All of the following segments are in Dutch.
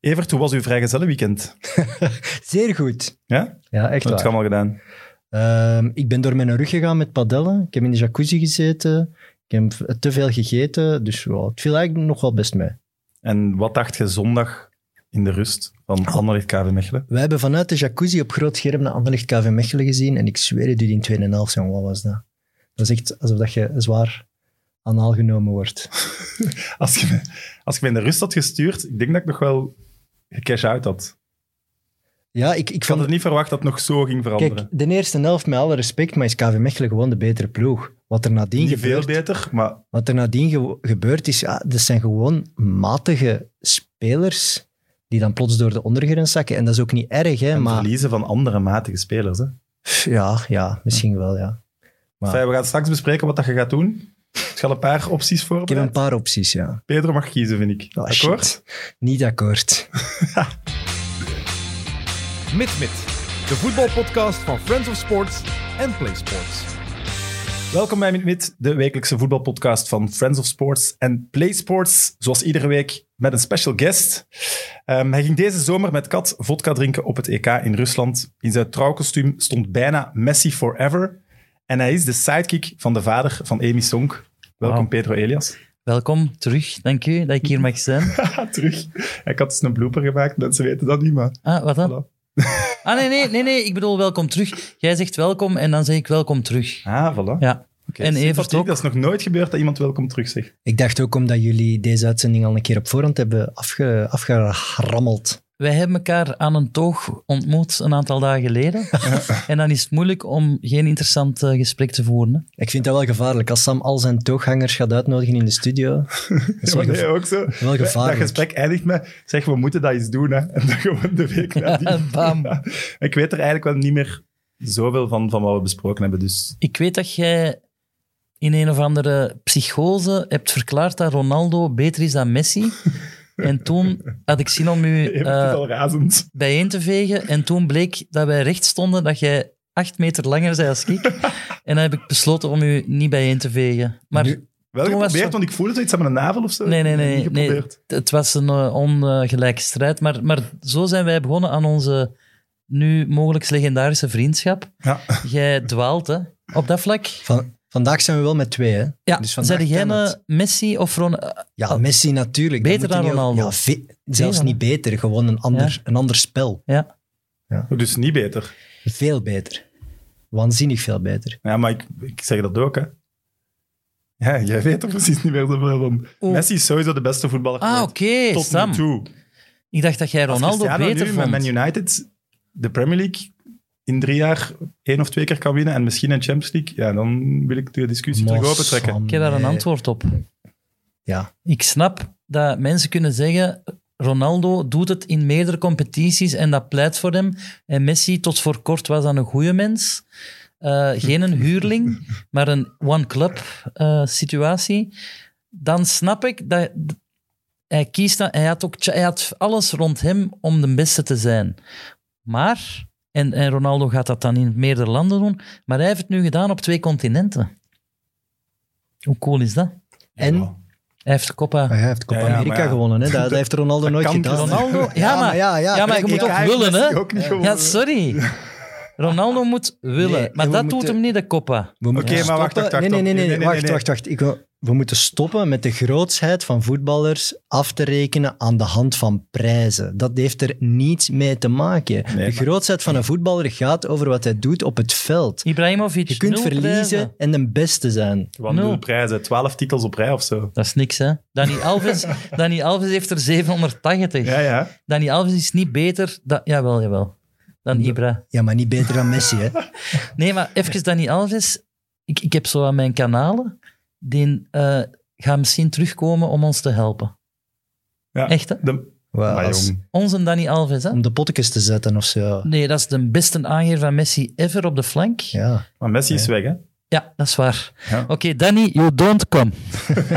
Evert, hoe was uw vrijgezellenweekend? Zeer goed. Ja? Ja, Dat echt heb je waar. allemaal gedaan. Ehm, ik ben door mijn rug gegaan met padellen. Ik heb in de jacuzzi gezeten. Ik heb v- te veel gegeten. Dus wow, het viel eigenlijk nog wel best mee. En wat dacht je zondag in de rust van Ah. Anderlecht KV Mechelen? We hebben vanuit de jacuzzi op groot scherm de Anderlecht KV Mechelen gezien. En ik zweer het u, die tweede helft, jong, wat was dat? Dat is echt alsof dat je zwaar anaal genomen wordt. Als je, me, als je me in de rust had gestuurd, ik denk dat ik nog wel cash out had. Ja, ik, ik Ik had vond het niet verwacht dat het nog zo ging veranderen. Kijk, de eerste helft, met alle respect, maar is KV Mechelen gewoon de betere ploeg. Wat er nadien, niet veel gebeurt, beter, maar wat er nadien ge- gebeurd is, ja, dat zijn gewoon matige spelers die dan plots door de ondergrens zakken. En dat is ook niet erg, hè, en maar verliezen van andere matige spelers. Hè? pff, ja, ja, misschien wel, ja. Maar- Enfin, we gaan straks bespreken wat dat je gaat doen. Ik ga een paar opties voor. Ik heb een paar opties, ja. Pedro mag kiezen, vind ik. Ah, shit. Akkoord? Niet akkoord. Mit Mit, de voetbalpodcast van Friends of Sports en Play Sports. Welkom bij Mit Mit, de wekelijkse voetbalpodcast van Friends of Sports en Play Sports. Zoals iedere week met een special guest. Ehm, hij ging deze zomer met Kat vodka drinken op het EK in Rusland. In zijn trouwkostuum stond bijna Messi Forever. En hij is de sidekick van de vader van Amy Sonk. Welkom, Wauw. Pedro Elias. Welkom terug, dank u dat ik hier mag zijn. Haha, terug. Ik had dus een blooper gemaakt, mensen weten dat niet, maar... Ah, wat dan? Hallo. Ah, nee, nee, nee, nee, ik bedoel welkom terug. Jij zegt welkom en dan zeg ik welkom terug. Ah, voilà. Ja. Oké, en sympathiek. Evert ook. Dat is nog nooit gebeurd dat iemand welkom terug zegt. Ik dacht ook omdat jullie deze uitzending al een keer op voorhand hebben afge, afgerammeld. Wij hebben elkaar aan een toog ontmoet een aantal dagen geleden. En dan is het moeilijk om geen interessant eh, gesprek te voeren. hè. Ik vind dat wel gevaarlijk. Als Sam al zijn tooghangers gaat uitnodigen in de studio, dat is Ja, wel maar gevaarlijk. nee, ook zo. Wel Dat gevaarlijk. gesprek eindigt met, zeg, we moeten dat eens doen. Hè. En dan gewoon de week nadien. Bam. Ik weet er eigenlijk wel niet meer zoveel van, van wat we besproken hebben. Dus Ik weet dat jij in een of andere psychose hebt verklaard dat Ronaldo beter is dan Messi. En toen had ik zin om u Evert eh, is al razend. bijeen te vegen. En toen bleek dat wij recht stonden, dat jij acht meter langer zei als ik. en dan heb ik besloten om u niet bijeen te vegen. Maar Nu- Wel toen was geprobeerd, het- want ik voelde zoiets aan mijn navel of zo. nee, nee, Niet nee. nee geprobeerd. het, het was een eh, ongelijke strijd. Maar, maar zo zijn wij begonnen aan onze nu mogelijk legendarische vriendschap. Ja. Jij dwaalt, hè, op dat vlak. Van, vandaag zijn we wel met twee, hè? Ja, Dus vandaag zijn jij kan een het. Messi of Ronaldo? Ja, Messi natuurlijk. Oh. Beter Dat moet dan je niet over- Ronaldo. Ja, ve- zelfs dan? niet beter, gewoon een ander, een ander spel. Ja. Dus niet beter. Veel beter. Waanzinnig veel beter. Ja, maar ik, ik zeg dat ook, hè. Ja, jij weet er precies niet meer zoveel van. Oeh. Messi is sowieso de beste voetballer Ah, ooit. oké, Tot nu Sam. toe. Ik dacht dat jij Als Ronaldo Cristiano beter nu vond. met Man United de Premier League in drie jaar één of twee keer kan winnen en misschien een Champions League, ja, dan wil ik de discussie Maar terug opentrekken. Sam, Ik heb daar een nee. antwoord op. Ja. Ik snap dat mensen kunnen zeggen... Ronaldo doet het in meerdere competities en dat pleit voor hem. En Messi tot voor kort was dan een goede mens. Eh, geen een huurling, maar een one-club-situatie. dan snap ik dat... d- Hij, kiest dan, hij, had ook, tja- hij had alles rond hem om de beste te zijn. Maar... En, en Ronaldo gaat dat dan in meerdere landen doen. Maar hij heeft het nu gedaan op twee continenten. Hoe cool is dat? En Ja. Hij heeft de Copa. Ah, hij heeft Copa Ja, ja, maar America ja. gewonnen, hè? Dat, dat heeft Ronaldo dat nooit kan gedaan. Ronaldo. Ronaldo? Ja, maar, ja, ja, ja. maar je Kijk, moet ik- ook Hij willen, heeft hè? ook niet gewonnen. Ja, sorry. Ronaldo moet willen, Nee, maar we dat doet moeten- hem niet, de Copa. We moeten Oké, maar wacht, stoppen- wacht, wacht, Nee, nee, nee, nee, nee, nee, wacht, nee. wacht, wacht. Ik wil- we moeten stoppen met de grootsheid van voetballers af te rekenen aan de hand van prijzen. Dat heeft er niets mee te maken. maar- de grootsheid van een voetballer gaat over wat hij doet op het veld. Ibrahimovic, Je kunt nul verliezen prijzen. en de beste zijn. Wat Nul. nul prijzen, twaalf titels op rij of zo. Dat is niks, hè? Dani Alves, Dani Alves heeft er 780. Ja, ja. Dani Alves is niet beter dan... Jawel, jawel. Dan Ibra. Ja, maar niet beter dan Messi, hè? Nee, maar even Dani Alves. Ik, ik heb zo aan mijn kanalen. Die eh gaan misschien terugkomen om ons te helpen. ja. Echt, hè? De- Wel, maar als- jong. Onze Dani Alves, hè? om de potjes te zetten of zo. Nee, dat is de beste aangeer van Messi ever op de flank. Ja, Ja. Maar Messi is weg, hè? dat is waar. Ja. Oké, Danny, you don't come.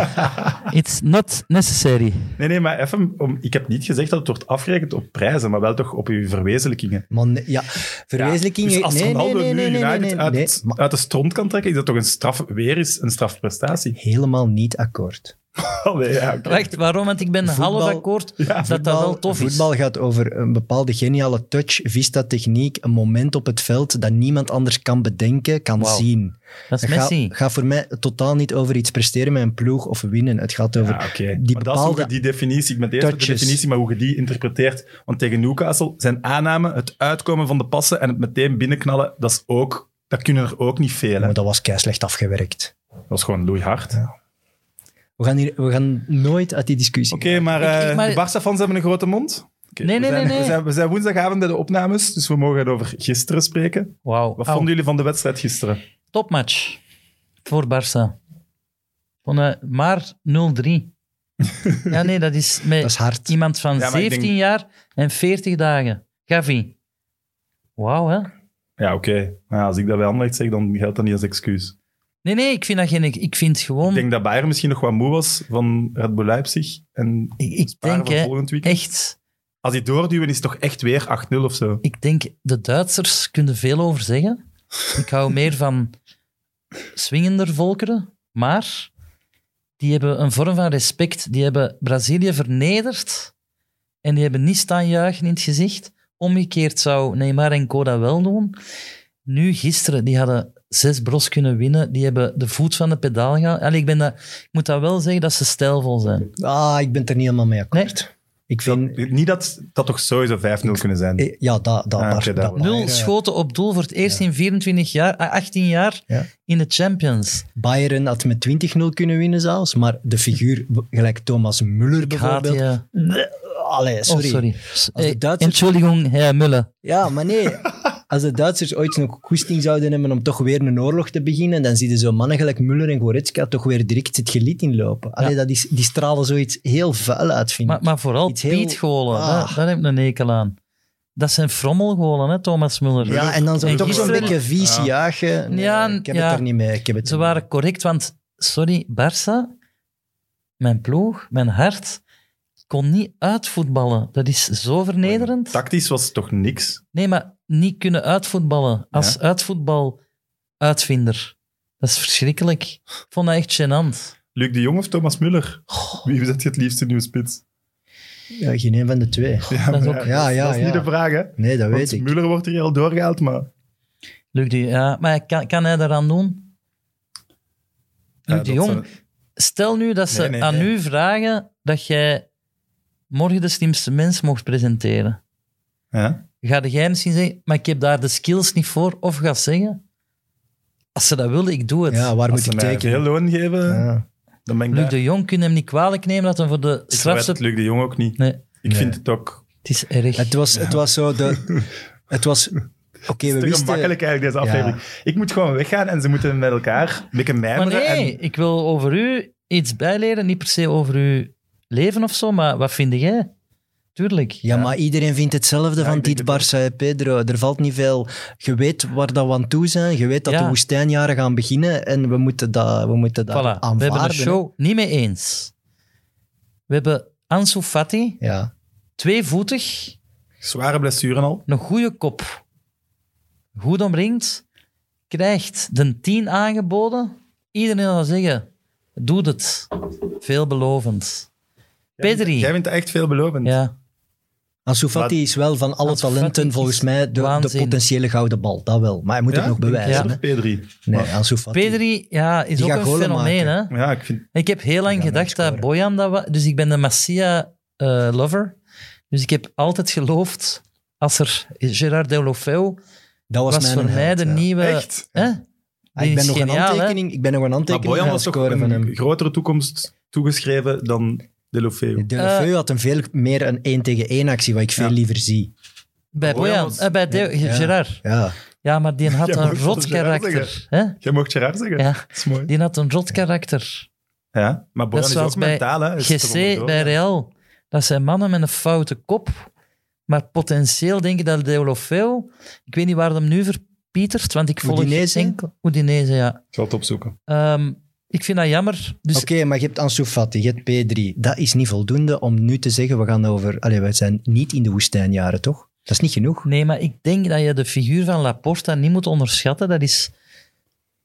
It's not necessary. Nee, nee, maar even, om, ik heb niet gezegd dat het wordt afgerekend op prijzen, maar wel toch op uw verwezenlijkingen. Man, nee, ja. Ja. Verwezenlijkingen... Dus als nee, nee, Ronaldo nee, nee, nu nee, nee, United nee, uit, nee. het- Maar uit de stront kan trekken, is dat toch een straf, weer eens een strafprestatie? helemaal niet akkoord. Allee, ja, oké. Wacht, waarom? Want ik ben Voetbal- half akkoord dat dat wel tof is. voetbal gaat over een bepaalde geniale touch, vista techniek, een moment op het veld dat niemand anders kan bedenken, kan Wauw. zien. Dat is Het gaat, Messi. gaat voor mij totaal niet over iets presteren met een ploeg of winnen. Het gaat over... Ja, oké. die maar dat is hoe bepaalde je die definitie, ik ben het eens met de touches. definitie, maar hoe je die interpreteert. Want tegen Newcastle zijn aanname, het uitkomen van de passen en het meteen binnenknallen, dat, is ook, dat kunnen er ook niet veel. hè. Oh, Maar dat was keislecht afgewerkt. Dat was gewoon loeihard. We gaan, hier, we gaan nooit uit die discussie. Oké, maar, Ik- ik- maar- eh de Barca-fans hebben een grote mond. Oké, Nee, we nee, zijn- nee, nee. We zijn, we zijn woensdagavond bij de opnames, dus we mogen het over gisteren spreken. Wauw. Wat Au. vonden jullie van de wedstrijd gisteren? Topmatch voor Barça. Van, eh, maar 0-3. ja, nee, dat is met Dat is hard. iemand van Ja, maar ik 17 denk- jaar en 40 dagen. Gavi. Wauw, hè? Ja, oké. Maar ja, als ik dat bij Anderlecht zeg, dan geldt dat niet als excuus. Nee, nee, ik vind dat geen... Ik vind gewoon... Ik denk dat Bayern misschien nog wat moe was van Red Bull Leipzig. En ik, ik Bayern denk van hè, volgend weekend. echt... Als die doorduwen, is het toch echt weer 8-0 of zo? Ik denk, de Duitsers kunnen veel over zeggen. Ik hou meer van swingender volkeren. Maar die hebben een vorm van respect. Die hebben Brazilië vernederd. En die hebben niet staan juichen in het gezicht. Omgekeerd zou Neymar en Co dat wel doen. Nu, gisteren, die hadden zes bros kunnen winnen. Die hebben de voet van de pedaal gehaald. Allee, ik, ben dat, ik moet dat wel zeggen, dat ze stijlvol zijn. Ah, ik ben het er niet helemaal mee akkoord. Ik vind... Dat- niet dat dat toch sowieso 5-0 kunnen zijn. eh, Ja, dat... dat, Ah, daar- oké, dat dat- wel. Nul Bayern- schoten op doel voor het eerst in 24 jaar, ah, 18 jaar Ja. in de Champions. Bayern had met 20-0 kunnen winnen zelfs, maar de figuur, gelijk Thomas Müller Gaat bijvoorbeeld... je... Allee, Oh, sorry. sorry. Als de Duitsers- Entschuldigung, Herr Müller. Ja, maar nee. Als de Duitsers ooit nog goesting zouden hebben om toch weer een oorlog te beginnen, dan zie je zo mannen gelijk Müller en Goretzka toch weer direct het gelied inlopen. Allee, dat is, die stralen zoiets heel vuil uit, vind ik. Maar, maar vooral Iets heel- Piet-golen, Ah. daar, daar heb ik een ekel aan. Dat zijn frommelgolen, hè, Thomas Müller. ja, en dan zo, En toch zo'n gisteren- beetje vies Ja. jagen. Nee, Ja, ik heb ja. het er niet mee. Ik heb het Ze er niet waren correct, want, sorry, Barça, mijn ploeg, mijn hart, kon niet uitvoetballen. Dat is zo vernederend. Tactisch was het toch niks? Nee, maar niet kunnen uitvoetballen. Als Ja. uitvoetbal-uitvinder. Dat is verschrikkelijk. Ik vond dat echt gênant. Luc de Jong of Thomas Muller? Wie zet je het liefste nieuwe spits? mee. Ja, Eh, geen een van de twee. Ja, dat is maar ook- Ja, ja, dat is ja. niet de vraag, hè? Nee, dat weet Want ik. Muller wordt hier al doorgehaald, maar... Luc de, ja, maar kan, kan hij daaraan doen? Luc Ja, de dat Jong, zijn- stel nu dat ze Nee, nee, aan nee. u vragen dat jij morgen de slimste mens mocht presenteren. Ja? Ga jij misschien zeggen, maar ik heb daar de skills niet voor, of gaat zeggen, als ze dat willen, ik doe het. Ja, Als waar moet ze ik mij tekenen? veel loon geven, Ja. dan ben ik Luc daar. de Jong kunnen hem niet kwalijk nemen dat hij voor de Ik verwijt het strafste... Luc de Jong ook niet. Nee, Ik Nee. vind het ook... het is erg. Het was, het was zo de... Het was... Oké, Het we is te wisten... gemakkelijk eigenlijk, deze Ja. aflevering. Ik moet gewoon weggaan en ze moeten met elkaar een beetje Maar mijmeren. nee, en... ik wil over u iets bijleren. Niet per se over uw leven of zo, maar wat vind jij? Tuurlijk. Ja, maar iedereen vindt hetzelfde Ja, van ik denk dit het Barça en Pedro. Er valt niet veel. Je weet waar dat we aan toe zijn. Je weet dat Ja. de woestijnjaren gaan beginnen. En we moeten dat, we moeten dat Voilà, aanvaarden. we hebben de hè. show niet mee eens. We hebben Ansu Fati, Ja. tweevoetig, Zware blessuren al. een goede kop. Goed omringd, krijgt de 10 aangeboden. Iedereen zal zeggen, doet het. Veelbelovend. Jij Pedri, vindt het echt veelbelovend. ja, Ansu Fati Maar- is wel van alle Ansu Fati talenten is volgens mij de, de waanzin. potentiële gouden bal. Dat wel. Maar hij moet het nog bewijzen. Ja, hè. Pedri. Nee, Ansu Fati. Pedri ja, is Die ook gaat een golen fenomeen. Hè? Ja, ik vind... Ik heb heel lang Ja, gedacht mensen dat scoren. Bojan dat was. Dus ik ben de Massia-lover. dus ik heb altijd geloofd, als er Gerard Deulofeu Dat was, was, mijn voor held, mij de ja. nieuwe... Echt? Hè? Ah, ik, Die ben is nog een geniaal, hè? aantekening, ik ben nog een Maar aantekening Bojan aan was het toch scoren van een hem. grotere toekomst toegeschreven dan De Lofeo. De Eh, Lefeu had een veel meer een 1 tegen 1 actie, wat ik veel Ja. liever zie. Bij Bojan Bojan, was- eh, bij Deo- Ja. Gerard. Ja. Ja, maar die had Ja, een maar dat rot is Gerard karakter. Hè? Jij mocht Gerard zeggen. Ja. Dat is mooi. Die had een rot karakter. Ja, maar Bojan is Dat is ook zoals bij mentaal. Hè. Is GC er onderdoor. bij Real. Dat zijn mannen met een foute kop. Maar potentieel denk ik dat Deulofeu... Ik weet niet waar hem nu verpietert, want ik volg Udinese? enkel... Udinese, ja. Ik zal het opzoeken. Ehm, ik vind dat jammer. Dus Oké, maar je hebt Ansu Fati, je hebt P3. Dat is niet voldoende om nu te zeggen, we gaan over... Allee, wij zijn niet in de woestijnjaren, toch? Dat is niet genoeg. Nee, maar ik denk dat je de figuur van Laporta niet moet onderschatten. Dat is,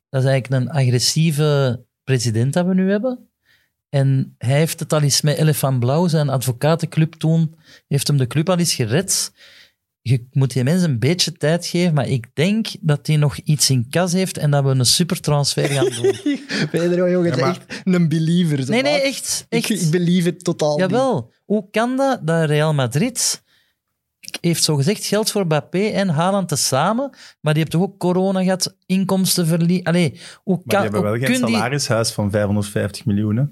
dat is eigenlijk een agressieve president dat we nu hebben. En hij heeft het al eens met Elefant Blauw, zijn advocatenclub toen, heeft hem de club al eens gered. Je moet die mensen een beetje tijd geven, maar ik denk dat hij nog iets in kas heeft en dat we een supertransfer gaan doen. Pedro, jongen, het is Ja, maar- echt een believer. zo. Nee, nee, Ah, echt. Ik, echt. ik believe het totaal niet. Jawel, hoe kan dat dat Real Madrid heeft zogezegd geld voor Mbappé en Haaland tezamen, maar die hebben toch ook corona gehad, inkomstenverlies... Allee, hoe Maar kan... die hebben wel hoe geen kun die- salarishuis van 550 miljoen. hè.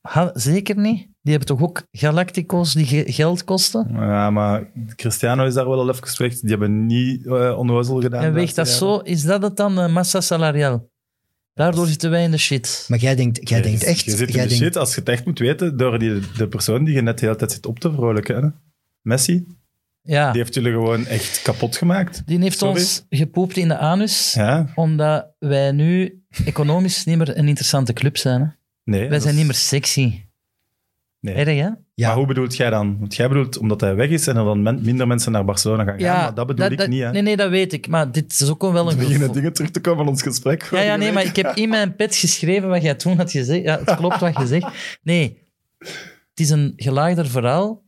Ha- zeker niet. Die hebben toch ook Galacticos die ge- geld kosten? Ja, maar Cristiano is daar wel al even weg. Die hebben niet eh, onnozel gedaan. en de weegt dat laatste jaren. zo? Is dat het dan, eh, massa salariaal? Daardoor zitten wij in de shit. Maar jij denkt, jij Je denkt zit- echt... Je zit in jij de denkt, shit als je het echt moet weten door die, de persoon die je net de hele tijd zit op te vrolijken. hè. Messi, Ja, Nou, die heeft jullie gewoon echt kapot gemaakt. die heeft Sorry. ons gepoept in de anus, Ja, omdat wij nu economisch niet meer een interessante club zijn. Hè? nee. wij dat zijn is- niet meer sexy. Nee. Erg, hè? Ja. Maar hoe bedoelt jij dan? Want jij bedoelt omdat hij weg is en er dan men- minder mensen naar Barcelona gaan gaan. maar dat bedoel ik niet. Hè. Nee, nee, dat weet ik. Maar dit is ook wel Er een beginnen gevoel. dingen terug te komen van ons gesprek. Ja, ja, nee, maar ik heb in mijn pet geschreven wat jij toen had gezegd. Ja, het klopt wat je zegt. Nee, het is een gelaagder verhaal.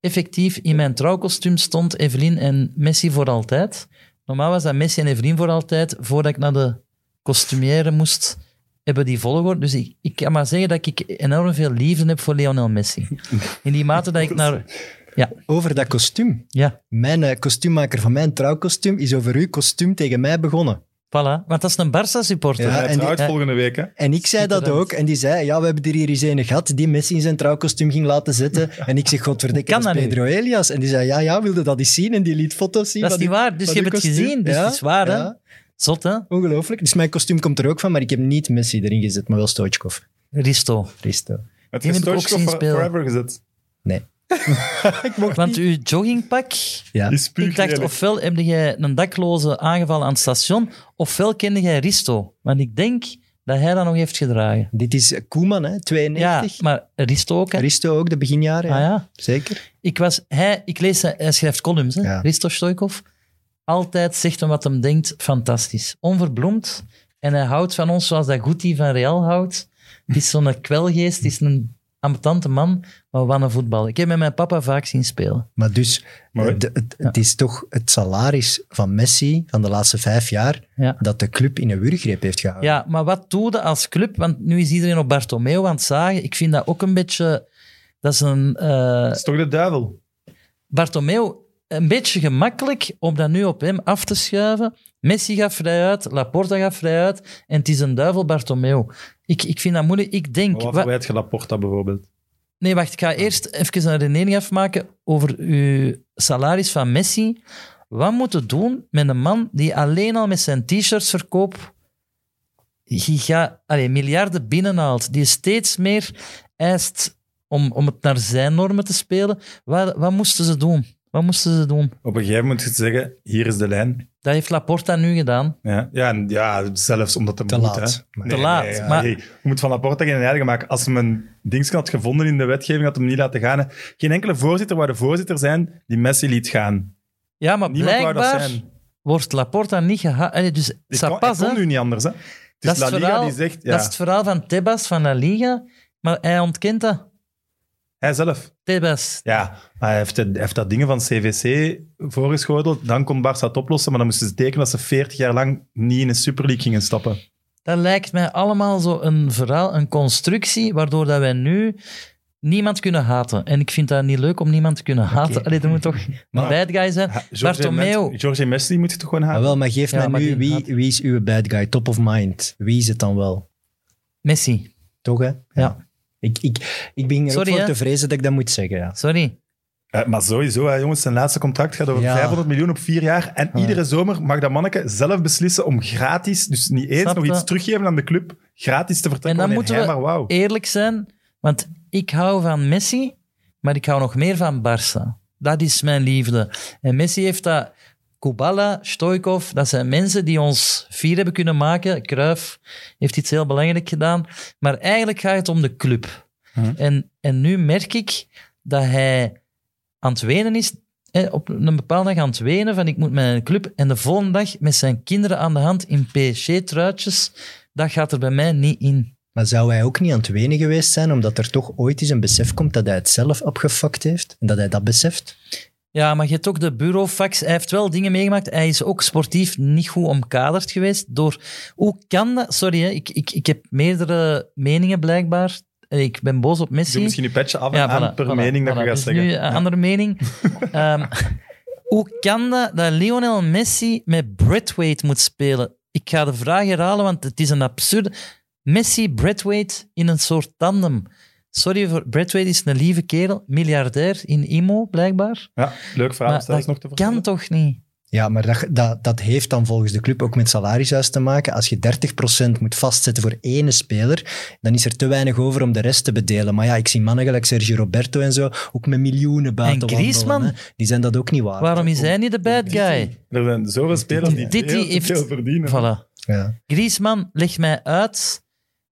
Effectief, in mijn trouwkostuum stond Evelien en Messi voor altijd. Normaal was dat Messi en Evelien voor altijd, voordat ik naar de kostumière moest, hebben die volgorde. Dus ik, ik kan maar zeggen dat ik enorm veel liefde heb voor Lionel Messi. In die mate dat ik naar... over dat kostuum. Ja, Mijn eh, kostuummaker van mijn trouwkostuum is over uw kostuum tegen mij begonnen. voilà. Want dat is een Barça-supporter. Ja, Ja, en die- uit volgende week. Hè. En ik zei dat Schitterend. ook. En die zei, ja, we hebben er hier eens een gehad die Messi in zijn trouwkostuum ging laten zetten. En ik zeg, godverdikke, Hoe dat kan is dat nu? Pedro Elias. En die zei, ja, ja, wilde dat eens zien? En die liet foto's zien. Dat is van niet uw- waar. Dus van je hebt uw het kostuum. gezien. Dus Ja, het is waar, hè? ja. Zot, hè? Ongelooflijk. Dus mijn kostuum komt er ook van, maar ik heb niet Messi erin gezet, maar wel Stoichkov. Risto. Risto. Het Die is heb ik ook Stoichkov zien for- spelen. Forever gezet. Want uw joggingpak... Ja. Is puur Ik dacht, lelijk. ofwel heb jij een dakloze aangevallen aan het station, ofwel kende jij Risto. Want ik denk dat hij dat nog heeft gedragen. Dit is eh, Koeman, hè, Ja, 92. maar Risto ook, hè? Risto ook, de beginjaren. Ah, ja. ja. Zeker. Ik, was, hij, ik lees, zijn- hij schrijft columns, hè? Ja. Risto Stoikov. Altijd zegt hem wat hem denkt, fantastisch. Onverbloemd. En hij houdt van ons zoals dat Guti van Real houdt. Het is zo'n kwelgeest, het is een ambetante man, maar wat een voetbal. Ik heb hem met mijn papa vaak zien spelen. Maar dus, Mooi. eh, de- het, het is toch het salaris van Messi van de laatste vijf jaar Ja. dat de club in een wurggreep heeft gehouden. Ja, maar wat doe je als club? Want nu is iedereen op Bartomeu aan het zagen. Ik vind dat ook een beetje... Dat is een... eh, Dat is toch de duivel? Bartomeu een beetje gemakkelijk om dat nu op hem af te schuiven. Messi gaat vrij uit, Laporta gaat vrij uit en het is een duivel Bartomeu. Ik, ik vind dat moeilijk. Ik denk... Maar Oh, Wat wa- verwijt je Laporta bijvoorbeeld? nee, wacht. Ik ga eerst even een redenering afmaken over uw salaris van Messi. Wat moet je doen met een man die alleen al met zijn t-shirts verkoop giga, allee, miljarden binnenhaalt, die steeds meer eist om, om het naar zijn normen te spelen? Wat, wat moesten ze doen? Wat moesten ze doen? Op een gegeven moment moet je zeggen, hier is de lijn. Dat heeft Laporta nu gedaan. Ja, ja, en, ja zelfs omdat de Te moet, laat. hè. Maar- Nee, Te laat, nee, ja, maar- nee. Je moet van Laporta geen heilige maken. Als hem een ding had gevonden in de wetgeving, had hem niet laten gaan. hè. Geen enkele voorzitter waar de voorzitter zijn die Messi liet gaan. Ja, maar Niemand wou dat blijkbaar zijn. wordt Laporta niet gehaald. Dus Ik ça kon, passe, ik kon hè. nu niet anders. Hè. Het Dat is is La het Liga verhaal. die zegt... Ja, Dat is het verhaal van Tebas van La Liga, maar hij ontkent dat. Hij zelf. Tebas. Ja, maar hij heeft, hij heeft dat dingen van CVC voorgeschoteld. Dan kon Barça het oplossen, maar dan moesten ze tekenen dat ze 40 jaar lang niet in de Super League gingen stappen. Dat lijkt mij allemaal zo een verhaal, een constructie, waardoor dat wij nu niemand kunnen haten. En ik vind dat niet leuk om niemand te kunnen haten. Allee, er moet toch een Maar- bad guy zijn. Ha- Jorge Bartomeu. Met- Jorge Messi moet je toch gewoon Ah, halen? wel, maar geef Ja, mij maar nu, die wie, gaat- wie is uw bad guy, top of mind? Wie is het dan wel? Messi. Toch, hè? Ja. Ik, ik, ik begin er Sorry, ook voor hè? te vrezen dat ik dat moet zeggen, ja. Sorry. Eh, maar sowieso, hè, jongens, zijn laatste contract gaat over Ja. 500 miljoen op vier jaar. En Ja. iedere zomer mag dat manneke zelf beslissen om gratis, dus niet eens Snap nog je? iets teruggeven aan de club, gratis te vertrekken. En wanneer dan moeten hij we- maar wou. Eerlijk zijn, want ik hou van Messi, maar ik hou nog meer van Barça. Dat is mijn liefde. En Messi heeft dat... Kubala, Stoikov, dat zijn mensen die ons vier hebben kunnen maken. Cruyff heeft iets heel belangrijk gedaan. Maar eigenlijk gaat het om de club. Mhm. En, en nu merk ik dat hij aan het wenen is, hè, op een bepaalde dag aan het wenen van ik moet mijn club, en de volgende dag met zijn kinderen aan de hand in PSG-truitjes, dat gaat er bij mij niet in. Maar zou hij ook niet aan het wenen geweest zijn, omdat er toch ooit eens een besef komt dat hij het zelf opgefokt heeft? En dat hij dat beseft? Ja, maar je hebt ook de bureaufax. Hij heeft wel dingen meegemaakt. Hij is ook sportief niet goed omkaderd geweest. Door... Hoe kan dat? Sorry, hè, ik, ik, ik heb meerdere meningen blijkbaar. Eh, Ik ben boos op Doe Messi. misschien je petje af en aan voilà, per voilà, mening dat voilà. je gaat Dus zeggen. Nu, een andere mening. Ehm, hoe kan dat dat Lionel Messi met Braithwaite moet spelen? Ik ga de vraag herhalen, want het is een absurde... Messi, Braithwaite in een soort tandem. Sorry, voor Braithwaite is een lieve kerel, miljardair in IMO, blijkbaar. Ja, leuk verhaal. Maar Dat is nog te Kan vertellen. toch niet? Ja, maar dat, dat, dat heeft dan volgens de club ook met salarishuis te maken. Als je 30% moet vastzetten voor ene speler, dan is er te weinig over om de rest te bedelen. Maar ja, ik zie mannen gelijk Sergio Roberto en zo ook met miljoenen buiten En wandelen, Griezmann? hè. Die zijn dat ook niet waard. Waarom is hij niet de bad guy? Er zijn zoveel spelers die Dit heel te heeft- veel verdienen. Voilà. Ja, Griezmann, leg mij uit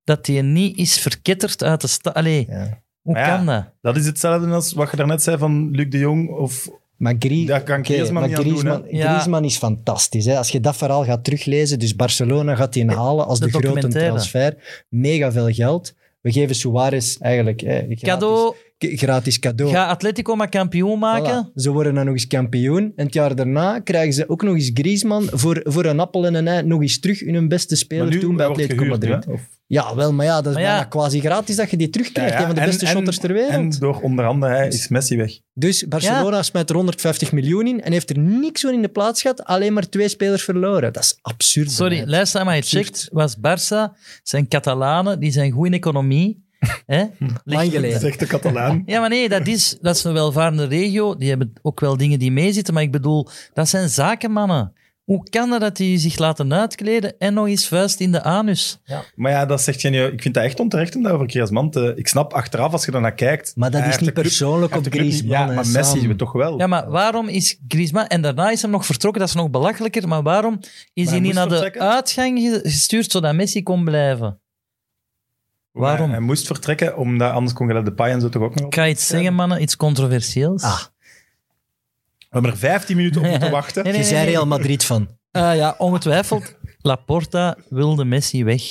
dat hij niet is verketterd uit de stad. Allee, ja. hoe Maar ja. kan dat? Dat is hetzelfde als wat je daarnet zei van Luc de Jong. Of, Maar, Grie- daar kan Oké, Griezmann maar niet aan doen. hè. Griezmann, Ja. Griezmann is fantastisch. Hè? Als je dat verhaal gaat teruglezen, dus Barcelona gaat die halen als de de, grote documentaire. transfer. Mega veel geld. We geven Suarez eigenlijk hè, gratis, Cadeau, k- gratis cadeau. ga Atletico maar kampioen maken. Voilà. Ze worden dan nog eens kampioen. En het jaar daarna krijgen ze ook nog eens Griezmann voor, voor een appel en een ei nog eens terug in hun beste Maar speler nu toen bij wordt Atletico gehuurd, Madrid. hè, of- Ja, wel, maar ja, dat is Maar ja. bijna quasi gratis dat je die terugkrijgt. Ja, ja, Een van de en- beste en- shotters ter wereld. En door onder andere hij is Messi weg. Dus Barcelona smijt er 150 miljoen in en heeft er niks van in de plaats gehad, alleen maar twee spelers verloren. Dat is absurd. Sorry, beleid. luister maar, je checkt, was Barça, zijn Catalanen, die zijn goed in economie. Hè? Lang geleden. Zegt de Catalaan. Ja, maar nee, dat is, dat is een welvarende regio. Die hebben ook wel dingen die meezitten, maar ik bedoel, dat zijn zakenmannen. Hoe kan dat dat die zich laten uitkleden en nog eens vuist in de anus? Maar ja, dat zegt geen... Ik vind dat echt onterecht om daarover Griezmann te... Ik snap achteraf, als je daarnaar kijkt... Maar dat hij is heeft de niet club- persoonlijk hij op heeft de club niet- Griezmann. Ja, hè, maar Messi Sam. we toch wel. Ja, maar waarom is Griezmann... En daarna is hem nog vertrokken, dat is nog belachelijker. Maar waarom hij is hij niet moest naar de vertrekken? uitgang ge- gestuurd, zodat Messi kon blijven? Maar waarom? Hij moest vertrekken, omdat anders kon je de paai en zo toch ook nog op. Ik ga iets zeggen, mannen, iets controversieels. Ah, We hebben er 15 minuten op moeten wachten. Nee, je nee, zei nee. Real Madrid van. Eh, ja, ongetwijfeld. Laporta wilde Messi weg.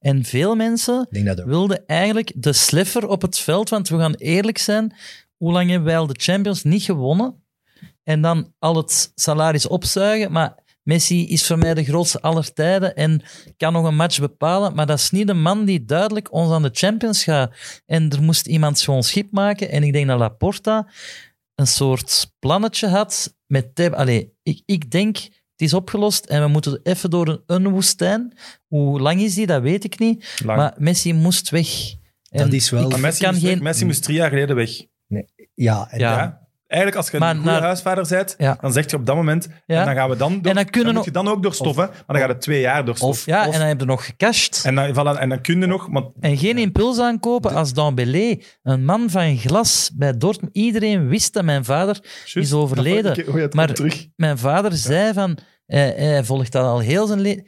En veel mensen Ik denk dat ook. wilden eigenlijk de sleffer op het veld. Want we gaan eerlijk zijn, hoe lang hebben wij al de Champions niet gewonnen? En dan al het salaris opzuigen. Maar Messi is voor mij de grootste aller tijden en kan nog een match bepalen. Maar dat is niet de man die duidelijk ons aan de Champions gaat. En er moest iemand zo'n schip maken. En ik denk dat Laporta een soort plannetje had met Teb. Allee, ik, ik denk, het is opgelost en we moeten even door een, een woestijn. Hoe lang is die, dat weet ik niet. Lang. Maar Messi moest weg. Dat is wel- ik Maar Messi, kan moest, weg. geen... Messi moest drie jaar geleden weg. Ja, en Ja. Ja. Eigenlijk, als je Maar een goede naar- huisvader bent, Ja. dan zeg je op dat moment... Ja. En dan gaan we dan... Door, En dan kunnen moet nog- je dan ook doorstoffen, maar dan gaat het twee jaar doorstoffen. Of, Ja, of en hij heeft er nog gecashed. En dan, voilà, en dan kun je nog... Want En geen impuls aankopen als Dambélé, een man van glas bij Dortmund. Iedereen wist dat mijn vader Juist, is overleden. dat vond ik- oh ja, het maar komt terug. mijn vader zei van, eh, hij volgt dat al heel zijn leven.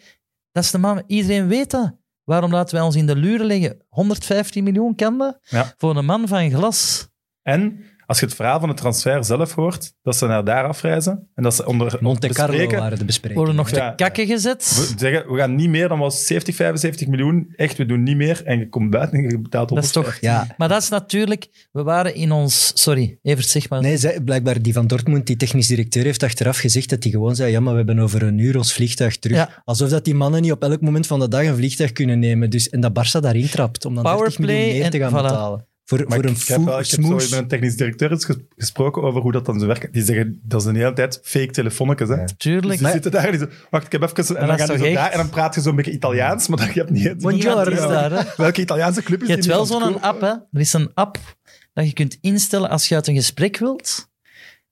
Dat is de man, iedereen weet dat. Waarom laten wij ons in de luren liggen? 115 miljoen kan dat? Ja. Voor een man van glas. En als je het verhaal van de transfer zelf hoort, dat ze naar daar afreizen en dat ze onder Monte Carlo bespreken, waren de bespreking. Worden nog te Ja. kakken gezet. we zeggen, we gaan niet meer dan was 70, 75 miljoen. Echt, we doen niet meer. En je komt buiten en je betaalt Dat is 150. toch... Ja. Maar dat is natuurlijk... We waren in ons... Sorry, Evert, zeg maar. Nee, zij- blijkbaar die van Dortmund, die technisch directeur, heeft achteraf gezegd dat hij gewoon zei, ja, maar we hebben over een uur ons vliegtuig terug. Ja. Alsof dat die mannen niet op elk moment van de dag een vliegtuig kunnen nemen. Dus, en dat Barça daarin trapt, om dan 30 Powerplay miljoen meer te en- gaan voilà. betalen. Voor, Maar voor een ik, ik heb, wel- foe- ik heb zo smoes. met een technisch directeur eens ges- gesproken over hoe dat dan zo werkt. Die zeggen, dat is de hele tijd fake telefoonnetjes. Hè? Dus Tuurlijk. die zitten daar en die zo, wacht, ik heb even... En Maar dan, dat gaan is die toch zo daar echt? en dan praat je zo'n beetje Italiaans, maar dan, je hebt niet... Niemand is daar, hè. Welke Italiaanse club is Je hebt die wel nu aan het zo'n app, hè? Er is een app dat je kunt instellen als je uit een gesprek wilt.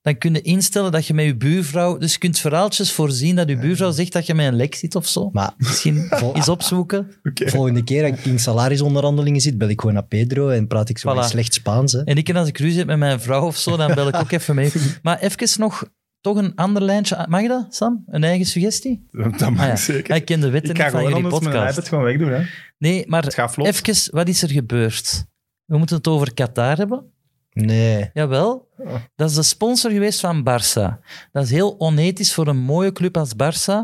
Dan kun je instellen dat je met je buurvrouw... Dus je kunt verhaaltjes voorzien dat je Eh. buurvrouw zegt dat je met een lek zit of zo. Maar Misschien eens opzoeken. kopen? Oké. volgende keer dat ik in salarisonderhandelingen zit, bel ik gewoon naar Pedro en praat ik zo Voilà. in slecht Spaans. Hè. En ik, en als ik ruzie heb met mijn vrouw of zo, dan bel ik ook even mee. Maar even nog toch een ander lijntje. aan- Mag dat, Sam? Een eigen suggestie? Dat mag Ah ja. zeker. Hij kent de wetten Ik ga niet van gewoon jullie anders mijn iPad podcast. gewoon wegdoen. Hè? Nee, Het maar gaat vlot. even, wat is er gebeurd? We moeten het over Qatar hebben. Nee. Jawel. Oh. Ja. Dat is de sponsor geweest van Barça. Dat is heel onethisch voor een mooie club als Barça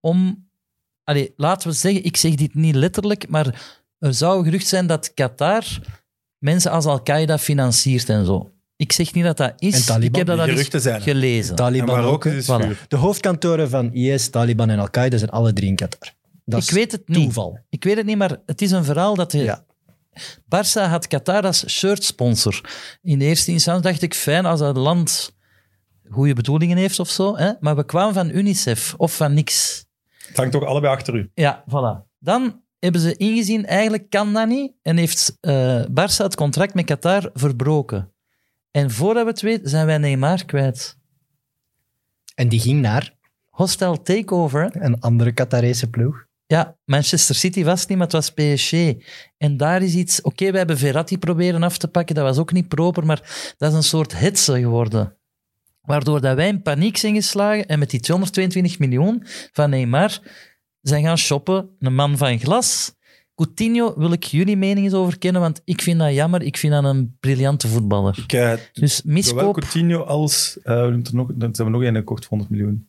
om... Allee, laten we zeggen, ik zeg dit niet letterlijk, maar er zou gerucht zijn dat Qatar mensen als Al-Qaeda financiert en zo. Ik zeg niet dat dat En is. Taliban, Ik heb dat die al eens geruchten zijn er. gelezen. Taliban maar ook ook. hè. is Voilà. vuur. De hoofdkantoren van IS, Taliban en Al-Qaeda zijn alle drie in Qatar. Dat Ik is weet het niet. toeval. Ik weet het niet, maar het is een verhaal dat... De... Ja. Barça had Qatar als shirtsponsor. In eerste instantie dacht ik, fijn als dat land goede bedoelingen heeft of zo. Hè? Maar we kwamen van UNICEF of van niks. Het hangt ook allebei achter u. Ja, voilà. Dan hebben ze ingezien, eigenlijk kan dat niet. En heeft eh Barça het contract met Qatar verbroken. En voordat we het weten, zijn wij Neymar kwijt. En die ging naar Hostile takeover. hè. een andere Qatarese ploeg. Ja, Manchester City was het niet, maar het was PSG. En daar is iets... Oké, wij hebben Verratti proberen af te pakken. Dat was ook niet proper, maar dat is een soort hetze geworden. Waardoor dat wij in paniek zijn geslagen en met die 222 miljoen van Neymar zijn gaan shoppen. Een man van glas. Coutinho wil ik jullie mening eens over kennen, want ik vind dat jammer. Ik vind dat een briljante voetballer. Ik, eh, Dus zowel miskoop... Coutinho als... eh, we hebben er nog, dan zijn we nog één gekocht voor 100 miljoen.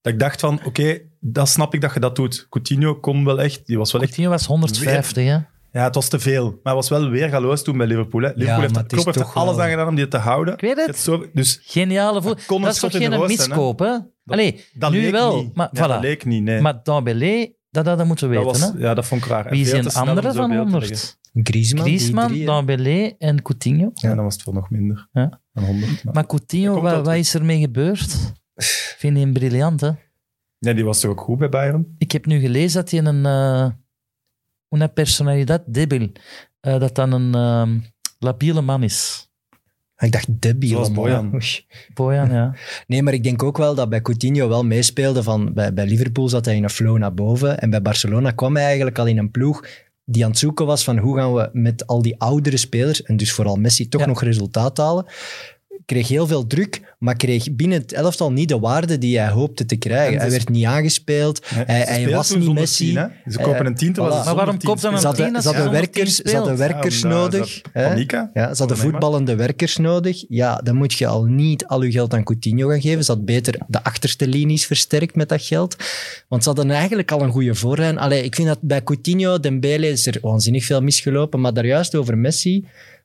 Dat ik dacht van, oké, dat snap ik dat je dat doet. Coutinho kon wel echt... Die was wel echt... Coutinho was 150, hè. Ja, het was te veel. Maar hij was wel weer galoos toen bij Liverpool. Hè. Liverpool maar heeft, het is Klopp heeft er toch alles wel- aan gedaan om die te houden. Ik weet het. Het is zo, dus Geniale voet. kon Dat een is schot toch in de geen roos zijn, hè? miskoop, hè? Allee, dat nu leek wel. niet. Maar, Ja, voilà. dat leek niet, nee. maar Dambélé, dat hadden we moeten dat weten. was, hè? ja, dat vond ik raar. En Wie veel zijn te snel om andere zo'n van beeld te 100? leggen. Griezmann, die Griezmann, drie, hè. Dambélé en Coutinho. Ja, dan was het wel nog minder. Ja. Dan 100. Maar. Maar Coutinho, komt wa- wel wat terug. is er mee gebeurd? Ik vind hem briljant, hè? Nee, die was toch ook goed bij Bayern? Ik heb nu gelezen dat hij een... eh una personalidad debil. Eh, dat dat een ehm, labiele man is. Ik dacht Debbie. Zoals allemaal. Oh, Bojan. Oei. Bojan, ja. Nee, maar ik denk ook wel dat bij Coutinho wel meespeelde van... Bij, bij Liverpool zat hij in een flow naar boven. En bij Barcelona kwam hij eigenlijk al in een ploeg die aan het zoeken was van hoe gaan we met al die oudere spelers, en dus vooral Messi, toch Ja. nog resultaat halen. Kreeg heel veel druk, maar kreeg binnen het elftal niet de waarde die hij hoopte te En krijgen. ze Hij dus sp- werd niet aangespeeld. Nee, hij ze hij speelden was toen niet zonder Messi. tien, hè? Ze Eh, kopen een tiental. voilà. was Maar waarom koopt dan een Ze hadden, als ze hadden je zonder tien werkers, ze hadden speelt. werkers eh, nodig. hè. Panika? Ja, ze hadden Voor Neymar. voetballende werkers nodig. Ja, dan moet je al niet al je geld aan Coutinho gaan geven. Ze had beter de achterste linies versterkt met dat geld. Want ze hadden eigenlijk al een goede voorlijn. Allee, ik vind dat bij Coutinho, Dembele is er waanzinnig veel misgelopen. Maar daar juist over Messi,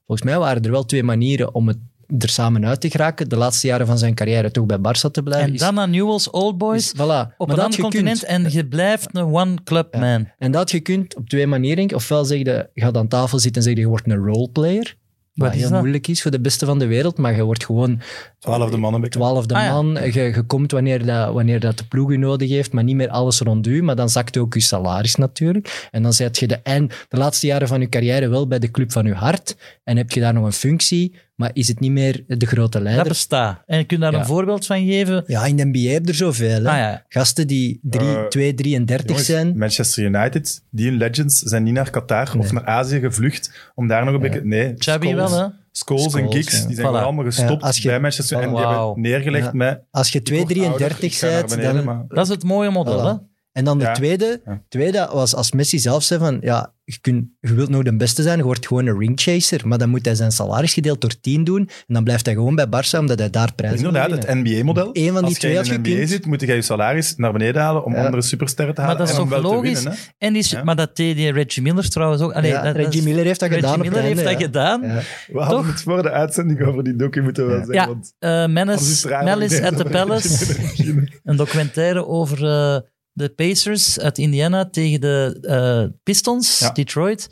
volgens mij waren er wel twee manieren om het er samen uit te geraken. De laatste jaren van zijn carrière toch bij Barça te blijven. En Is- dan aan Newell's Old Boys. is- voilà. op Maar een dat had ander je continent kunt. en je blijft een one-club Ja. man. En dat had je kunt op twee manieren. denk ik. Ofwel zeg je, je gaat aan tafel zitten en zeg je, je wordt een roleplayer. Wat, Wat is heel dat? moeilijk is voor de beste van de wereld, maar je wordt gewoon Twaalfde mannen. bij- twaalfde Ah, ja. man. Je, je komt wanneer dat, wanneer dat de ploeg je nodig heeft, maar niet meer alles rond u. Maar dan zakt ook je salaris natuurlijk. En dan zet je de, eind, de laatste jaren van je carrière wel bij de club van je hart. En heb je daar nog een functie, maar is het niet meer de grote Dat leider. bestaat. En je kunt daar Ja. een voorbeeld van geven. ja, in de NBA heb je er zoveel. Hè? Ah, ja. Gasten die 3, Eh, 2, 33 Jongens, zijn. Manchester United, die legends zijn niet naar Qatar of Nee. naar Azië gevlucht om daar nog een beetje... Nee, Chubby Scholes- wel, hè? Scholes en Scholes, Giggs, ja. die zijn Voilà. gewoon allemaal gestopt Ja, als je- bij Manchester en die Wauw. hebben neergelegd Ja. met... Als je ik word 2, ouder, 33 ik ga naar bent, beneden, dan, maar- Dat is het mooie model, Voilà. hè? En dan de Ja. tweede, Ja. tweede was als Messi zelf zei van, ja, je, kunt, je wilt nog de beste zijn, je wordt gewoon een ringchaser, maar dan moet hij zijn salarisgedeeld door 10 doen en dan blijft hij gewoon bij Barça omdat hij daar prijzen wil Inderdaad, het winnen. NBA-model. Eén van die Als twee je had in de je NBA kunt. zit, moet je je salaris naar beneden halen om Ja. andere supersterren te Maar halen dat is en om toch wel te logisch? winnen. hè. En die, Ja. Maar dat deed die Reggie Miller trouwens ook. Allee, Ja, dat- dat Reggie is- Miller heeft dat Reggie gedaan op Miller het heeft dat einde, ja. gedaan. Ja. We hadden Toch? het voor de uitzending over die docu, moeten we wel Ja. zeggen. Ja, Want eh, anders is Menace, het raar om Malice deze at the over Reggie Palace. Miller te beginnen. Een documentaire over eh, de Pacers uit Indiana tegen de eh, Pistons, Ja. Detroit.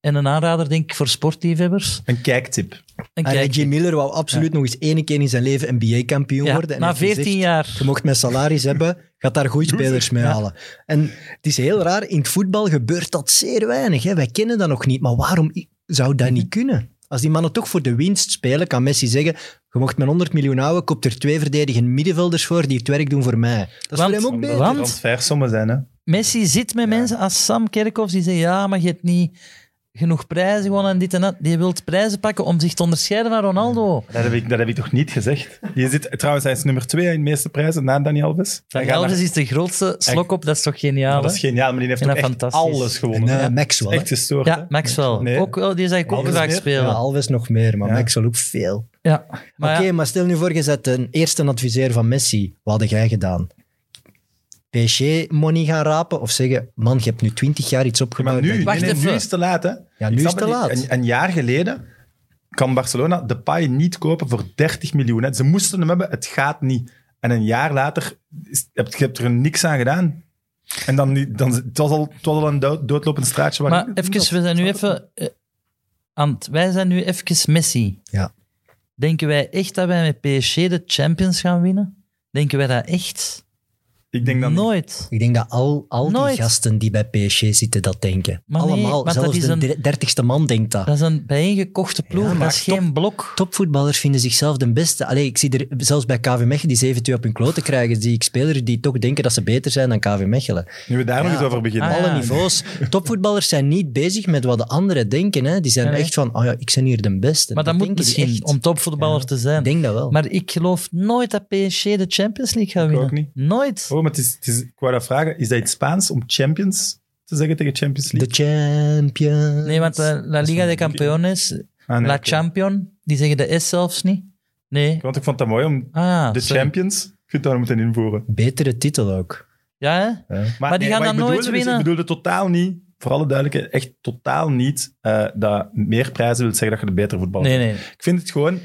En een aanrader, denk ik, voor sportliefhebbers. Een kijktip. En En kijk, Reggie Miller wou absoluut nog eens één keer in zijn leven NBA-kampioen ja, worden. En na heeft gezegd, 14 jaar. Je mocht mijn salaris hebben, gaat daar goede spelers mee halen. En het is heel raar, in het voetbal gebeurt dat zeer weinig. Hè. Wij kennen dat nog niet, maar waarom i- zou dat niet Mhm. kunnen? Als die mannen toch voor de winst spelen, kan Messi zeggen: Je mocht mijn 100 miljoen houden, koopt er twee verdedigende middenvelders voor die het werk doen voor mij. Dat is Want- voor hem ook Omdat beter. het Want- transfersommen zijn, hè. Messi zit met Ja. mensen als Sam Kerkhoff die zeggen, ja, maar je hebt niet genoeg prijzen gewonnen en dit en dat. Die wilt prijzen pakken om zich te onderscheiden van Ronaldo. Dat heb, ik, dat heb ik toch niet gezegd? Je zit, trouwens, hij is nummer twee in de meeste prijzen na Dani Alves. Hij Van gaat Elvis naar- is de grootste slok op, dat is toch geniaal, Nou, dat is hè? geniaal, maar die heeft Vind ook dat echt fantastisch. alles En, gewonnen. eh, hè. Maxwell. Echt hè. gestoord. Ja, Maxwell. Nee. Ook, wel, die zou ik ook Alves graag meer. Ja, spelen. Ja, Alves nog meer, maar Ja. Maxwell ook veel. Maar Oké, ja, maar stel nu voor, je zet een eerste adviseur van Messi. Wat had jij gedaan? PSG-money gaan rapen of zeggen, man, je hebt nu twintig jaar iets Ja, opgebouwd. maar nu, nee, Wacht Nou, nee, nu even. is het te laat, hè? Ja, Ik nu is snap het het te niet. laat. Een, een jaar geleden kan Barcelona de Depay niet kopen voor 30 miljoen. Hè. Ze moesten hem hebben, het gaat niet. En een jaar later, is, heb, je hebt er niks aan gedaan. En dan, nu- dan het was al, het was al een dood, doodlopend straatje. Waar Maar even, we zijn nu even... eh, aan het- wij zijn nu even Messi. Ja. Denken wij echt dat wij met PSG de Champions gaan winnen? Denken wij dat echt? Ik denk dan Nooit. Ik denk dat al, al die Nooit. gasten die bij PSG zitten dat denken. Maar nee, Allemaal, want dat zelfs is de een- der- dertigste man denkt dat. Dat is een bijeengekochte ploeg, Ja, maar dat is top- geen blok. Topvoetballers vinden zichzelf de beste. Allee, ik zie er zelfs bij KV Mechelen die 7-2 op hun kloten krijgen. Zie ik spelers die toch denken dat ze beter zijn dan KV Mechelen. Nu we daar nog Ja. eens over beginnen. Ah, Alle ja. niveaus. Topvoetballers zijn niet bezig met wat de anderen denken. Hè. Die zijn Nee, nee. echt van, oh ja, ik ben hier de beste. Maar dat, moet denken die misschien, echt. om topvoetballer Ja, te zijn. Ik denk dat wel. Maar ik geloof nooit dat PSG de Champions League gaat Ik winnen. ook niet. Nooit. Oh, maar het is, het is, ik wou dat vragen, is dat iets Spaans om Champions te zeggen tegen Champions de League? champion. Nee, want eh, La Liga de Campeones, Ah, nee, La oké. Champion, die zeggen de S zelfs niet. Nee. Want ik vond dat mooi om Ah, de sorry. Champions, ik vind dat we moeten invoeren. Betere titel ook. Ja, hè? Maar die gaan ik dat nooit bedoelde dus- winnen. ik bedoelde totaal niet, voor alle duidelijkheid, echt totaal niet eh, dat meer prijzen wil zeggen dat je de betere voetballer Nee, bent. nee. Ik vind het gewoon...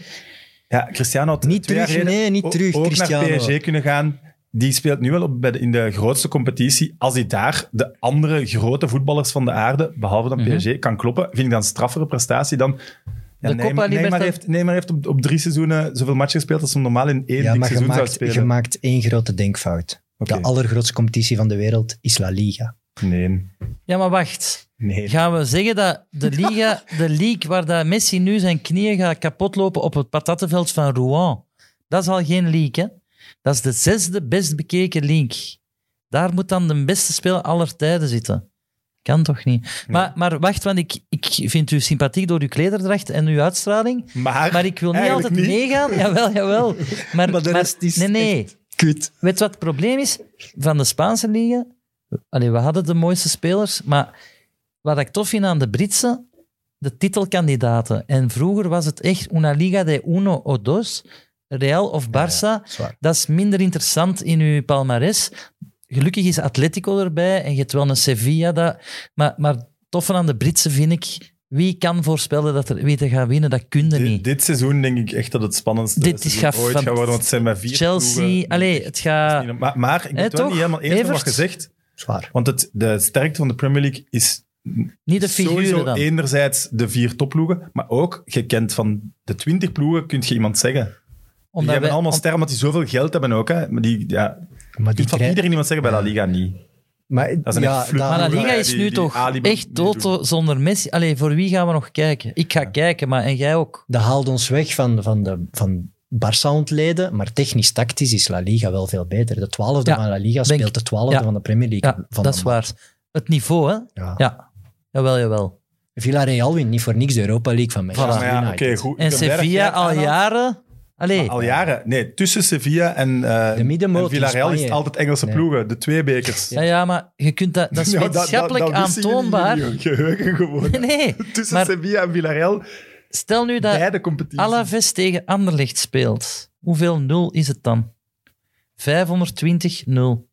Ja, Cristiano had Niet twee terug, jaar geleden nee, niet o- terug, ook Cristiano. naar PSG kunnen gaan. Die speelt nu wel op, bij de- in de grootste competitie. Als hij daar de andere grote voetballers van de aarde, behalve dan Mhm. PSG, kan kloppen, vind ik dan een straffere prestatie dan... Ja, De Copa Neymar, Neymar Libertad- heeft, Neymar heeft op, op drie seizoenen zoveel matchen gespeeld als hem normaal in één Ja, dik maar je seizoen zou maakt, spelen. je maakt één grote denkfout. Oké. De allergrootste competitie van de wereld is La Liga. Nee, Ja, maar wacht. nee. Gaan we zeggen dat de liga, de league waar dat Messi nu zijn knieën gaat kapotlopen op het patattenveld van Rouen, dat is al geen league, hè? Dat is de zesde best bekeken league. Daar moet dan de beste speler aller tijden zitten. Kan toch niet? Maar, maar wacht, want ik, ik vind u sympathiek door uw klederdracht en uw uitstraling. Maar, Maar ik wil niet eigenlijk altijd meegaan. Jawel, jawel. Maar, Maar de rest is nee, nee. Kut. Weet je wat het probleem is? Van de Spaanse liga... Allee, we hadden de mooiste spelers, maar wat ik tof vind aan de Britse, de titelkandidaten. En vroeger was het echt una liga de uno o dos, Real of Barça. Zwaar. Dat is minder interessant in uw palmares. Gelukkig is Atletico erbij en je hebt wel een Sevilla. Dat, maar, maar het toffe aan de Britse vind ik, wie kan voorspellen dat er wie te gaat winnen? Dat kun je Di- niet. Dit seizoen denk ik echt dat het spannendste Dit is seizoen gaaf, ooit want gaat worden, want het zijn maar vier Chelsea, ploegen. allee, het gaat... Maar, maar ik ben Hè, het wel toch? niet helemaal eens met wat Evert? gezegd, Zwaar. want het, de sterkte van de Premier League is Niet de sowieso figuren dan. enerzijds de vier topploegen, maar ook, je kent van de twintig ploegen, kun je iemand zeggen. die hebben wij- allemaal sterren, omdat die zoveel geld hebben ook. Hè. Maar die, ja, je Maar die kunt van krijg- iedereen iemand zeggen, bij La Liga niet. maar, Dat is een echt ja, vloek. dat- Maar La Ja, Liga die- is die- nu die toch Ali moet echt niet dood doen. zonder Messi. Allee, voor wie gaan we nog kijken? Ik ga kijken, maar en jij ook. dat haalt ons weg van, van, de, van Barça ontleden, maar technisch-tactisch is La Liga wel veel beter. De twaalfde Ja, van La Liga ben ik- speelt de twaalfde ja. van de Premier League. Ja, van dat de is waar. Het niveau, hè? Ja. Ja. Jawel, jawel. Villarreal wint niet voor niks de Europa League van Manchester Ja, maar ja, oké, United. goed. En Ik ben blij dat jij Sevilla het al aanhaalt. jaren. Allee, Maar Al jaren. Nee, tussen Sevilla en, eh De middenmoot en Villarreal in is Spanje. het altijd Engelse Nee. ploegen. De twee bekers. ja, ja, maar je kunt dat, dat is Nou, wetenschappelijk dat wisten jullie aantoonbaar. niet, joh. Geheugen gewoon. Nee, nee. Tussen Maar Sevilla en Villarreal, stel nu dat beide competities. Alaves tegen Anderlecht speelt. Hoeveel nul is het dan? 520 nul.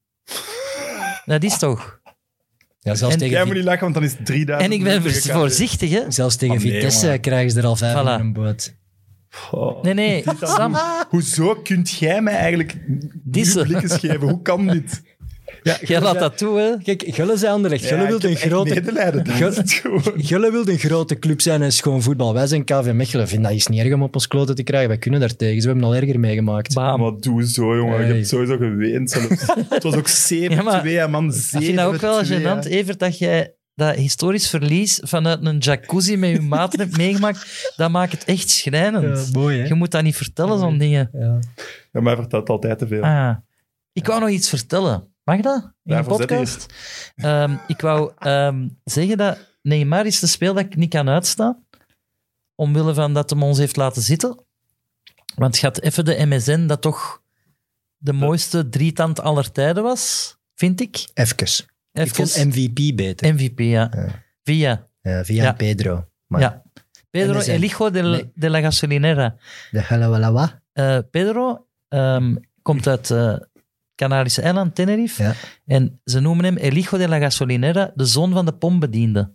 Dat is toch? Ja, zelfs, En- Jij tegen, moet Vi- niet lachen, want dan is het 3000. En ik ben tegen voor- KV. voorzichtig, hè? zelfs tegen Oh, nee, Vitesse jongen. krijgen ze er al vijf Voilà. in een boot. Goh. Nee, nee, Sam. Oh. Hoezo kunt jij mij eigenlijk Dissen. Dissen. blikjes geven? Hoe kan dit? Ja, Jij laat dat toe, hè? Kijk, Gullen zei Anderlecht. Gullen wilde een grote medelijden. Dat is het gewoon. Gullen wilde een grote club zijn en schoon voetbal. Wij zijn KV Mechelen. Vind dat is niet erg om op ons kloten te krijgen. Wij kunnen daar tegen. Ze hebben al erger meegemaakt. Bam. Maar doe zo, jongen. Je Hey. hebt sowieso geweend. zelfs. Het was ook 7-2, Ja, maar- hè, man. 7-2. Ik vind dat nou ook wel hè. gênant, Evert, dat jij dat historisch verlies vanuit een jacuzzi met je maten hebt meegemaakt. Dat maakt het echt schrijnend. mooi, Je moet dat niet vertellen, zo'n dingen. Ja. Ja, maar hij vertelt altijd te veel. Ah, ik wou nog iets vertellen. Mag dat? In een Daarvoor zit podcast? Ehm, ik wou ehm, zeggen dat Neymar is de speel dat ik niet kan uitstaan. Omwille van dat hem ons heeft laten zitten. Want gaat even de MSN, dat toch de mooiste drietand aller tijden was, vind ik. Even. Ik Even. vond MVP beter. MVP, ja. Ja. Via. Ja, via Ja. Pedro. Maar Ja. Pedro, NSN. el hijo del- Nee. de la gasolinera. de halawalawa. Eh, Pedro ehm, komt uit eh, Canarische eiland, Tenerife. Ja. En ze noemen hem El Hijo de la Gasolinera, de zoon van de pombediende.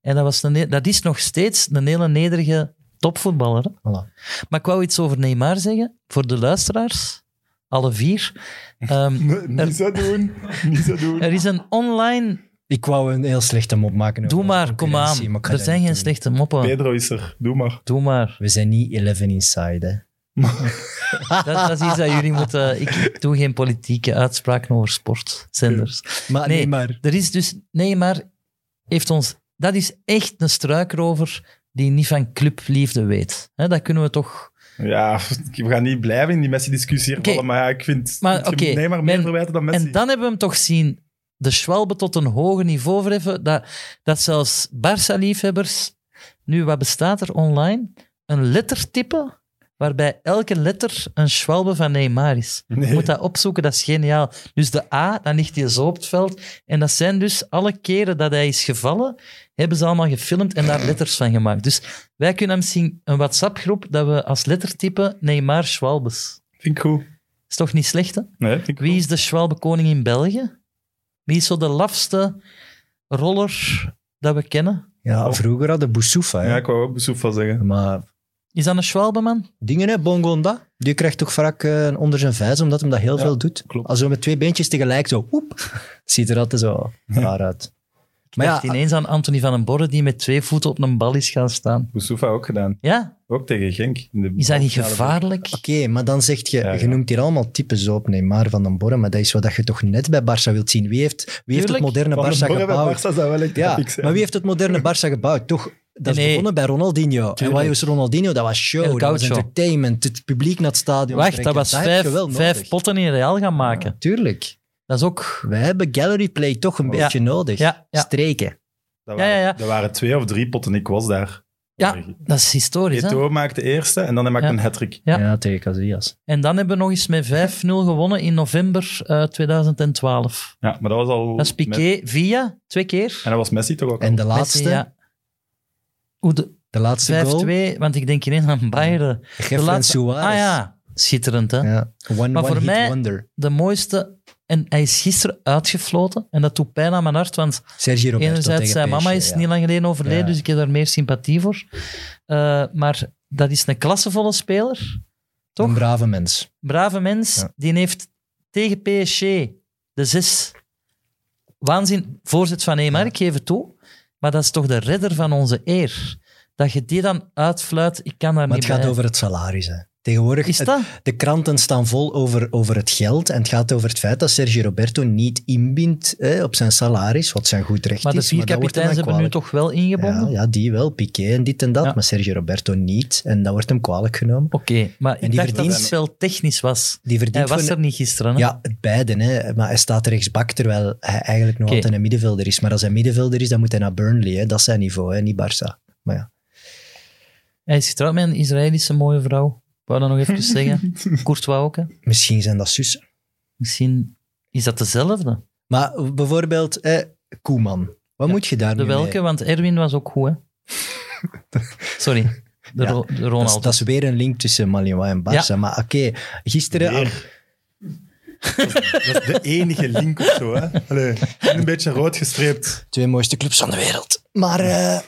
En dat, was een, dat is nog steeds een hele nederige topvoetballer. hè. Voilà. Maar ik wou iets over Neymar zeggen, voor de luisteraars, alle vier. Ehm, Niet zo doen. Niet zo doen. er is een online... Ik wou een heel slechte mop maken. over Doe maar, de kom concurrentie, aan. maar ik ga Er dat zijn niet geen doen. slechte moppen. Pedro is er. Doe maar. Doe maar. We zijn niet 11 inside, hè. Dat, dat is iets dat jullie moeten... Ik doe geen politieke uitspraken over sportzenders. Maar Nee. nee, maar... Er is dus... Nee, maar heeft ons... Dat is echt een struikrover die niet van clubliefde weet. Hè, dat kunnen we toch... Ja, we gaan niet blijven in die Messi-discussie hier Oké. vallen, maar ja, ik vind... Maar je moet oké, Neymar meer men- verwijten dan Messi. En dan hebben we hem toch zien de Schwalbe tot een hoger niveau verheffen. Dat, dat zelfs Barça-liefhebbers... Nu, wat bestaat er online? Een lettertype waarbij elke letter een Schwalbe van Neymar is. Nee. Je moet dat opzoeken, dat is geniaal. Dus de A, dan ligt hij zo op het veld. En dat zijn dus alle keren dat hij is gevallen, hebben ze allemaal gefilmd en daar letters van gemaakt. Dus wij kunnen misschien een WhatsApp-groep dat we als lettertype Neymar Schwalbes. Vind ik goed. Is toch niet slecht, hè? Nee, vind ik Wie goed. is de Schwalbe-koning in België? Wie is zo de lafste roller dat we kennen? Ja, vroeger hadden Boussoufa, hè. Ja, ik wou ook bezoek van zeggen. Maar Is dat een Schwalbe-man? dingen, hè, Bongonda. Die krijgt toch vaak eh, een onder zijn vijs, omdat hem dat heel Ja, veel doet. klopt. Als we met twee beentjes tegelijk zo, oep, ziet er altijd zo raar uit. Maar Maar ja, ineens aan Anthony van den Borre die met twee voeten op een bal is gaan staan. Boussoufa ook gedaan. Ja, Ook tegen Genk. in de- is dat niet gevaarlijk? oké, maar dan zegt je, Ja, je ja. noemt hier allemaal types op, nee, maar Van den Borre, maar dat is wat dat je toch net bij Barça wilt zien. Wie heeft, wie heeft het Tuurlijk. moderne Van den Barça Borre bij gebouwd? Barca zou wel echt Ja, epic zijn. maar wie heeft het moderne Barça gebouwd? Toch, dat is Nee. begonnen bij Ronaldinho. En wat was Ronaldinho? Dat was show, El dat was Gaucho. entertainment, het publiek naar het stadion Wacht, trekken. dat was heb je wel vijf, nodig. vijf potten in Real gaan maken. Tuurlijk. Dat is ook... We hebben gallery play toch een Ja. beetje nodig. Ja, ja. Streken. Dat Ja, waren, ja, ja. Er waren twee of drie potten, ik was daar. Eh, Ja, dat is historisch. Hè? Eto'o maakte de eerste en dan hij maakte Ja. een hat-trick. Ja. tegen Casillas. En dan hebben we nog eens met 5-0 gewonnen in november eh, 2012. Ja, maar dat was al... Dat is met- Piqué via, twee keer. En dat was Messi toch ook En al? de laatste, Messi, ja. Hoe de de laatste goal. 5-2, want ik denk ineens aan Bayern. De Gefren laatste, Suarez. ah ja, schitterend hè. Ja. One, Maar one voor hit mij- wonder. De mooiste, en hij is gisteren uitgefloten. En dat doet pijn aan mijn hart, want Sergio Roberto Enerzijds, tegen zijn PSG, mama is ja. niet lang geleden overleden, Ja. dus ik heb daar meer sympathie voor. Eh, maar dat is een klassevolle speler. toch? Een brave mens. Brave mens, Ja. die heeft tegen PSG de zes. Waanzin, voorzet van Neymar, ik geef het toe. Maar dat is toch de redder van onze eer. Dat je die dan uitfluit, ik kan daar Maar niet het gaat bij. over het salaris. Hè. Tegenwoordig, Is het- dat? de kranten staan vol over, over het geld. En het gaat over het feit dat Sergio Roberto niet inbindt hè, op zijn salaris, wat zijn goed recht Maar de is. vier dat wordt hem kapiteins dan hebben nu kwalijk. toch wel ingebonden? Ja, ja, die wel. Piqué en dit en dat. Ja. Maar Sergio Roberto niet. En dat wordt hem kwalijk genomen. Oké, maar ik die dacht dat verdient- het wel technisch was. Die Hij verdient was gewoon- er niet gisteren. Hè? Ja, het beide. Hè. Maar hij staat rechtsbak, terwijl hij eigenlijk nog Oké. altijd een middenvelder is. Maar als hij middenvelder is, dan moet hij naar Burnley. Hè. Dat is zijn niveau, hè. niet Barça. Maar ja. Hij is getrouwd met een Israëlische mooie vrouw. Ik wou dat nog even zeggen. Courtois ook, hè. misschien zijn dat zussen. Misschien is dat Ah, dezelfde. Maar bijvoorbeeld hè, Koeman. Wat moet je daar De nu mee? welke, want Erwin was ook goed, hè. Sorry, de, Ja, Ro- de Dat is, Ronald. dat is weer een link tussen Malinois en Barça. Ja. Maar oké, gisteren... Weer. dat is de enige link of zo, hè. Allee, en een beetje rood gestreept. Twee mooiste clubs van de wereld. Maar, eh,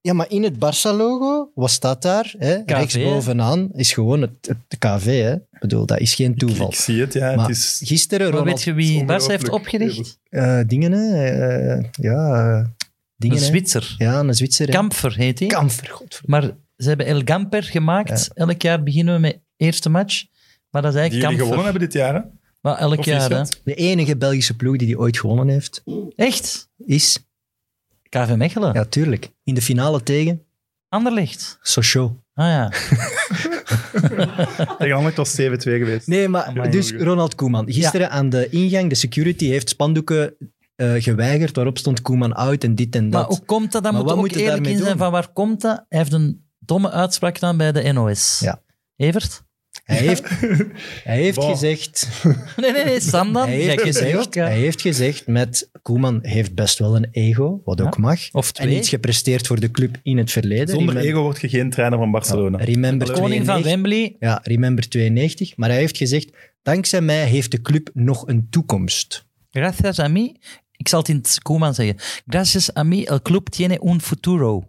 ja, maar in het Barça-logo, wat staat daar? Hè? hè? Rechts bovenaan is gewoon het, het de KV. Hè? Ik bedoel, dat is geen Ik, toeval. ik zie het, ja. Maar het is Gisteren, Maar Ronald... weet je wie Barça heeft ongelooflijk. opgericht? eh, dingen, hè? eh, ja, eh, Een dingen, hè? Zwitser. Ja, een Zwitser. hè. Kamfer heet hij. Kamfer, godverdomme. Maar ze hebben El Gamper gemaakt. Elk jaar beginnen we met eerste match. Maar dat Die is eigenlijk jullie gewonnen Kamfer. hebben dit jaar, hè? Maar elk jaar, hè. Proficiat. De enige Belgische ploeg die die ooit gewonnen heeft, Echt? is... KV Mechelen. Ja, tuurlijk. In de finale tegen Anderlecht. Sochaux. Ah ja. Tegen Anderlecht was 7-2 geweest. Nee, maar Amai, dus jongen. Ronald Koeman. Gisteren aan de ingang, de security heeft spandoeken eh, geweigerd waarop stond Koeman out en dit en dat. Maar hoe komt dat? Dan Maar moet wat ook moet je eerlijk daarmee in zijn doen? van waar komt dat? Hij heeft een domme uitspraak gedaan bij de NOS. Ja. Evert? Hij heeft, hij heeft Bon. gezegd... Nee, nee, nee, Sam dan. Hij heeft, Jij kent die gezegd ook, ja. hij heeft gezegd met... Koeman heeft best wel een ego, wat ook mag. Of En twee. iets gepresteerd voor de club in het verleden. Zonder Remem- ego word je geen trainer van Barcelona. Remember Koning van 92. Wembley. Ja, Remember 92. Maar hij heeft gezegd, Dankzij mij heeft de club nog een toekomst. Gracias a mí. Ik zal het in het Koeman zeggen. Gracias a mí el club tiene un futuro.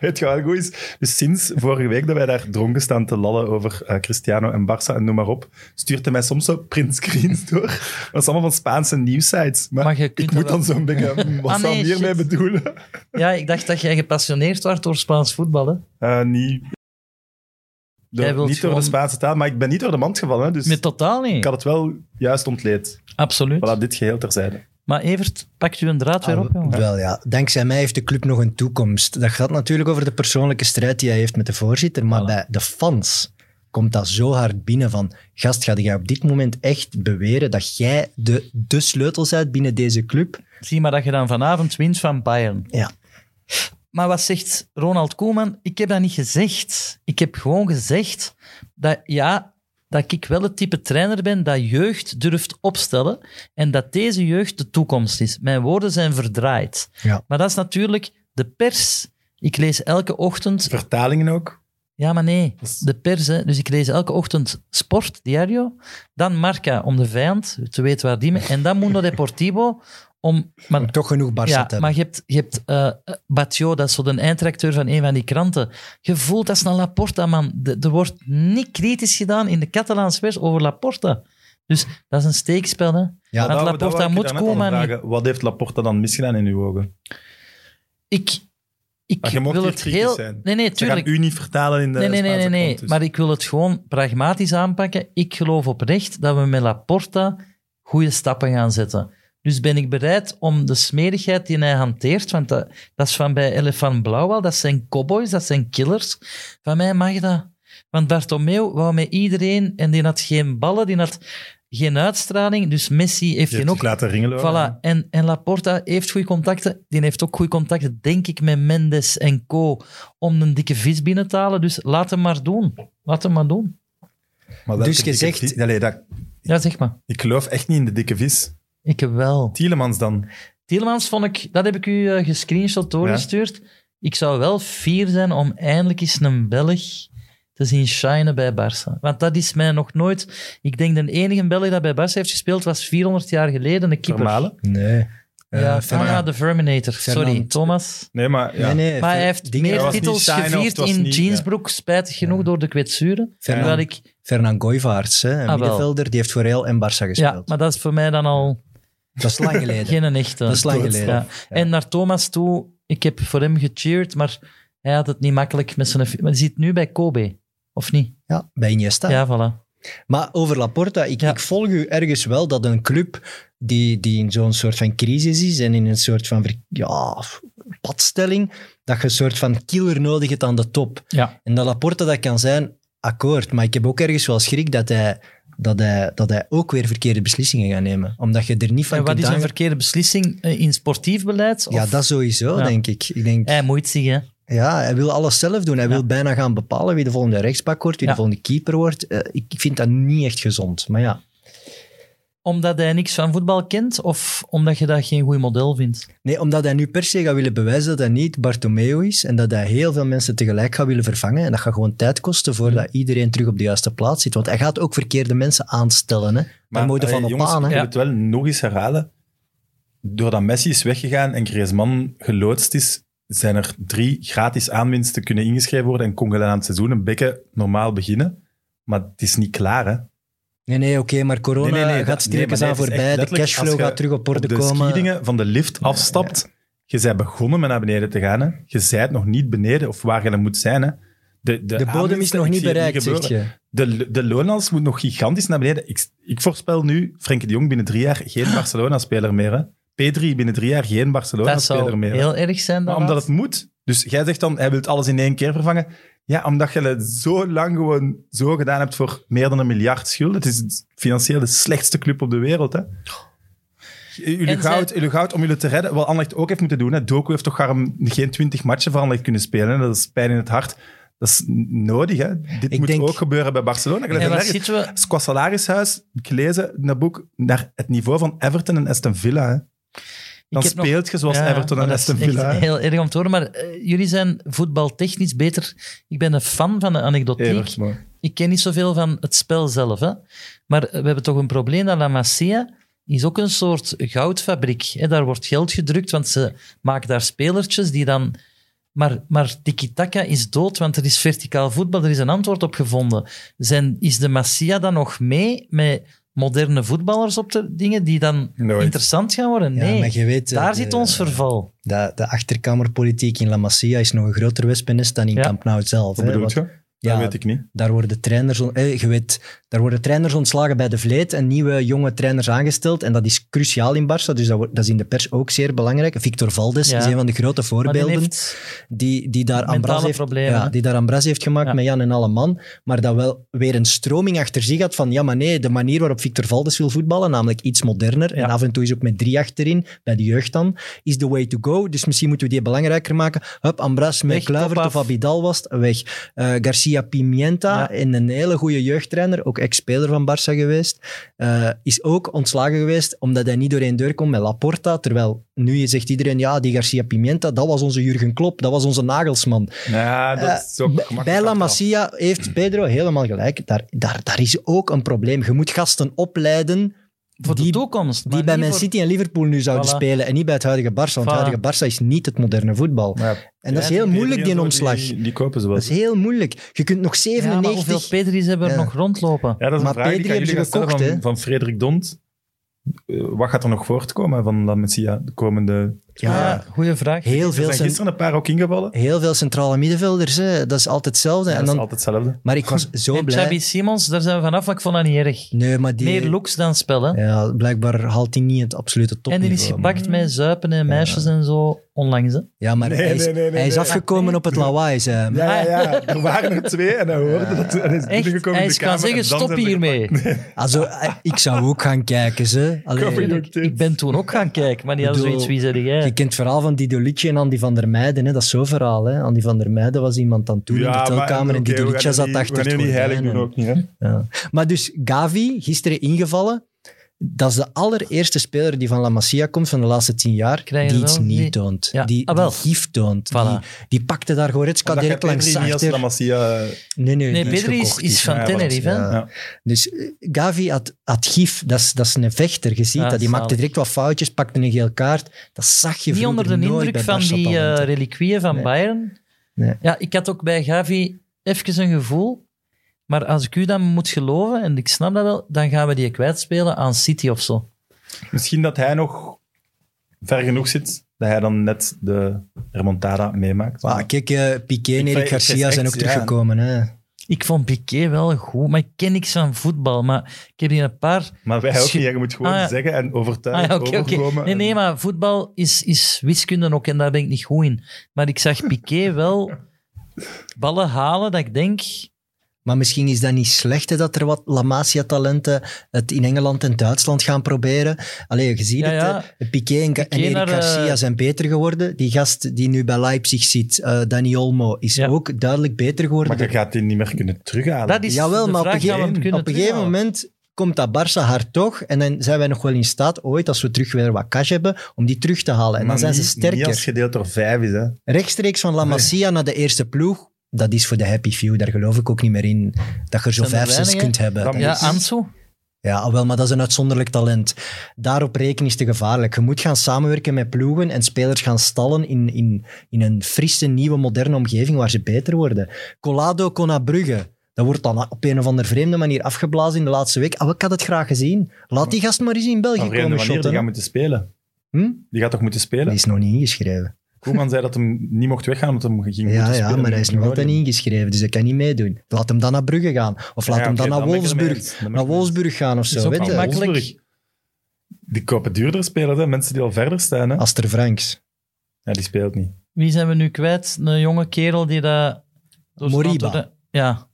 Weet je wel goed is? Dus sinds vorige week dat wij daar dronken staan te lallen over eh, Cristiano en Barça en noem maar op, stuurt hij mij soms zo printscreens door. Maar Dat is allemaal van Spaanse nieuwsites. Maar, Maar je kunt ik dat moet wel- dan zo'n beetje... hm, Wat Ah, zou nee, hij hiermee shit. bedoelen? Ja, ik dacht dat jij gepassioneerd werd door Spaans voetballen. Eh, niet door, niet Jij wilt door de gewoon- Spaanse taal, maar ik ben niet door de mand gevallen. hè, Dus Nee, totaal ik niet. had het wel juist ontleed. Absoluut. Voilà, dit geheel terzijde. Maar Evert, pakt u een draad Ah, weer op, jongen. Wel ja, dankzij mij heeft de club nog een toekomst. Dat gaat natuurlijk over de persoonlijke strijd die hij heeft met de voorzitter. Maar Voilà. bij de fans komt dat zo hard binnen van... Gast, ga jij op dit moment echt beweren dat jij de, de sleutel bent binnen deze club? Zie maar dat je dan vanavond wint van Bayern. Ja. Maar wat zegt Ronald Koeman? Ik heb dat niet gezegd. Ik heb gewoon gezegd dat ja, dat ik wel het type trainer ben dat jeugd durft opstellen en dat deze jeugd de toekomst is. Mijn woorden zijn verdraaid. Ja. Maar dat is natuurlijk de pers. Ik lees elke ochtend... Vertalingen ook. Ja, maar nee, Dat is- de pers. Hè. Dus ik lees elke ochtend Sport, Diario. Dan Marca om de vijand, te weten waar die mee... En dan Mundo Deportivo om... Maar Om toch genoeg Barça ja, te hebben. maar je hebt, je hebt eh Batio, dat is zo de eindredacteur van een van die kranten. Je voelt, dat is een Laporta, man. De- er wordt niet kritisch gedaan in de Catalaanse pers over Laporta. Dus dat is een steekspel, hè. Ja, Want Nou, dat Laporta wou ik je moet daarnet al komen. vragen. Wat heeft Laporta dan misgedaan in uw ogen? Ik, ik Maar je mocht wil hier het kritisch heel... zijn. Nee, nee, Ze gaan tuurlijk. u niet vertalen in de Nee, nee, nee, nee, Spaanse nee. kant, dus. Maar ik wil het gewoon pragmatisch aanpakken. Ik geloof oprecht dat we met Laporta goede stappen gaan zetten. Dus ben ik bereid om de smerigheid die hij hanteert, want dat, dat is van bij Elefant Blauw al, dat zijn cowboys, dat zijn killers. Van mij mag dat. Want Bartomeu wou met iedereen en die had geen ballen, die had geen uitstraling. Dus Messi heeft Je geen hebt ook. het laten ringelen. Voilà. En, en Laporta heeft goede contacten. Die heeft ook goede contacten, denk ik, met Mendes en co. Om een dikke vis binnen te halen. Dus laat hem maar doen. Laat hem maar doen. Maar welke Dus je dikke zegt- vis- Allee, dat, Ja, zeg maar. ik geloof echt niet in de dikke vis. Ik wel. Tielemans dan. Tielemans vond ik... Dat heb ik u eh, gescreenshot doorgestuurd. Ik zou wel fier zijn om eindelijk eens een Belg te zien shinen bij Barça. Want dat is mij nog nooit... Ik denk de enige Belg dat bij Barça heeft gespeeld was 400 jaar geleden, een keeper. Vermalen? Nee. Eh, Ja, Fernand- ah, de Verminator. Sorry, Fernand. Thomas. Nee, maar... Ja. Nee, nee, Maar hij Fer- heeft dingen- was meer niet titels saai, of het gevierd was in niet- Jeansbroek, spijtig genoeg door de kwetsuren. Fernand. Terwijl ik... Fernand Goivaerts, hè, een Ah, wel. middenvelder, die heeft voor Real en Barça Ja, gespeeld. maar dat is voor mij dan al Dat is lang geleden. geen een echte. Dat is lang geleden. Ja. En naar Thomas toe, ik heb voor hem gecheerd, maar hij had het niet makkelijk met zijn... Maar hij zit nu bij Kobe, of niet? Ja, bij Iniesta. Ja, voilà. Maar over Laporta, ik, Ja. ik volg u ergens wel dat een club die, die in zo'n soort van crisis is en in een soort van ver- ja, padstelling, dat je een soort van killer nodig hebt aan de top. Ja. En dat Laporta dat kan zijn, akkoord. Maar ik heb ook ergens wel schrik dat hij, dat hij, dat hij ook weer verkeerde beslissingen gaat nemen. Omdat je er niet van En wat kunt is een aan- verkeerde beslissing eh, in sportief beleid? Of... Ja, dat sowieso, Ja. denk ik. Ik denk... Hij moet zich, hè. Ja, hij wil alles zelf doen. Hij Ja. wil bijna gaan bepalen wie de volgende rechtsbak wordt, wie Ja. de volgende keeper wordt. Eh, ik, ik vind dat niet echt gezond. Maar ja, Omdat hij niks van voetbal kent, of omdat je dat geen goed model vindt? nee, omdat hij nu per se gaat willen bewijzen dat hij niet Bartomeu is en dat hij heel veel mensen tegelijk gaat willen vervangen. En dat gaat gewoon tijd kosten Mm-hmm. voordat iedereen terug op de juiste plaats zit. Want hij gaat ook verkeerde mensen aanstellen. Hè. Daar moet je eh, van op jongens, aan. Hè. Ik Ja. wil het wel nog eens herhalen. Doordat Messi is weggegaan en Griezmann geloodst is, zijn er drie gratis aanwinsten kunnen ingeschreven worden en kon je dan aan het seizoen een beetje normaal beginnen. Maar het is niet klaar, hè. Nee, nee, oké, maar corona Nee, nee, nee, gaat dat- nee, maar stilletjes nee, aan het is echt voorbij. De letterlijk als cashflow je gaat terug op orde op de komen. skiedingen van de lift afstapt. Je bent begonnen met naar beneden te gaan. Hè. Je zijt nog niet beneden of waar je dan moet zijn. Hè. De, de, De bodem is aanwinsten, nog ik niet zie het bereikt, gebeuren. zegt je. De, de loonals moet nog gigantisch naar beneden. Ik, ik voorspel nu, Frenkie de Jong binnen drie jaar geen Barcelona-speler meer. Hè. P3 binnen drie jaar geen Dat Barcelona-speler zou meer. hè. heel erg zijn. Maar dan. omdat het moet. Dus jij zegt dan, hij wil alles in één keer vervangen. Ja, omdat je het zo lang gewoon zo gedaan hebt voor meer dan een miljard schulden. Het is financieel de slechtste club op de wereld, hè. Jullie En zij- goud, jullie goud om jullie te redden, wat Anderlecht ook heeft moeten doen. Hè. Doku heeft toch garm geen twintig matchen voor Anderlecht kunnen spelen. Hè. Dat is pijn in het hart. Dat is n- nodig, hè. Dit Ik moet denk- ook gebeuren bij Barcelona. Ik En leg wat nergens- zitten we... Het is qua salarishuis, heb ik lezen in dat boek, naar het niveau van Everton en Aston Villa. Hè. Dan heb nog- speelt je zoals Ja, Everton maar en dat Aston is echt Villa. hè. heel erg om te horen, maar eh, jullie zijn voetbaltechnisch beter. Ik ben een fan van de anekdotiek. Evert, maar- ik ken niet zoveel van het spel zelf. Hè? Maar eh, we hebben toch een probleem dat La Masia is ook een soort goudfabriek. Hè? Daar wordt geld gedrukt, want ze maken daar spelertjes die dan... Maar, maar tiki-taka is dood, want er is verticaal voetbal, er is een antwoord op gevonden. Zijn, is de Masia dan nog mee met moderne voetballers op de dingen die dan Nooit. interessant gaan worden? Ja, Nee, maar je weet, eh, daar de- zit ons verval. De, de achterkamerpolitiek in La Masia is nog een groter wespennest dan in Ja. Camp Nou zelf. Wat hè, bedoel want je? ja, dat weet ik niet. Daar worden, trainers, on- eh, je weet, daar worden trainers ontslagen bij de vleet en nieuwe jonge trainers aangesteld. En dat is cruciaal in Barça, dus dat, wordt- dat is in de pers ook zeer belangrijk. Victor Valdes Ja. is een van de grote Maar die voorbeelden heeft- die, die daar Mentale Ambras heeft, problemen, ja, hè? die daar Ambras heeft gemaakt Ja. met Jan en alle man, maar dat wel weer een stroming achter zich had van ja, maar nee, de manier waarop Victor Valdes wil voetballen, namelijk iets moderner en Ja. af en toe is ook met drie achterin, bij de jeugd dan, is the way to go, dus misschien moeten we die belangrijker maken. Hup, Ambras met Weg, Kluivert kop of af. Abidal was het, weg. Eh, Garcia Pimienta, Ja. en een hele goede jeugdtrainer, ook ex-speler van Barça geweest, eh, is ook ontslagen geweest omdat hij niet door één deur komt met Laporta, terwijl nu zegt iedereen, ja, die Garcia Pimienta, dat was onze Jurgen Klopp, dat was onze Nagelsman. Ja, dat is ook Eh, Bij- gemakkelijk Bij La achteraf. Hmm. Masia heeft Pedro helemaal gelijk. Daar, daar, daar is ook een probleem. Je moet gasten opleiden voor de Die- toekomst. die maar bij niet Man voor- City en Liverpool nu zouden Voilà. spelen en niet bij het huidige Barça. Want het Voilà. huidige Barça is niet het moderne voetbal. Maar ja, En dat is Pedri heel moeilijk, die en zo, omslag. Die, die kopen ze wel. Dat is heel moeilijk. Je kunt nog Ja, maar hoeveel 97... Pedri's hebben er Ja. nog rondlopen? Ja, dat is Maar een vraag die ik Pedri aan jullie hebben ga ze stellen gekocht, van, hè? van Frederik Dont. Eh, wat gaat er nog voortkomen van La Messia de komende... Ja, goede vraag. heel Er veel, zijn cent- gisteren een paar ook ingevallen. heel veel centrale middenvelders. Hè. Dat is altijd hetzelfde. dat en is dan, altijd hetzelfde. maar ik was zo en Xabi blij. Simons, daar zijn we vanaf, maar ik vond dat niet erg. Nee, maar die... Meer looks dan spellen. Ja, blijkbaar haalt hij niet het absolute en die topniveau. is gepakt Mhm. met zuipen en meisjes en zo onlangs. Hè. Ja, maar Nee, hij is, nee, nee, nee, hij is nee. afgekomen op het lawaai, zei hij. Ja, ja, ja. Er waren er twee en hij hoorde dat. En hij is Echt, binnengekomen hij in de is gaan kamer en zeggen, dan stop zijn ze gepakt. hiermee. Also, eh, ik zou ook gaan kijken, ze. Kom Allee, hier. Ik, ik ben toen ook gaan kijken, maar die hadden Bedoel- zoiets, wie zei je jij? kent het verhaal van Dido Litje en Andy van der Meijden. Hè? Dat is zo'n verhaal. Hè? Andy van der Meijden was iemand aan toe in de maar- telkamer en oké, Dido we Litje gaan zat die- achter We het gaan die heilig gordijn, doen hè. ook niet, hè. Ja. Maar dus Gavi, gisteren ingevallen. Dat is de allereerste speler die van La Masia komt van de laatste tien jaar. Krijgen die we iets wel niet die- toont. Ja, Die, ah, die wel. gif toont. Voilà. Die, die pakte daar Goretzka Omdat direct je langs Pedri niet als La eh, achter. Masia... Nee, nee, Nee, die is Pedri is- gekocht, is die van gehaald. Tenerife, hè? Ja. Ja. Dus eh, Gavi had, had gif, dat is, dat is een vechter. Je ziet Ja, dat, die zalig. maakte direct wat foutjes, pakte een geel kaart. Dat zag je Niet vroeger onder de nooit indruk bij van Barca die eh, talenten. reliquieën van Nee. Bayern. Nee. Ja, ik had ook bij Gavi even een gevoel. Maar als ik u dan moet geloven, en ik snap dat wel, dan gaan we die kwijtspelen aan City of zo. Misschien dat hij nog ver genoeg zit, dat hij dan net de remontada meemaakt. Maar kijk, eh, Piqué en Ik vind- Erik ik vind Garcia echt, zijn ook ja. teruggekomen. Hè. Ik vond Piqué wel goed, maar ik ken niks van voetbal. Maar ik heb hier een paar... Maar wij ook Schi- niet. Je moet gewoon Ah, ja. zeggen en Ah overtuigen, ja, oké, oké. overkomen. Nee, nee, En- maar voetbal is, is wiskunde ook en daar ben ik niet goed in. Maar ik zag Piqué wel ballen halen dat ik denk... Maar misschien is dat niet slecht hè, dat er wat La Masia-talenten het in Engeland en Duitsland gaan proberen. Allee, je ziet Ja, het, ja. hè. Piqué en, Ga- en Piqué Erik naar, eh, Garcia zijn beter geworden. Die gast die nu bij Leipzig zit, eh Dani Olmo, is Ja. ook duidelijk beter geworden. Maar je gaat die niet meer kunnen terughalen. Dat is Jawel, de maar op vraag een gegeven- gaan we hem kunnen op een gegeven terughalen. moment komt dat Barça hard toch. En dan zijn wij nog wel in staat, ooit, als we terug weer wat cash hebben, om die terug te halen. En Maar dan zijn ze niet- Niet als sterker. gedeeld door vijf is, hè. Rechtstreeks van La Masia naar de eerste ploeg, dat is voor de happy few. Daar geloof ik ook niet meer in. Dat je zo Zijn er vijf, zes weinig, hè? kunt Dat hebben. moet- Ja, moment- Ansu. Ja, ah, wel, maar dat is een uitzonderlijk talent. Daarop rekenen is te gevaarlijk. Je moet gaan samenwerken met ploegen en spelers gaan stallen in, in, in een frisse, nieuwe, moderne omgeving waar ze beter worden. Colado kon naar Brugge. Dat wordt dan op een of andere vreemde manier afgeblazen in de laatste week. Ah, ik had het graag gezien. Laat die gast maar eens in Op België een vreemde komen manier, die shotten. gaat hè. moeten spelen. Hm? Die gaat toch moeten Die spelen? is nog niet ingeschreven. Koeman zei dat hem niet mocht weggaan, omdat hem ging moeten Ja, spelen. ja, maar hij is nog altijd niet ingeschreven, dus hij kan niet meedoen. Laat hem dan naar Brugge gaan. Of laat Ja, hem dan oké, naar ben ik ermee Wolfsburg. eens. Dan ben ik Naar ermee eens. Wolfsburg gaan of Is zo. ook Weet niet je? makkelijk. Wolfsburg. Die kopen duurder spelen, hè. mensen die al verder staan. Hè. Aster Franks. Ja, die speelt niet. Wie zijn we nu kwijt? Een jonge kerel die dat... door Moriba. staat door de- Ja,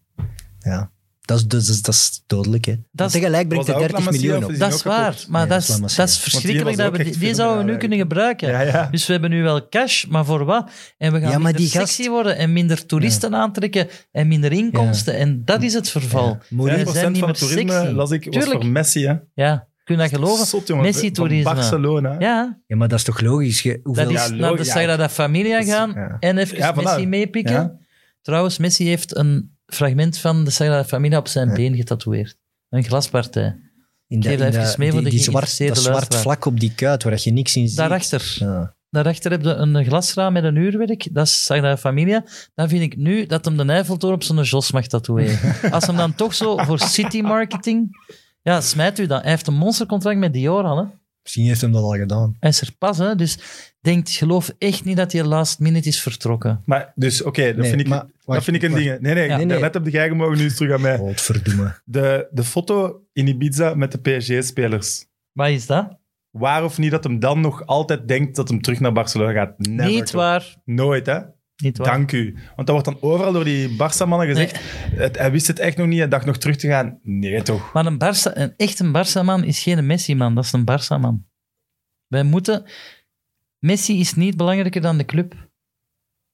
Ja. Dat is, dat, is, dat is dodelijk, hè. Maar is- tegelijk brengt hij Was dat ook 30 La Masia miljoen of op. is dat is ook gekocht. waar. Maar Nee, dat, dat is laat is, maar dat is zien. Want verschrikkelijk. die was Dat we, ook die, echt die zouden we nu fenomenaal kunnen gebruiken. Ja, ja. Dus we hebben nu wel cash, maar voor wat? En we gaan Ja, maar minder die gast- sexy worden en minder toeristen aantrekken en minder inkomsten. En dat is het verval. Ja. Mourinho- Wij 5% zijn niet van het meer toerisme, sexy. las ik, was Tuurlijk. voor Messi. Hè. Ja, kun je dat geloven? Zot, jongen. Messi Van toerisme. Barcelona. hè. Ja, Ja, maar dat is toch logisch? Je- dat hoeveel... is Ja, naar de logisch, ja. Sagrada Familia gaan ja. en even Ja, voilà. Messi meepikken. Ja. Trouwens, Messi heeft een fragment van de Sagrada Familia op zijn been getatoeëerd. Een glaspartij. In Geef dat in even mee voor die, de die zwart, geïnteresseerde dat zwart luisteraar. vlak op die kuit, waar je niks in ziet. Daarachter. Ja. Daarachter heb je een glasraam met een uurwerk. Dat is Sagrada Familia. Dan vind ik nu dat hem de Eiffeltoren op zijn jos mag tatoeëren. Als hem dan toch zo voor city marketing... Ja, smijt u dan. Hij heeft een monstercontract met Dior al, hè. Misschien heeft hem dat al gedaan. Hij is er pas, hè. Dus denk, geloof echt niet dat hij last minute is vertrokken. Maar dus, oké, dat, Nee, vind ik- maar- dat wacht, vind ik een wacht. ding. Nee, nee, Ja. Nee, nee. let op de geigen mogen nu eens terug aan mij. Godverdomme. De, de foto in Ibiza met de PSG-spelers. Wat is dat? Waar of niet dat hem dan nog altijd denkt dat hem terug naar Barcelona gaat? Never. niet waar. Nooit, hè? Niet waar. Dank u. Want dat wordt dan overal door die Barça-mannen gezegd. Het, hij wist het echt nog niet. Hij dacht nog terug te gaan. Nee, toch? Maar een, Barca, een echt een Barça-man is geen Messi-man, dat is een Barça-man. Wij moeten... Messi is niet belangrijker dan de club.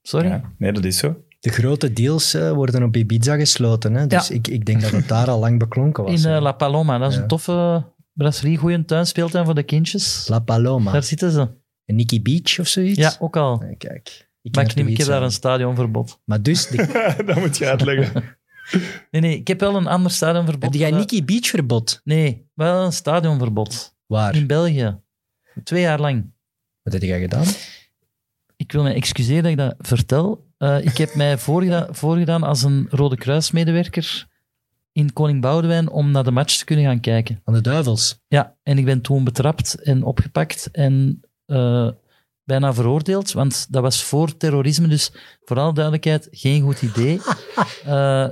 Sorry. Ja, nee, dat is zo. De grote deals eh, worden op Ibiza gesloten. Hè? Dus Ja. ik, ik denk dat het daar al lang beklonken was. In eh, hè. La Paloma, dat is Ja. een toffe brasserie, goede tuinspeeltuin voor de kindjes. La Paloma. Daar zitten ze. En Nikki Beach of zoiets? Ja, ook al. Nee, kijk. Ik maar ken ik, neem, ik heb Ibiza. daar een stadionverbod. Maar dus, de, dat moet je uitleggen. Nee, nee, ik heb wel een ander stadionverbod. heb jij Eh, Nikki Beach verbod? Nee, wel een stadionverbod. Waar? In België. Twee jaar lang. Wat heb jij gedaan? Ik wil me excuseren dat ik dat vertel. Eh, ik heb mij voorgedaan, voorgedaan als een Rode Kruismedewerker in Koning Boudewijn om naar de match te kunnen gaan kijken. Aan de duivels. Ja, en ik ben toen betrapt en opgepakt en eh, bijna veroordeeld, want dat was voor terrorisme, dus voor alle duidelijkheid, geen goed idee. Eh,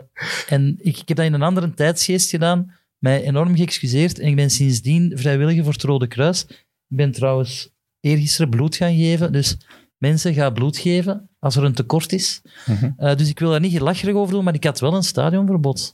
en ik, ik heb dat in een andere tijdsgeest gedaan, mij enorm geëxcuseerd en ik ben sindsdien vrijwilliger voor het Rode Kruis. Ik ben trouwens eergisteren bloed gaan geven, dus mensen gaan bloed geven als er een tekort is. Mhm. Eh, dus ik wil daar niet gelacherig over doen, maar ik had wel een stadionverbod.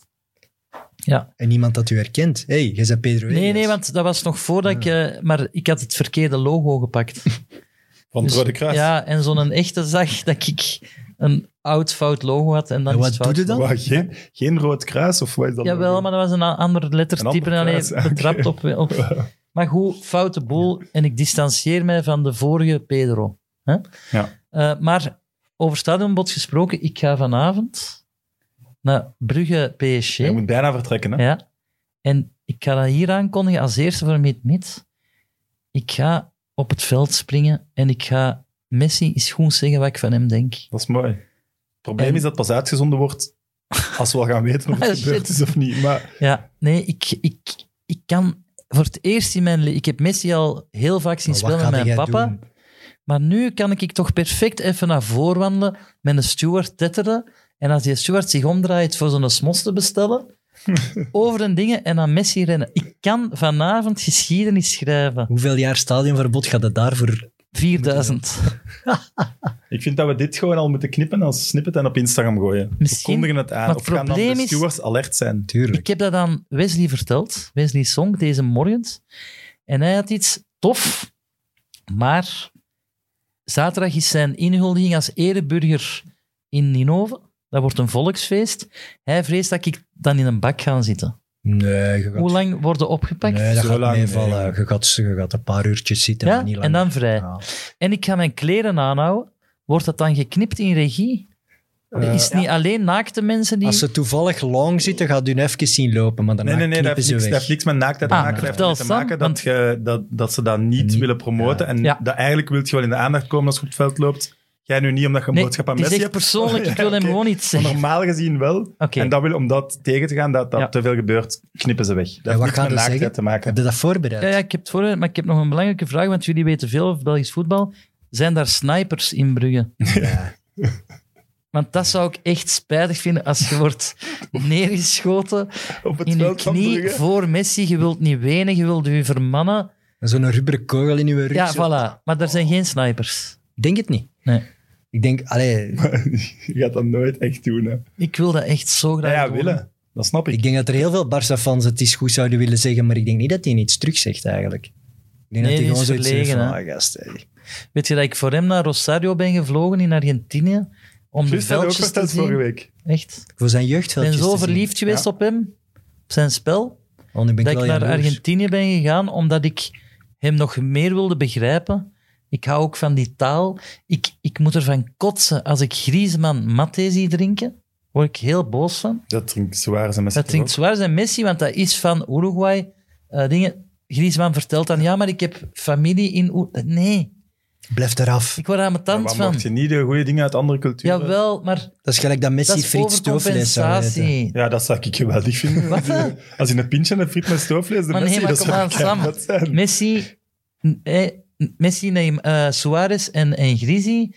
Ja. En niemand dat u herkent. Hé, hey, jij bent Pedro Nee, Elias. nee, want dat was nog voordat ik... eh, maar ik had het verkeerde logo gepakt. Van het Dus- Rode Kruis. Ja, en zo'n echte zag dat ik een oud, fout logo had. En, dan En is wat het fout. doe je dan? Waar, geen, geen Rood Kruis? Of wat is dat? Jawel, maar dat was een a- ander Een lettertype. ander en kruis, oké. alleen betrapt op, op- Maar goed, foute boel. En ik distancieer mij van de vorige Pedro. Hè? Ja. Eh, maar over stadionbod gesproken, ik ga vanavond naar Brugge PSG. Je moet bijna vertrekken, hè? Ja. En ik ga dat hier aankondigen als eerste voor Mid-Mid. Ik ga op het veld springen en ik ga Messi eens goed zeggen wat ik van hem denk. Dat is mooi. Het probleem En- is dat het pas uitgezonden wordt als we al gaan weten of Ah, het shit. gebeurd is of niet. Maar Ja, nee, ik, ik, ik kan voor het eerst in mijn leven... Ik heb Messi al heel vaak zien Maar wat spelen met gaat jij mijn papa. doen? Maar nu kan ik toch perfect even naar voren wandelen met een steward tetteren. En als die steward zich omdraait voor zo'n smos te bestellen, over een dingen en aan Messi rennen. Ik kan vanavond geschiedenis schrijven. Hoeveel jaar stadionverbod gaat het daarvoor? 4000. ik vind dat we dit gewoon al moeten knippen als snippet en op Instagram gooien. Misschien. We kondigen het aan. Maar of het gaan dan probleem de is- stewards alert zijn. Tuurlijk. Ik heb dat aan Wesley verteld, Wesley Song, deze morgen. En hij had iets tof, maar zaterdag is zijn inhuldiging als ereburger in Ninove. Dat wordt een volksfeest. Hij vreest dat ik dan in een bak ga zitten. Nee, je gaat, Hoe lang worden opgepakt? nee, dat Zo gaat lang, meevallen. nee. Je, gaat, je gaat een paar uurtjes zitten, ja, maar niet lang. en dan vrij. Ja. En ik ga mijn kleren aanhouden. Wordt dat dan geknipt in regie? Eh, is het niet alleen naakte mensen die... Als ze toevallig lang zitten, gaat u hun even zien lopen, maar daarna Nee, nee, nee, dat knippen heeft, ze niks, dat weg. heeft niks met naaktheid te Ah, maken. Dat heeft vertel ermee te Sam, maken dat, want- je, dat, dat ze dat niet, Niet- willen promoten. En Ja. dat, eigenlijk wil je wel in de aandacht komen als je op het veld loopt. Jij nu niet, omdat je een Nee, boodschap aan het is Messi echt hebt. persoonlijk. Ik wil hem oké. gewoon iets Maar zeggen. normaal gezien wel. Oké. En dat wil, om dat tegen te gaan, dat dat Ja. te veel gebeurt, knippen ze weg. Dat wat heeft niks gaan met ze naaktheid zeggen? te maken. Heb je dat voorbereid? Ja, ja, ik heb het voorbereid, maar ik heb nog een belangrijke vraag, want jullie weten veel over Belgisch voetbal. Zijn daar snipers in Brugge? Ja. Want dat zou ik echt spijtig vinden als je wordt neergeschoten Op het in je veld van knie Brugge. voor Messi. Je wilt niet wenen, je wilt je vermannen. Zo'n rubberen kogel in uw rug. Ja, zo. voilà. Maar daar zijn geen snipers. Ik Denk het niet. Nee. Ik denk, allee, Je gaat dat nooit echt doen. Hè. Ik wil dat echt zo Ja, graag ja, doen. willen. Dat snap ik. ik denk dat er heel veel Barça-fans het eens goed zouden willen zeggen, maar ik denk niet dat hij iets terug zegt eigenlijk. Ik denk Nee, dat die hij is gewoon zoiets zegt van, verlegen, ah, gast, Hm. hey. Weet je dat ik voor hem naar Rosario ben gevlogen in Argentinië? Om de Plus, dat heb ik ook veldjes te verteld zien. vorige week. Echt. Voor zijn Ik jeugdveldjes ben zo te zien. verliefd geweest Ja. op hem, op zijn spel. Oh, nu ben ik dat wel ik naar jaloers. Argentinië ben gegaan, omdat ik hem nog meer wilde begrijpen. Ik hou ook van die taal. Ik, ik moet ervan kotsen als ik Griezmann maté zie drinken. word ik heel boos van. Dat drinkt zwaar zijn mensen Dat klinkt zwaar zijn Messi, want dat is van Uruguay. eh, dingen. Griezmann vertelt dan, ja, maar ik heb familie in Oer- Nee, Blijf eraf. ik word aan mijn tand Maar mocht je van. niet de goede dingen uit andere culturen... Jawel, maar Dat is gelijk dat dat Messi is friet stoofvlees zou eten. overcompensatie. Ja, dat zou ik geweldig vinden. Wat dan? Als je een pintje en een friet met stoofvlees... de Maar Messi, nee, maar dat kom zou aan, Sam. keihard zijn. Messi, eh, Messi neem, eh, Suarez en, en Grizzy,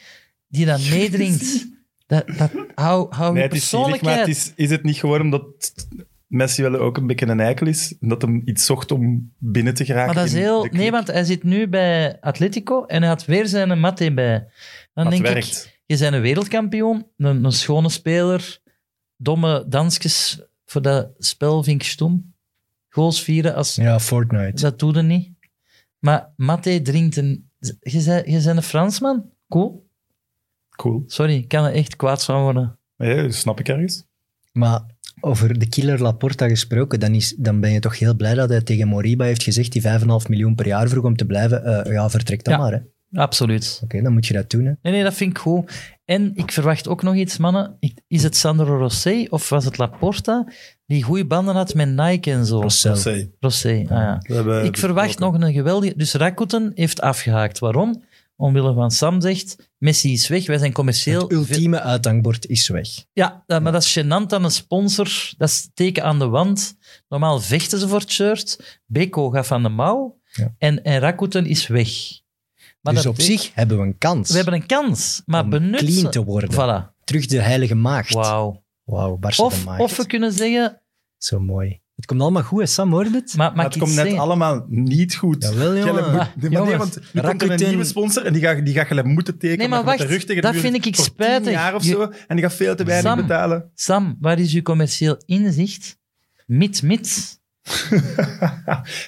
die dan meedringt. Dat, dat, hou hou Nee, je het is zielig, maar persoonlijkheid. het is, is het niet gewoon omdat Messi wel ook een beetje een eikel is? En dat hem iets zocht om binnen te geraken? Maar dat is in heel... de Nee, club? want hij zit nu bij Atletico en hij had weer zijn Matte bij. Dan Maar het denk ik, werkt. je bent een wereldkampioen, een, een schone speler, domme dansjes voor dat spel vind ik stom. Goals vieren, als, Ja, Fortnite. dat doe je niet. Maar Matte drinkt een... Je bent, je bent een Fransman? Cool. Cool. Sorry, ik kan er echt kwaad van worden. Ja, snap ik ergens. Maar over de killer Laporta gesproken, dan, is, dan ben je toch heel blij dat hij tegen Moriba heeft gezegd die 5,5 miljoen per jaar vroeg om te blijven. Eh, ja, vertrek dan Ja. maar. hè. Oké, Absoluut. dan moet je dat doen. Hè. Nee, nee, dat vind ik goed. En ik verwacht ook nog iets, mannen. Ik- Is het Sandro Rosé of was het Laporta die goede banden had met Nike en zo? Rossell. Zee. Rosé, ah ja. We hebben Ik verwacht nog besproken. een geweldige... Dus Rakuten heeft afgehaakt. Waarom? Omwille van Sam zegt, Messi is weg, wij zijn commercieel... Het ultieme uithangbord is weg. Ja, dat- maar dat is gênant aan een sponsor. Dat is het teken aan de wand. Normaal vechten ze voor het shirt. Beko gaat van de mouw. Ja. En, en Rakuten is weg. Maar dus dat op betek- zich hebben we een kans We hebben een kans, maar om benut clean ze. te worden. Voilà. Terug de heilige maagd. Wauw. Wauw, barsten de Of, maagd. of we kunnen zeggen... Zo mooi. Het komt allemaal goed, hè, Sam, hoort het? Maar, Maar mag het ik komt iets net zeggen? allemaal niet goed. Jawel, jongen. Gelle moet- Ah, nee, maar nee, jongens. want nu komt er een Rakuten- nieuwe sponsor en die gaat die gaat Gelle moeten tekenen. Nee, maar met de wacht, rug tegen de dat muur vind ik voor spijtig. 10 jaar of Je- zo. En die gaat veel te weinig Sam. betalen. Sam, waar is uw commercieel inzicht? Mits, mits.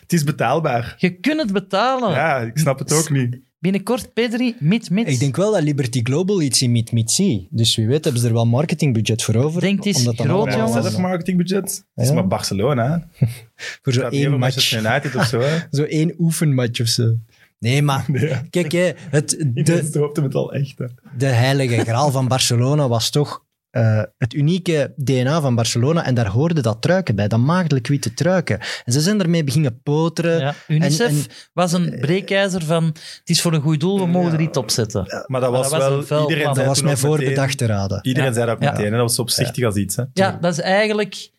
Het is betaalbaar. Je kunt het betalen. Ja, ik snap het ook niet. Binnenkort Pedri, mits, mits. Ik denk wel dat Liberty Global iets in Meet Meet zie. Dus wie weet hebben ze er wel marketingbudget voor over. Denk, het is om dat dan groot, allemaal- Ja, jongens. zelf marketingbudget. Het is Ja. maar Barcelona. hè. Het Voor zo gaat niet over één match. Manchester United of zo. hè. Zo één oefenmatch of zo. Nee, maar Nee, kijk, hè, het, iedereen de, stroopte het al echt. hè. de heilige graal van Barcelona was toch eh, het unieke DNA van Barcelona. En daar hoorde dat truiken bij, dat maagdelijk witte truiken. En ze zijn ermee beginnen poteren. Ja, UNICEF eh, En- en- eh, was een breekijzer van het is voor een goed doel, we mogen er iets op zetten. Maar dat Maar was dat was een vuil wel... plan. Iedereen Dat zei was toen mij ook meteen- voorbedacht te raden. Iedereen Ja. zei dat ook Ja. meteen. hè. Dat was opzichtig als iets. Hè. Ja, dat is eigenlijk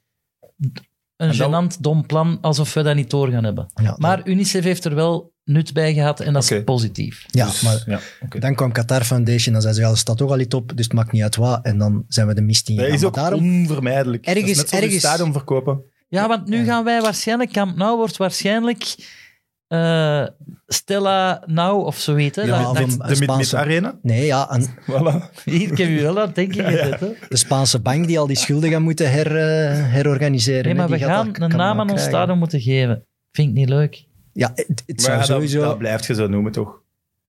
een En dat- gênant dom plan, alsof we dat niet door gaan hebben. Ja, Maar UNICEF heeft er wel nut bij gehad en dat is Oké. positief. ja, Dus, maar ja, oké. dan kwam Qatar Foundation. Dan zei ze, ja, er staat toch al iets op, dus het maakt niet uit wat. En dan zijn we de mist in Dat is ook daarom, onvermijdelijk. Ergens- dat is net zoals ergens- je stadion verkopen. Ja, want nu gaan wij waarschijnlijk, Camp Nou wordt waarschijnlijk eh, Stella Nou of zo heet. Hè? Ja, Dat- of dat- een- De Mid-Mid Spaanse- Arena. Nee, ja, een- Voilà. Hier, ik heb u wel aan het denken gezet. Hè? de Spaanse bank die al die schulden gaat moeten her, eh, herorganiseren. Nee, hè, maar we die gaat gaan dat een kanaal naam aan ons krijgen. Oh, stadion moeten geven. Vind ik niet leuk. Ja, het, het Maar zou ja, dat- sowieso... dat, blijft je zo noemen, toch?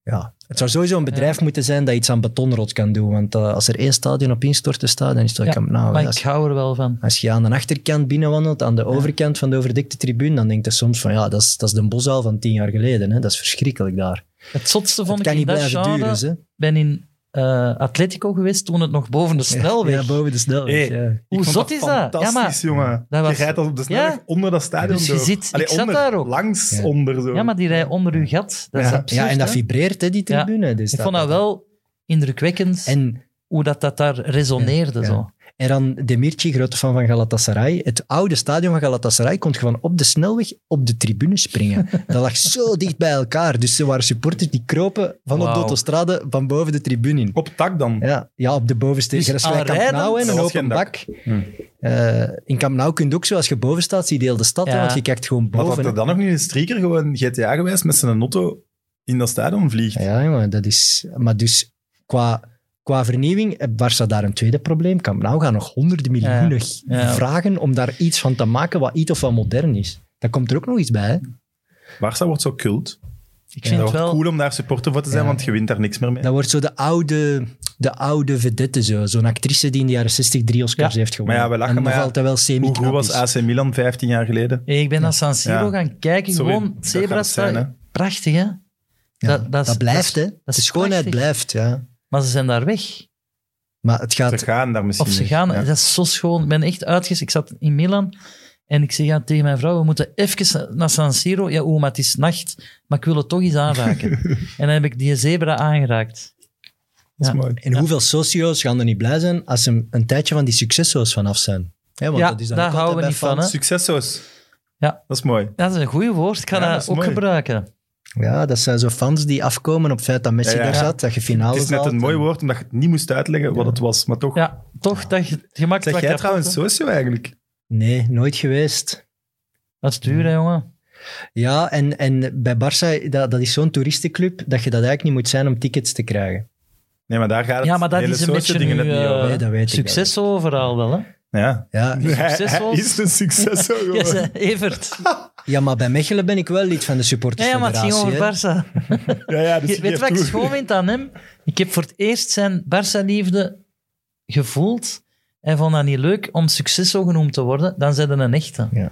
Ja, het zou sowieso een bedrijf moeten zijn dat iets aan betonrot kan doen. Want eh, als er één stadion op instorten staat, dan is dat Ja, Camp Nou. maar hè. ik Als, hou er wel van. als je aan de achterkant binnenwandelt, aan de overkant van de overdekte tribune, dan denk je soms van ja, dat is, dat is de bosuil van tien jaar geleden. Hè. Dat is verschrikkelijk daar. Het zotste vond Het kan ik in niet dat blijven genre... duren. Hè. ben in eh, Atletico geweest toen het nog boven de snelweg. Ja, boven de snelweg. Hey. ja. Hoe zot is dat? Ja, maar, Fantastisch, jongen. Dat was- Je rijdt als op de snelweg Ja. onder dat stadion Dus je door. zit- Allee, ik zat onder, daar ook. Langs Ja. onder zo. ja, maar die rij onder uw gat. Dat is Ja. absurd, ja, en dat hè? vibreert, hè, die Ja. tribune. Dus Ik dat- vond dat wel indrukwekkend En hoe dat, dat daar resoneerde. Ja, ja. Zo. En dan Demirci, grote fan van Galatasaray. Het oude stadion van Galatasaray kon gewoon op de snelweg op de tribune springen. Dat lag zo dicht bij elkaar. Dus er waren supporters die kropen van op de Wauw. autostrade van boven de tribune in. Op tak dan. Ja, ja, op de bovenste. Dus dat is gelijk Camp Nou, hè, aanrijdend? een Dat was open geen dak. bak. Hm. Eh, in Camp Nou kun je ook zo, als je boven staat, zie je heel de stad. hè, Ja. Want je kijkt gewoon Maar dat boven. er dan nog niet een streaker gewoon GTA geweest met zijn auto in dat stadion vliegt. hè. Ja, jongen, dat is... Maar dus, qua, qua vernieuwing, eh, waar staat daar een tweede probleem? Camp Nou gaan nog honderden miljoenen Ja. vragen om daar iets van te maken wat iets of wat modern is. Daar komt er ook nog iets bij, hè? Barça wordt zo cult. Ik dat vind wordt het wel... cool om daar supporter voor te zijn, Ja. want je wint daar niks meer mee. Dat wordt zo de oude, de oude vedette, zo. Zo'n actrice die in de jaren 60 drie Oscars Ja. heeft gewonnen. Maar ja, we lachen, En nog maar ja, altijd wel Hoe goed semi-knap was is. AC Milan 15 jaar geleden? Hey, ik ben naar San Siro Ja. gaan kijken. Sorry, gewoon dat gaat zebra het zijn, hè. Prachtig, hè? Ja, dat, dat is- blijft, dat hè. is- dat de is schoonheid prachtig. blijft, ja. Maar ze zijn daar weg. Maar het gaat... Ze gaan daar misschien Of ze niet. gaan, Ja. dat is zo schoon. Ik ben echt uitges. Ik zat in Milan en ik zeg ja, tegen mijn vrouw, we moeten even naar San Siro. Ja, oeh, maar het is nacht, maar ik wil het toch eens aanraken. en dan heb ik die zebra aangeraakt. Dat is Ja. mooi. En hoeveel socio's gaan er niet blij zijn als ze een tijdje van die successo's vanaf zijn? Hè, want Ja, dat is dan daar ook altijd houden we bij niet van, fans. Successoos. Ja. Dat is mooi. Dat is een goede woord, ik ga Ja, dat dat, is ook mooi. gebruiken. Ja, dat zijn zo fans die afkomen op het feit dat Messi Ja, ja. daar Ja. zat, dat je finale Het is net haalt. een mooi woord, omdat je het niet moest uitleggen wat het was. Maar toch, Ja, toch, dat je gemakkelijk... zeg jij trouwens socio eigenlijk? Nee, nooit geweest. Dat is duur, hè, jongen. Ja, en, en bij Barça, dat, dat is zo'n toeristenclub dat je dat eigenlijk niet moet zijn om tickets te krijgen. Nee, maar daar gaat het Ja, maar dat hele is een socio beetje dingen nu, eh, het niet over. Nee, dat weet ik succes overal wel, hè. Ja. Ja, Hij, succesvol. hij is een succes. hoor, gewoon. Ja, ze- Evert. ja, maar bij Mechelen ben ik wel lid van de Ja, ja, maar het ging supportersfederatie. over hè. Barça. ja, ja, dus Je- je weet je geeft wat ik toe. schoon vind aan hem? Ik heb voor het eerst zijn Barça-liefde gevoeld. Hij vond dat niet leuk om successo genoemd te worden. Dan zijn er een echte. Ja.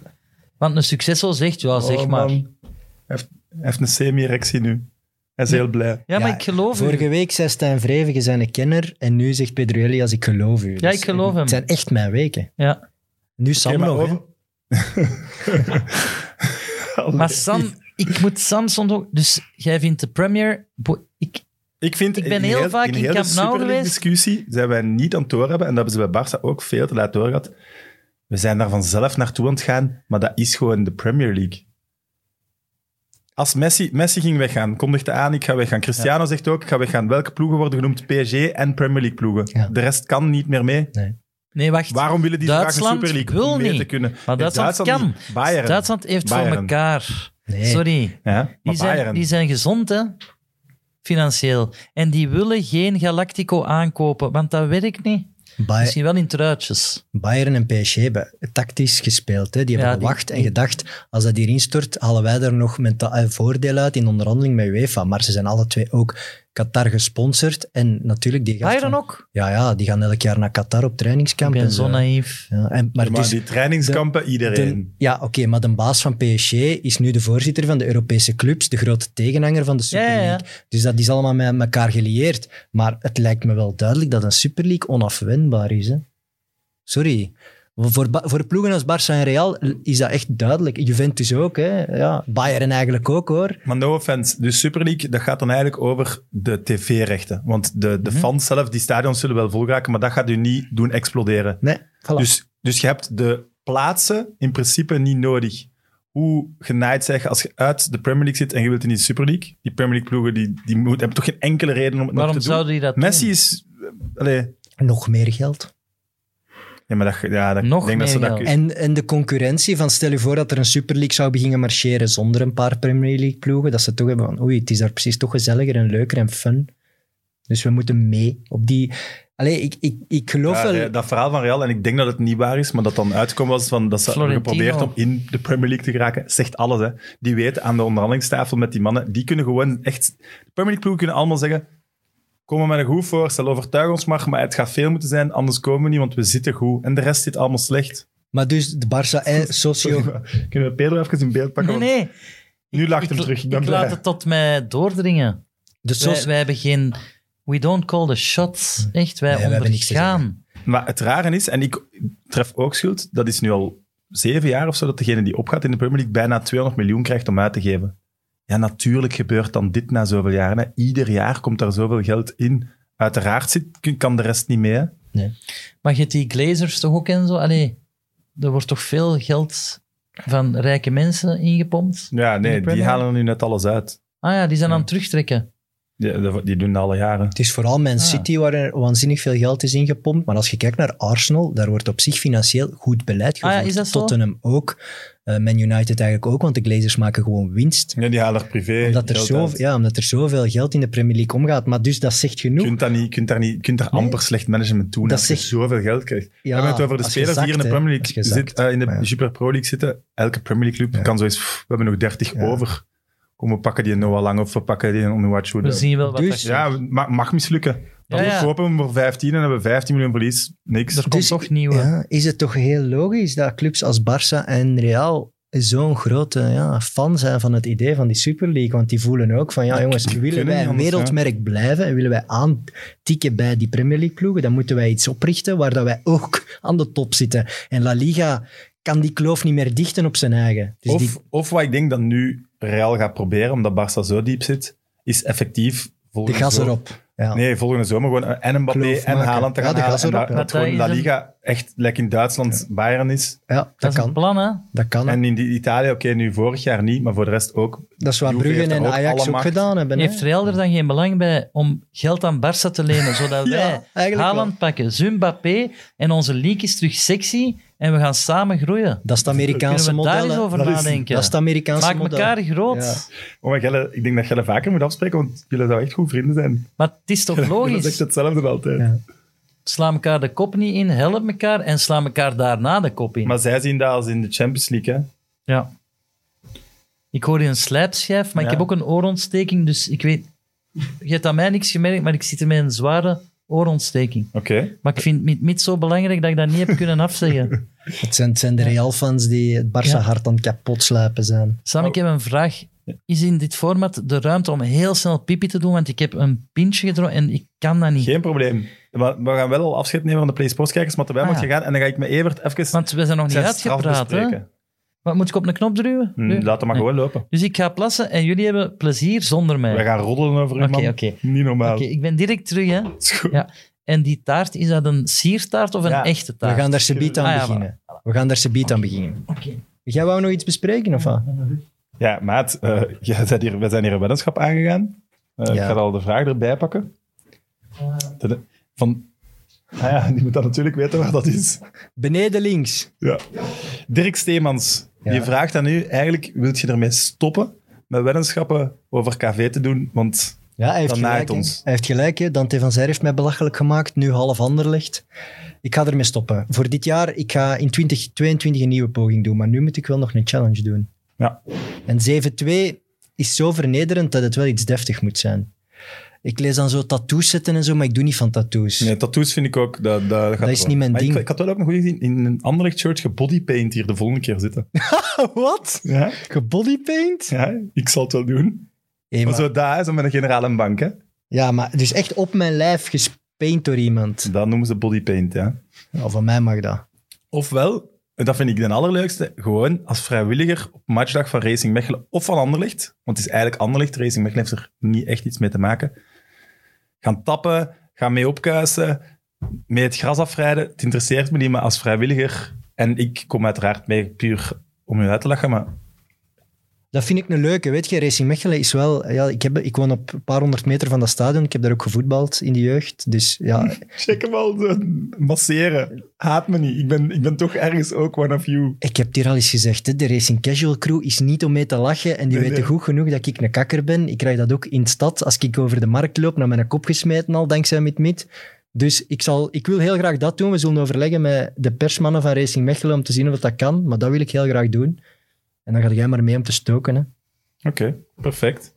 Want een successo zegt, ja, zeg Oh, maar. man. Hij heeft, hij heeft een semi-erectie nu. Hij is heel blij. Ja, maar Ja, ik geloof Vorige u. week zei Stijn Vreven, je bent een kenner. En nu zegt Pedro Elias, ik geloof u. Dus Ja, ik geloof hem. Het zijn echt mijn weken. Ja. Nu Sam Oké, maar nog, hè. over- Allee. Maar Sam, ik moet Sam soms ook... Dus jij vindt de premier... bo- Ik, ik, vind, ik ben heel vaak in hele Camp Nou Super League geweest. discussie zijn wij niet aan het doorhebben, en dat hebben ze bij Barça ook veel te laat doorgehad. We zijn daar vanzelf naartoe aan het gaan, maar dat is gewoon de Premier League. Als Messi, Messi ging weggaan, kondigde aan, ik ga weggaan. Cristiano zegt ook, ik ga weggaan. Welke ploegen worden genoemd? PSG en Premier League ploegen. Ja. De rest kan niet meer mee. nee, wacht. Waarom willen die graag Duitsland een Super League? wil om mee niet. te kunnen. Maar Nee, Duitsland kan. niet. Bayern. Duitsland heeft voor Bayern. elkaar. Nee. Sorry. Ja, maar Die zijn, Bayern. die zijn gezond, hè? Financieel. En die willen geen Galactico aankopen, want dat werkt niet. Bay- Misschien wel in truitjes. Bayern en PSG hebben tactisch gespeeld. Hè. Die Ja, hebben die- gewacht en gedacht, als dat hier instort, halen wij er nog menta- eh, voordeel uit in onderhandeling met UEFA. Maar ze zijn alle twee ook Qatar gesponsord. En natuurlijk, die gasten... Bayern ook? Ja, ja, die gaan elk jaar naar Qatar op Ik trainingskamp. ben en zo zo. naïef. Ja, en, maar Maar, dus, die trainingskampen, de, iedereen. ja, oké, maar de baas van PSG is nu de voorzitter van de Europese clubs, de grote tegenhanger van de Super Ja, ja, League. ja. Dus dat is allemaal met elkaar gelieerd. Maar het lijkt me wel duidelijk dat een Super League onafwendbaar is. Hè? Sorry. Voor, Ba- voor ploegen als Barça en Real is dat echt duidelijk. Juventus ook, hè? Ja, Bayern eigenlijk ook hoor. Maar no offense, de Super League, dat gaat dan eigenlijk over de tv-rechten. Want de, Mhm. de fans zelf, die stadions zullen wel vol raken, maar dat gaat u niet doen exploderen. Nee, voilà. Dus, dus je hebt de plaatsen in principe niet nodig. Hoe genaaid zeg je als je uit de Premier League zit en je wilt in die Super League? Die Premier League ploegen die, die moet, hebben toch geen enkele reden om het nog Waarom te doen? zouden die dat Messi doen? is... eh, Allee, Nog meer geld. ja, maar dat, ja, dat, Nog ik denk dat ze meer dat geld. En, en de concurrentie van stel je voor dat er een Super League zou beginnen marcheren zonder een paar Premier League ploegen, dat ze toch hebben van oei, het is daar precies toch gezelliger en leuker en fun. Dus we moeten mee op die... Allee, ik, ik, ik geloof Ja, wel... eh, dat verhaal van Real, en ik denk dat het niet waar is, maar dat dan uitkomen was van dat ze hebben Florentino. geprobeerd om in de Premier League te geraken, zegt alles. Hè. Die weten aan de onderhandelingstafel met die mannen, die kunnen gewoon echt. De Premier League ploegen kunnen allemaal zeggen: komen met een goed voorstel, overtuig ons maar, maar het gaat veel moeten zijn, anders komen we niet, want we zitten goed. En de rest zit allemaal slecht. Maar dus de Barça Sorry, en Socio... maar kunnen we Pedro even in beeld pakken? Nee, nee. Nu lacht hem ik, terug, ik Ik, ben eh, blij. laat het tot mij doordringen. De Wij, socio wij hebben geen... We don't call the shots. Echt, wij Nee, wij hebben niks te ondergaan. Want- Maar het rare is, en ik tref ook schuld, dat is nu al zeven jaar of zo, dat degene die opgaat in de Premier League bijna 200 miljoen krijgt om uit te geven. Ja, natuurlijk gebeurt dan dit na zoveel jaren. hè. Ieder jaar komt daar zoveel geld in. Uiteraard zit, kan de rest niet mee. hè. Maar je hebt die glazers toch ook en zo? Allee, er wordt toch veel geld van rijke mensen ingepompt? Ja, nee, Premier die League? halen er nu net alles uit. Ah ja, die zijn aan het terugtrekken. Die, die- die doen dat alle jaren. het is vooral Man Ah. City waar er waanzinnig veel geld is ingepompt. Maar als je kijkt naar Arsenal, daar wordt op zich financieel goed beleid Ah ja, gevoerd. is dat zo? Tottenham ook. Eh, Man United eigenlijk ook, want de Glazers maken gewoon winst. Ja, die halen er privé Omdat er, geld zo, uit. ja, omdat er zoveel geld in de Premier League omgaat. Maar dus dat zegt Je genoeg. kunt, dat niet, je kunt daar, niet, je kunt daar amper slecht management doen Dat als je zegt- zoveel geld krijgt. ja, we hebben het over de als spelers je die hier in zakt, de hè. Premier Als League je zakt. zitten, eh, in de Ja. Super Pro League zitten. Elke Premier League club Ja. kan zoiets, pff, we hebben nog 30 Ja. over. Kom, we pakken die Noah Lang of we pakken die Onuachu. We zien wel wat Dus- dat gebeurt. Ja, ma- mag mislukken. Dan Ja, ja. kopen we hem voor 15 en hebben we 15 miljoen verlies. Niks. Er komt Dus- toch nieuwe. Ja, is het toch heel logisch dat clubs als Barça en Real zo'n grote ja, fan zijn van het idee van die Super League. Want die voelen ook van, ja jongens, willen kunnen wij niet een anders, wereldmerk blijven en willen wij aantikken bij die Premier League ploegen, dan moeten wij iets oprichten waar dat wij ook aan de top zitten. En La Liga kan die kloof niet meer dichten op zijn eigen. Dus of, die, of wat ik denk dat nu Real gaat proberen, omdat Barça zo diep zit, is effectief de volgende gas zomer- erop. Ja. Nee, volgende zomer gewoon en Mbappé Kloof en maken. Haaland te Ja, gaan de halen. gas En erop, dat, ja. dat gewoon La Dat is een- Liga echt, like in Duitsland, Bayern is. Ja, dat, Dat is kan. een plan, hè? Dat kan. En in die Italië, oké, nu vorig jaar niet, maar voor de rest ook. dat is wat Juve Brugge heeft daar en ook alle Ajax ook macht. gedaan hebben. hè. Heeft Real er dan geen belang bij om geld aan Barça te lenen, zodat Ja, wij eigenlijk wel. Haaland pakken, Zumbappé en onze league is terug sexy en we gaan samen groeien. Dat is het Kunnen Amerikaanse we daar model. eens hè. over Dat is- nadenken? Dat is het Amerikaanse Maak model. elkaar groot. Ja. Oh, maar Gelle, ik denk dat Gelle vaker moet afspreken, want jullie zouden echt goed vrienden zijn. Maar het is toch Dat is logisch? echt hetzelfde altijd. Ja. Sla elkaar de kop niet in, help elkaar en sla elkaar daarna de kop in. Maar zij zien dat als in de Champions League, hè. Ja. Ik hoor je een slijpschijf, maar ik Ja. heb ook een oorontsteking, dus ik weet... Je hebt aan mij niks gemerkt, maar ik zit er met een zware oorontsteking. Oké. Maar ik vind het niet zo belangrijk dat ik dat niet heb kunnen afzeggen. Het zijn, het zijn de Real-fans die het Barça Ja. hart aan het kapot sluipen zijn. Sam, ik heb een vraag. Is in dit format de ruimte om heel snel pipi te doen? Want ik heb een pintje gedronken en ik kan dat niet. Geen probleem. Maar we gaan wel al afscheid nemen van de Play Sports kijkers, maar erbij Ah, moet ja. je gaan. En dan ga ik met Evert even Want we zijn nog niet zijn straf uitgepraat. hè? bespreken. Wat, moet ik op een knop druwen? Hm, Nu? laat hem maar Nee. gewoon lopen. Dus ik ga plassen en jullie hebben plezier zonder mij. We gaan roddelen over hem, Oké, man. oké. Niet normaal. Oké, ik ben direct terug, hè. Het is goed. Ja. En die taart, is dat een siertaart of een Ja. echte We taart? gaan daar subiet aan Ah, ja, beginnen. We gaan daar subiet aan beginnen. Jij wou nog iets bespreken, of wat? Ja, maat, eh, jij bent hier, we zijn hier een weddenschap aangegaan. Eh, Ik Ja. ga al de vraag erbij pakken. De- Van, ah ja, die moet dat natuurlijk weten waar dat is. Beneden links. Ja. Dirk Steemans, die Ja. vraagt aan u, eigenlijk wilt je ermee stoppen met weddenschappen over KV te doen? Want Ja, hij heeft Dan naait gelijk. hè. ons. Hij heeft gelijk, hè. Dante van Zijr heeft mij belachelijk gemaakt. Nu half ander ligt. Ik ga ermee stoppen. Voor dit jaar, ik ga in 2022 een nieuwe poging doen. Maar nu moet ik wel nog een challenge doen. Ja. En 7-2 is zo vernederend dat het wel iets deftig moet zijn. Ik lees dan zo tattoos zetten en zo, maar ik doe niet van tattoos. nee, tattoos vind ik ook, dat, dat, gaat is wel. niet mijn Maar ding. Ik, ik had wel ook nog goed gezien, in een ander shirt gebodypaint hier de volgende keer zitten. Wat? Ja, Gebodypaint? ja ik zal het wel doen. Hey, Maar maar- zo daar, zo met een generale bank, hè. Ja, maar dus echt op mijn lijf gespeend door iemand. Dat noemen ze bodypaint, ja. Ja, van mij mag dat. Ofwel, en dat vind ik de allerleukste, gewoon als vrijwilliger op matchdag van Racing Mechelen of van Anderlicht, want het is eigenlijk Anderlicht, Racing Mechelen heeft er niet echt iets mee te maken, gaan tappen, gaan mee opkuisen, mee het gras afrijden. Het interesseert me niet, maar als vrijwilliger, en ik kom uiteraard mee puur om u uit te lachen, maar Dat vind ik een leuke. Weet je, Racing Mechelen is wel... Ja, ik, heb, ik woon op een paar honderd meter van dat stadion. Ik heb daar ook gevoetbald in de jeugd. Dus Hm. ja, check hem al, zo, masseren. Haat me niet, ik ben, ik ben toch ergens ook one of you. ik heb het hier al eens gezegd. Hè, de Racing Casual Crew is niet om mee te lachen. En die Nee, weten nee. goed genoeg dat ik een kakker ben. Ik krijg dat ook in de stad. Als ik over de markt loop, naar mijn kop gesmeten al, dankzij Mit Mit. Dus ik, zal, ik wil heel graag dat doen. We zullen overleggen met de persmannen van Racing Mechelen om te zien of dat kan. Maar dat wil ik heel graag doen. En dan ga jij maar mee om te stoken, hè. Oké, perfect.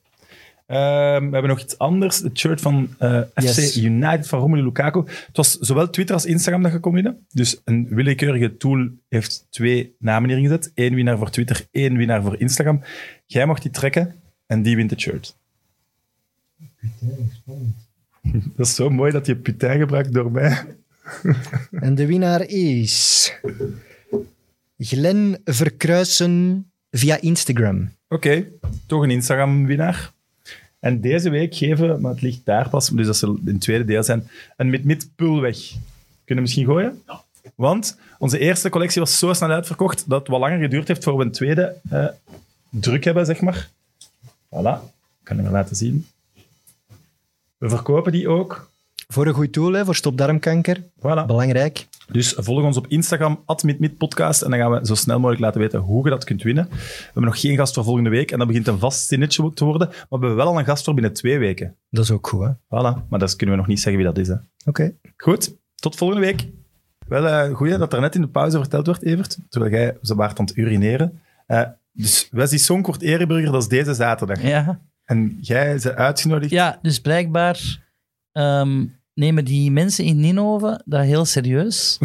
Ehm, we hebben nog iets anders. Het shirt van eh, FC Yes. United van Romelu Lukaku. Het was zowel Twitter als Instagram dat gekomen binnen. Dus een willekeurige tool heeft twee namen hierin gezet. Eén winnaar voor Twitter, één winnaar voor Instagram. Jij mag die trekken en die wint het shirt. Dat is zo mooi dat je putain gebruikt door mij. En de winnaar is. Glen Verkruisen via Instagram. Oké, toch een Instagram-winnaar. En deze week geven, maar het ligt daar pas, dus dat zal in het tweede deel zijn, een mid-mid-pul weg. Kunnen we misschien gooien? Ja. Want onze eerste collectie was zo snel uitverkocht dat het wat langer geduurd heeft voor we een tweede eh, druk hebben, zeg maar. Voilà, kan ik maar laten zien. We verkopen die ook. Voor een goed doel, hè, voor stopdarmkanker. Voilà. Belangrijk. Dus volg ons op Instagram, @midmidpodcast, en dan gaan we zo snel mogelijk laten weten hoe je dat kunt winnen. We hebben nog geen gast voor volgende week, en dat begint een vast zinnetje te worden, maar we hebben wel al een gast voor binnen twee weken. Dat is ook goed, hè? Oké. Voilà, maar dat kunnen we nog niet zeggen wie dat is. Hè. Goed, tot volgende week. Wel, eh goeie dat er net in de pauze verteld werd, Evert, terwijl jij zo baart aan het urineren. Eh, dus Wesley Sonk wordt ereburger, dat is deze zaterdag. Ja. En jij is uitgenodigd. Ja, dus blijkbaar ehm, nemen die mensen in Ninove dat heel serieus.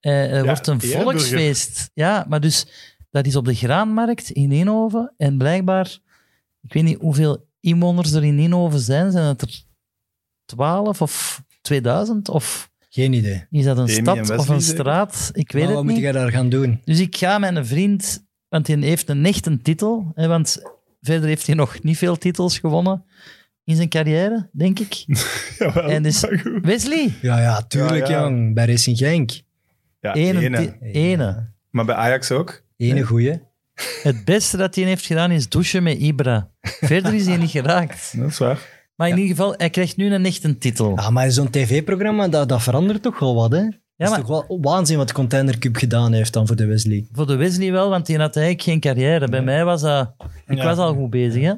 Eh, er wordt een eerburger. volksfeest. Ja, maar dus Dat is op de graanmarkt in Eindhoven. En blijkbaar, ik weet niet hoeveel inwoners er in Eindhoven zijn. Zijn het er 12 of 2000? Of Geen idee. is dat een Demi en stad Wesley of een zeker? straat? Ik weet Maar het wat moet niet. jij daar gaan doen? Dus ik ga mijn vriend, want hij heeft een echt een titel, hè, want verder heeft hij nog niet veel titels gewonnen in zijn carrière, denk ik. Jawel, En dus- maar goed. Wesley, Ja, ja, tuurlijk, Ja, ja. jong. Bij Racing Genk. Ja, ene, ene. ti- ene. Maar bij Ajax ook. Ene goeie. Het beste dat hij heeft gedaan is douchen met Ibra. Verder is hij niet geraakt. Dat is waar. Maar in ieder geval, hij krijgt nu een echt een titel. Ah, maar zo'n tv-programma, dat, dat verandert toch wel wat, hè? Ja, Ja, maar- maar... is toch wel waanzin wat Container Cube gedaan heeft dan voor de Wesley. Voor de Wesley wel, want die had eigenlijk geen carrière. Bij mij was dat... Ik Ja. was al goed bezig, hè.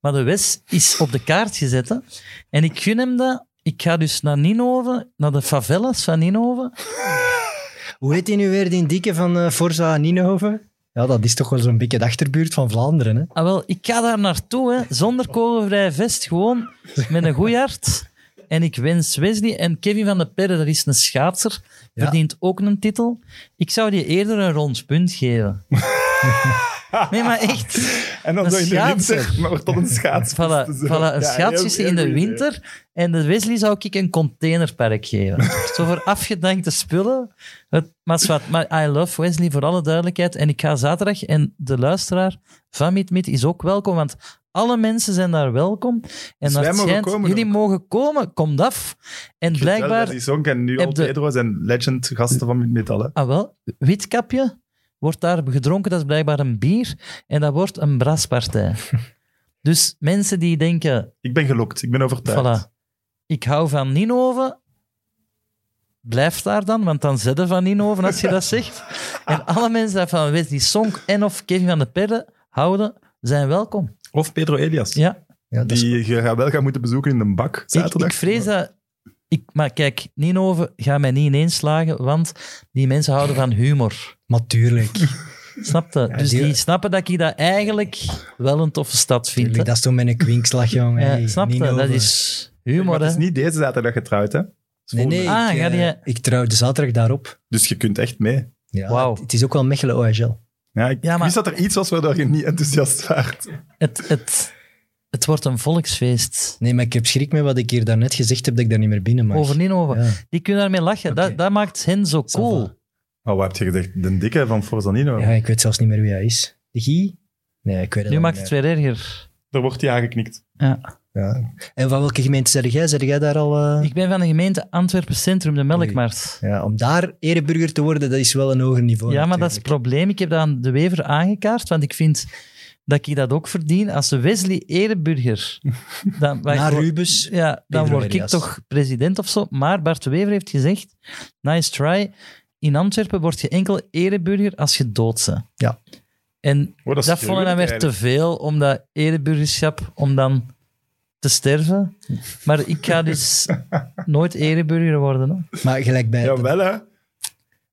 Maar de Wes is op de kaart gezet, hè. En ik gun hem dat. Ik ga dus naar Ninove, naar de favelas van Ninove. Hoe heet die nu weer, die dikke van eh, Forza Nienhoven? Ja, dat is toch wel zo'n beetje de achterbuurt van Vlaanderen, hè? Ah, wel, ik ga daar naartoe, hè. Zonder kogelvrij vest, gewoon met een goeie hart. En ik wens Wesley en Kevin van der Perre, dat is een schaatser, Ja. verdient ook een titel. Ik zou die eerder een rond punt geven. nee, maar echt. En dan Een zo in de schaatser. winter, maar wordt tot een schaats. Voilà, Zo. voilà, Ja, een schaatsje heel- in de heel goed idee. winter. En de Wesley zou ik een containerpark geven. Zo voor afgedankte spullen. Het, maar, zwart, maar I love Wesley, voor alle duidelijkheid. En ik ga zaterdag, en de luisteraar van Meet Meet is ook welkom, want alle mensen zijn daar welkom. En Dus wij dat mogen schijnt, komen jullie ook. mogen komen, komt af. Ik En weet wel blijkbaar, dat Die Zonk en nu heb al de- Pedro zijn legend gasten van Metal. Hè. ah wel, witkapje wordt daar gedronken, dat is blijkbaar een bier. En dat wordt een braspartij. Dus mensen die denken, Ik ben gelokt, ik ben overtuigd. Voilà. Ik hou van Ninove. Blijf daar dan, want dan zet je van Ninove als je dat zegt. En alle mensen die van Wesley Song en of Kevin van der Perre houden, zijn welkom. Of Pedro Elias. Ja, Ja, dat is- Die je gaat wel gaan moeten bezoeken in een bak ik, zaterdag. ik vrees dat... Ik, maar kijk, Ninove gaat mij niet ineens slagen, want die mensen houden van humor. Maar tuurlijk. Snap je? dus die, die- snappen dat ik dat eigenlijk wel een toffe stad vind. tuurlijk hè. dat is toch met een kwinkslag, jong. Ja, Hey, snap je? Dat Nienhoven. is Maar humor, het hè. is niet deze zaterdag getrouwd, hè? Het is Nee, nee. volgende. Ah, ik, ga eh, die- ik trouw de zaterdag daarop. Dus je kunt echt mee. Ja, Wauw. het, het is ook wel Mechelen oh, OHL. Ja, ik Ja, maar- wist dat er iets was waardoor je niet enthousiast waart. Het, het, het wordt een volksfeest. Nee, maar ik heb schrik met wat ik hier daarnet gezegd heb, dat ik daar niet meer binnen mag. Over Ninove. Ja. Die kunnen daarmee lachen. Dat, Oké. dat maakt hen zo cool. Oh, wat heb je gezegd? De dikke van Forzanino. Ja, ik weet zelfs niet meer wie hij is. De Guy? Nee, ik weet het Nu al maakt niet het meer. weer erger. Daar wordt hij aangeknikt. Ja. En van welke gemeente zeg jij? Zeg jij daar al... eh? Ik ben van de gemeente Antwerpen Centrum, de Melkmarkt. Ja, om daar ereburger te worden, dat is wel een hoger niveau. Ja, maar dat is het natuurlijk. probleem. Ik heb dat aan de Wever aangekaart, want ik vind dat ik dat ook verdien. Als Wesley Ereburger... Dan, Na word- Rubens. Ja, dan Pedro word ik Elias. toch president of zo. Maar Bart de Wever heeft gezegd, nice try, in Antwerpen word je enkel Ereburger als je dood bent. Ja. En Oh, dat is dat vond ik dan weer te gruwelijk veel om dat ereburgerschap, om dan te sterven. Maar ik ga dus nooit ereburger worden. Hè. Maar gelijk bij... eigenlijk. Jawel, hè?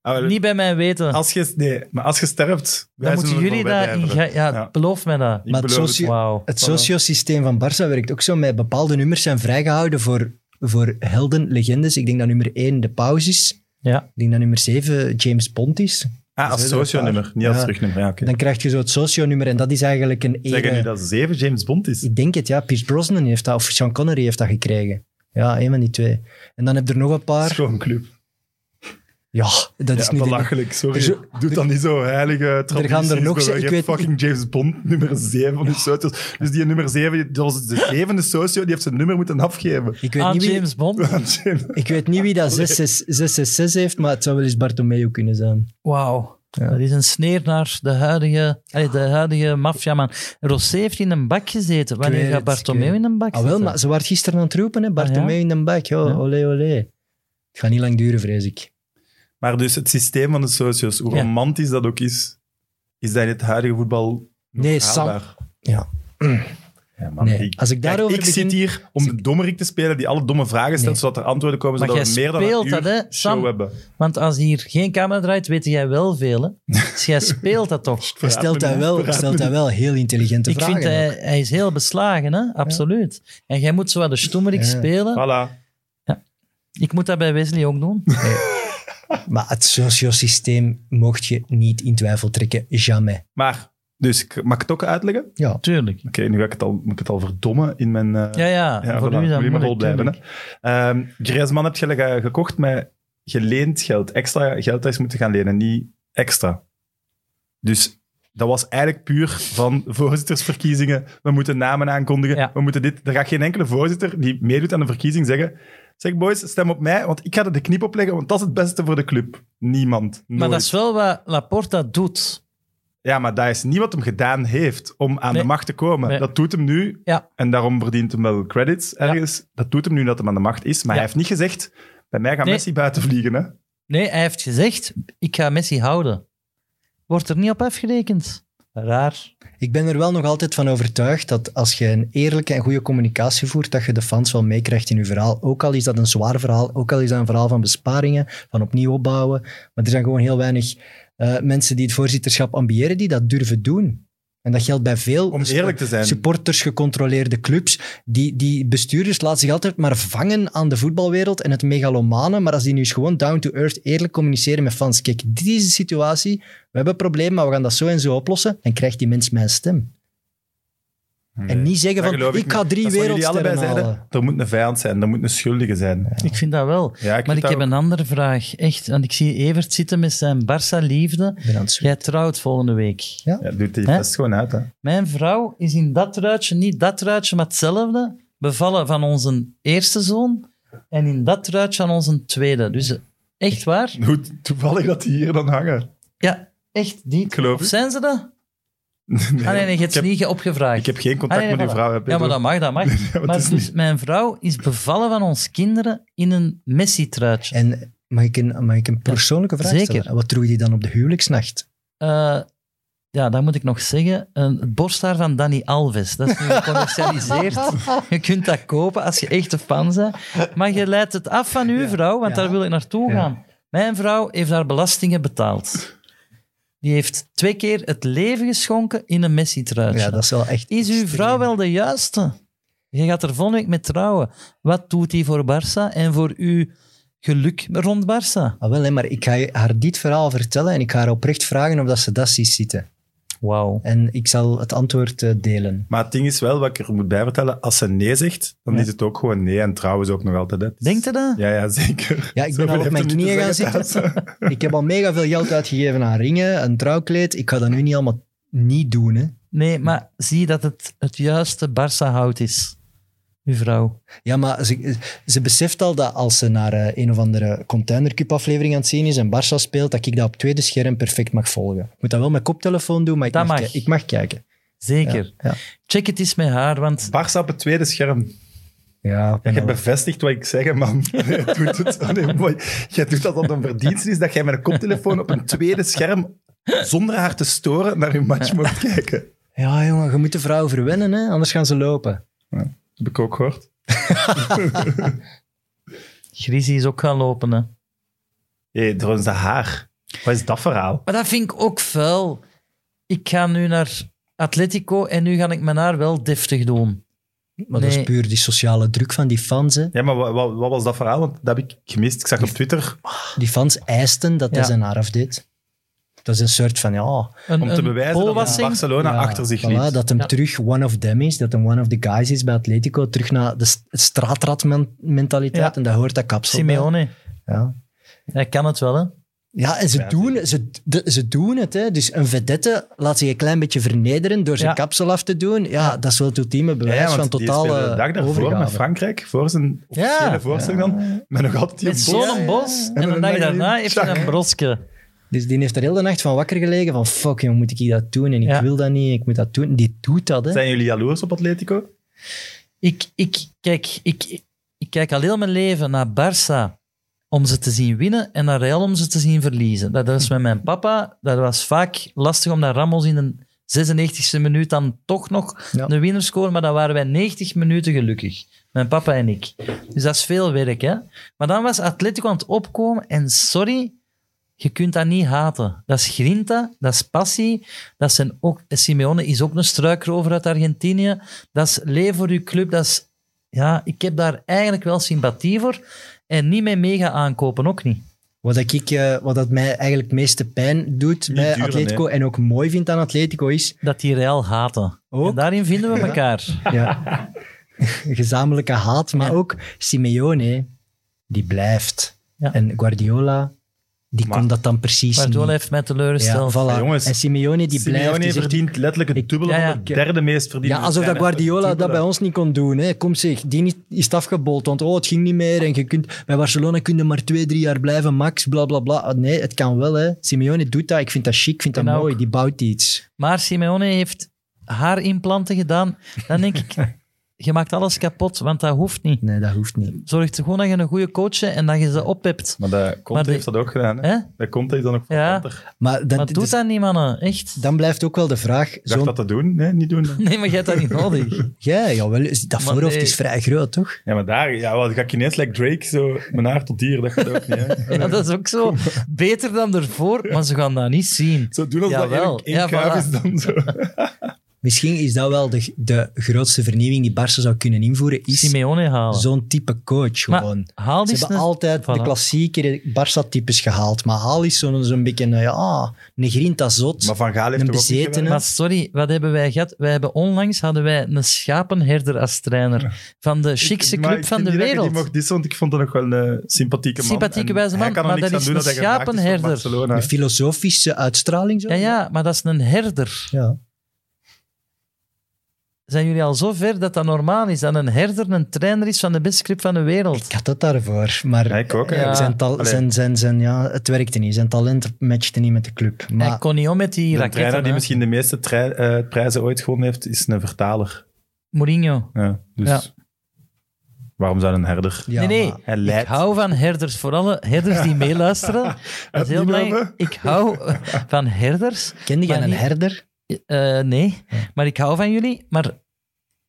Ah, wel, Niet bij mijn weten. als je, nee, maar als je sterft, dan moeten jullie daarin in gaan. Ja, Ja. beloof mij dat. Maar het socio- Wauw. Het sociosysteem van Barça werkt ook zo. Met bepaalde nummers zijn vrijgehouden voor, voor helden, legendes. Ik denk dat nummer 1 de paus is. Ja. Ik denk dat nummer 7 James Bond is. Ah, als Zo, dat is socio-nummer, waar. niet als Ja. terugnummer. Ja, oké. Dan krijg je zo het socio-nummer en dat is eigenlijk een Zeggen nu ere... dat zeven James Bond is? Ik denk het, ja. Pierce Brosnan heeft dat, of Sean Connery heeft dat gekregen. Ja, een van die twee. En dan heb je er nog een paar. Schoon club. Ja, dat is Ja, nu... de- belachelijk, sorry. Er zo- Doe dan niet zo heilige er gaan er nog zo. ze- Je ik hebt weet- fucking James Bond, nummer 7 van de socios. Dus die nummer 7, dat was de zevende socio, die heeft zijn nummer moeten afgeven. Ik weet, Aan niet wie, Ah, James Bond. James- ik weet niet wie dat 666 heeft, maar het zou wel eens Bartomeu kunnen zijn. Wauw. Dat is een sneer naar de huidige, allee, de huidige maffiaman. Rosé heeft in een bak gezeten. Wanneer weet het, gaat ik Bartomeu weet in een bak Ah wel, zitten? maar ze waren gisteren aan het roepen, hè? Bartomeu Ah, ja? in den bak. Ja, Ja. Olé, olé. Het gaat niet lang duren, vrees ik. Maar dus het systeem van de socios, hoe Ja. romantisch dat ook is, is dat in het huidige voetbal nog Nee, Sam- haalbaar? Ja. Ja, man, Nee, ik, als ik kijk, daarover ik begin- zit hier om als de dommerik te spelen die alle domme vragen stelt, Nee. zodat er antwoorden komen, Maar zodat we jij meer dan een speelt dat, hè, uur Sam? show hebben. Want als hier geen camera draait, weet jij wel veel. Hè? Dus jij speelt dat toch? Hij Verraad me stelt, dat niet, wel, verraad stelt me dat wel heel intelligente Ik vragen. vind hij, hij is heel beslagen, hè? absoluut. En jij moet zo wat de stoemerik Ja. spelen. Voilà. Ik moet dat bij Wesley ook doen. ook. Nee. Maar het sociosysteem mocht je niet in twijfel trekken. Jamais. Maar, dus ik- mag ik het ook uitleggen? Oké, Ja. Tuurlijk. nu ga ik het al, moet ik het al verdommen in mijn... eh, Ja, ja. Ja, voor voilà. u is Moet dat je maar vol moeilijk, blijven. tuurlijk. hè. Ehm, Griezmann heb je ge- gekocht met geleend geld. Extra geld dat is moeten gaan lenen, niet extra. Dus dat was eigenlijk puur van voorzittersverkiezingen. We moeten namen aankondigen. Ja. We moeten dit. Er gaat geen enkele voorzitter die meedoet aan de verkiezing zeggen... Zeg boys, stem op mij, want ik ga er de knip op leggen, want dat is het beste voor de club. Niemand. Maar Nooit. dat is wel wat Laporta doet. Ja, maar dat is niet wat hem gedaan heeft om aan Nee. de macht te komen. Nee. Dat doet hem nu. Ja. En daarom verdient hem wel credits ergens. Dat doet hem nu dat hem aan de macht is. Maar hij Ja. heeft niet gezegd, bij mij gaat Nee. Messi buiten vliegen. Hè? Nee, hij heeft gezegd, ik ga Messi houden. Wordt er niet op afgerekend. Raar. Ik ben er wel nog altijd van overtuigd dat als je een eerlijke en goede communicatie voert, dat je de fans wel meekrijgt in je verhaal. Ook al is dat een zwaar verhaal, ook al is dat een verhaal van besparingen, van opnieuw opbouwen. Maar er zijn gewoon heel weinig eh, mensen die het voorzitterschap ambiëren die dat durven doen. En dat geldt bij veel Om spo- eerlijk te zijn. supporters gecontroleerde clubs. Die, die bestuurders laten zich altijd maar vangen aan de voetbalwereld en het megalomane. Maar als die nu eens gewoon down to earth eerlijk communiceren met fans. Kijk, dit is de situatie. We hebben een probleem, maar we gaan dat zo en zo oplossen. Dan krijgt die mens mijn stem. En niet zeggen Dat van, geloof ik, ik ga niet. drie Dat is wat jullie wereldsterren allebei zeiden. halen. Er moet een vijand zijn, er moet een schuldige zijn. Ja, Ik vind dat wel. ik maar vind ik dat heb ook. een andere vraag. Echt, want ik zie Evert zitten met zijn Barça-liefde. Ik ben aan het zoeken. Jij trouwt volgende week. Ja, doet die Hè? vest gewoon uit. Hè? Mijn vrouw is in dat ruitje, niet dat ruitje, maar hetzelfde, bevallen van onze eerste zoon en in dat ruitje aan onze tweede. Dus eh, echt waar? Hoe toevallig dat die hier dan hangen. Ja, echt die. geloof Of het. zijn ze dat? Nee, ah nee, nee je ik, hebt ze heb, niet opgevraagd. ik heb geen Ah, contact nee, nee, met voilà. die vrouw. Heb ik Ja, maar door. dat mag, dat mag. maar maar het is dus niet- mijn vrouw is bevallen van ons kinderen in een Messi-truitje. En mag ik een, mag ik een persoonlijke vraag zeker. stellen? Wat droeg die dan op de huwelijksnacht? Eh, ja, dat moet ik nog zeggen. Een het borsthaar van Danny Alves. Dat is nu gecommercialiseerd. je kunt dat kopen als je echt een fan bent. Maar je leidt het af van uw Ja, vrouw, want ja. daar wil ik naartoe Ja. gaan. Mijn vrouw heeft haar belastingen betaald. Die heeft twee keer het leven geschonken in een Messi-truitje. Ja, dat is wel echt... Is uw extreem. vrouw wel de juiste? Je gaat er volgende week mee trouwen. Wat doet die voor Barça en voor uw geluk rond Barça? Ah, wel, hè, maar ik ga je- haar dit verhaal vertellen en ik ga haar oprecht vragen of dat ze dat ziet zitten. Wauw. En ik zal het antwoord eh, delen. Maar het ding is wel, wat ik er moet bij vertellen, als ze nee zegt, dan Ja. is het ook gewoon nee. En trouwens ook nog altijd. hè. Het is- Denkt u dat? Ja, ja, zeker. Ja, ik Zoveel ben al op heeft mijn hem niet te knieën gaan zeggen zitten. thuis. Ik heb al mega veel geld uitgegeven aan ringen, een trouwkleed. Ik ga dat nu niet allemaal niet doen. Hè. Nee, maar zie dat het het juiste Barça-hout is. Uw vrouw. Ja, maar ze, ze beseft al dat als ze naar eh, een of andere Container Cup aflevering aan het zien is en Barça speelt, dat ik dat op het tweede scherm perfect mag volgen. Ik moet dat wel met koptelefoon doen, maar ik, Dat mag, mag. ki- ik mag kijken. Zeker. Ja, Check het eens met haar, want Barça op het tweede scherm. ja. Ja, ja jij bevestigt wat ik zeg, hè, man. Jij doet, het, oh nee, mooi. jij doet dat dat een verdienste is dat jij met een koptelefoon op een tweede scherm, zonder haar te storen, naar je match mag kijken. ja, jongen, je moet de vrouwen verwennen, hè? anders gaan ze lopen. Heb ik ook gehoord. Grizzy is ook gaan lopen. Hè. Hé, hey, trouwens, dat haar. Wat is dat verhaal? Maar dat vind ik ook vuil. Ik ga nu naar Atletico en nu ga ik mijn haar wel deftig doen. Maar dat Nee. is puur die sociale druk van die fans. Hè. Ja, maar wat, wat, wat was dat verhaal? Want dat heb ik gemist. Ik zag op Twitter Die fans eisten dat Ja. hij zijn haar afdeed. Dat is een soort van, ja... Een, om te een bewijzen dat polwassing. Barcelona ja, achter zich voilà, liet. dat hem Ja. terug one of them is, dat hem one of the guys is bij Atletico, terug naar de st- straatradmentaliteit, Ja. en daar hoort dat kapsel bij. Simeone. Ja. Hij kan het wel, hè? Ja, en ze, Ja, doen, ze, de- ze doen het. Hè. Dus een vedette laat zich een klein beetje vernederen door zijn Ja. kapsel af te doen. Ja, dat is wel het ultieme Ja, bewijs ja, van want die speelde de totale dag daarvoor met overgave. Frankrijk, voor zijn officiële Ja. voorstelling dan, met nog altijd die Met bos. zo'n bos En en een dan dag dan daarna die- heeft hij een brosje. Dus die heeft er heel de nacht van wakker gelegen van fuck, jong, moet ik hier dat doen? En ik Ja. wil dat niet, ik moet dat doen. Die doet dat, hè. Zijn jullie jaloers op Atletico? Ik, ik, kijk, ik, ik kijk al heel mijn leven naar Barça om ze te zien winnen en naar Real om ze te zien verliezen. Dat was met mijn papa. Dat was vaak lastig omdat Ramos in de 96e minuut dan toch nog Ja. de winnaar scoorde. Maar dan waren wij 90 minuten gelukkig. Mijn papa en ik. Dus dat is veel werk, hè. Maar dan was Atletico aan het opkomen en sorry... Je kunt dat niet haten. Dat is grinta, dat is passie. Dat zijn ook, Simeone is ook een struikrover uit Argentinië. Dat is leef voor uw club. Dat is, ja, ik heb daar eigenlijk wel sympathie voor. En niet mee mega aankopen, ook niet. Wat, dat ik, eh, wat dat mij eigenlijk het meeste pijn doet Niet bij duren, Atletico en ook mooi vindt aan Atletico is... Dat die Real haten. Ook. En daarin vinden we elkaar. Ja, gezamenlijke haat, maar ook Simeone, die blijft. Ja. En Guardiola, die Maar- kon dat dan precies Guardiola niet. heeft mij Ja, teleurgesteld. voilà. Ja, jongens, en Simeone, die blijft. Simeone dus echt- verdient letterlijk het Ik- dubbele ja, ja. van de derde meest verdiende. Ja, alsof dat trainer. Guardiola dat Dubbele. bij ons niet kon doen. Hè. Kom zeg, die niet- is het afgebold, want oh, het ging niet meer. En je kunt, bij Barcelona kun je maar twee, drie jaar blijven, max, bla bla bla. Ah, Nee, het kan wel. Hè. Simeone doet dat, ik vind dat chic, ik vind dat En ook- mooi, die bouwt iets. Maar Simeone heeft haar implanten gedaan. Dan denk ik, je maakt alles kapot, want dat hoeft niet. Nee, dat hoeft niet. Zorg er gewoon dat je een goede coach hebt en dat je ze oppept. Maar de Conte Maar die- heeft dat ook gedaan. Hè? Hè? De Conte is dan ook van Ja. Panter. Maar, dat, Maar dus- doet dat niet, mannen. Echt. dan blijft ook wel de vraag, Dacht zo'n dat te doen? Nee, niet doen. Nee, maar jij hebt dat niet nodig. Ja, jawel. is- Dat Maar voorhoofd nee. is vrij groot, toch? Ja, maar daar ja, wel, dan ga ik ineens like Drake, zo, mijn haar tot hier, dat gaat ook niet. Hè? Ja, dat is ook zo. Beter dan ervoor, maar ze gaan dat niet zien. Zo doen als dat Jawel. één, één Ja, kuif voilà. is dan zo. Misschien is dat wel de, de grootste vernieuwing die Barca zou kunnen invoeren, is Simeone halen. zo'n type coach Maar gewoon. haal Ze die hebben snel- altijd de Voilà. klassieke Barca-types gehaald, maar Haal is zo'n zo'n beetje een, ja, een grinta zot. Maar Van Gaal heeft Een toch ook niet bezetene. gewerkt? Maar sorry, wat hebben wij gehad? Wij hebben onlangs hadden wij een schapenherder als trainer. Van de chicste Ik- maar club ik van vind de niet dat je wereld. Die mocht dissen, want ik vond dat nog wel een sympathieke man. Sympathieke En wijze man, hij kan er maar niks dat aan is doen een dat hij gemaakt is voor schapenherder. Barcelona. Een filosofische uitstraling, zo. Ja, ja, maar dat is een herder. Ja. Zijn jullie al zo ver dat dat normaal is? Dat een herder een trainer is van de beste club van de wereld? Ik had dat daarvoor, maar eh, Ja, ik ook. hè. Ja. zijn tal, Allee. zijn, zijn, zijn, ja, het werkte niet. Zijn talent matchte niet met de club. Maar Hij kon niet om met die De raketten. trainer die hè. misschien de meeste trei- eh, prijzen ooit gewonnen heeft, is een vertaler. Mourinho. Ja, dus Ja. waarom zou een herder? ja, nee, nee. maar- Hij Ik leidt. hou van herders, vooral herders die meeluisteren. Dat is heel niet belangrijk. hebben? Ik hou van herders. kende jij Maar een niet- herder? Eh, nee, maar ik hou van jullie. Maar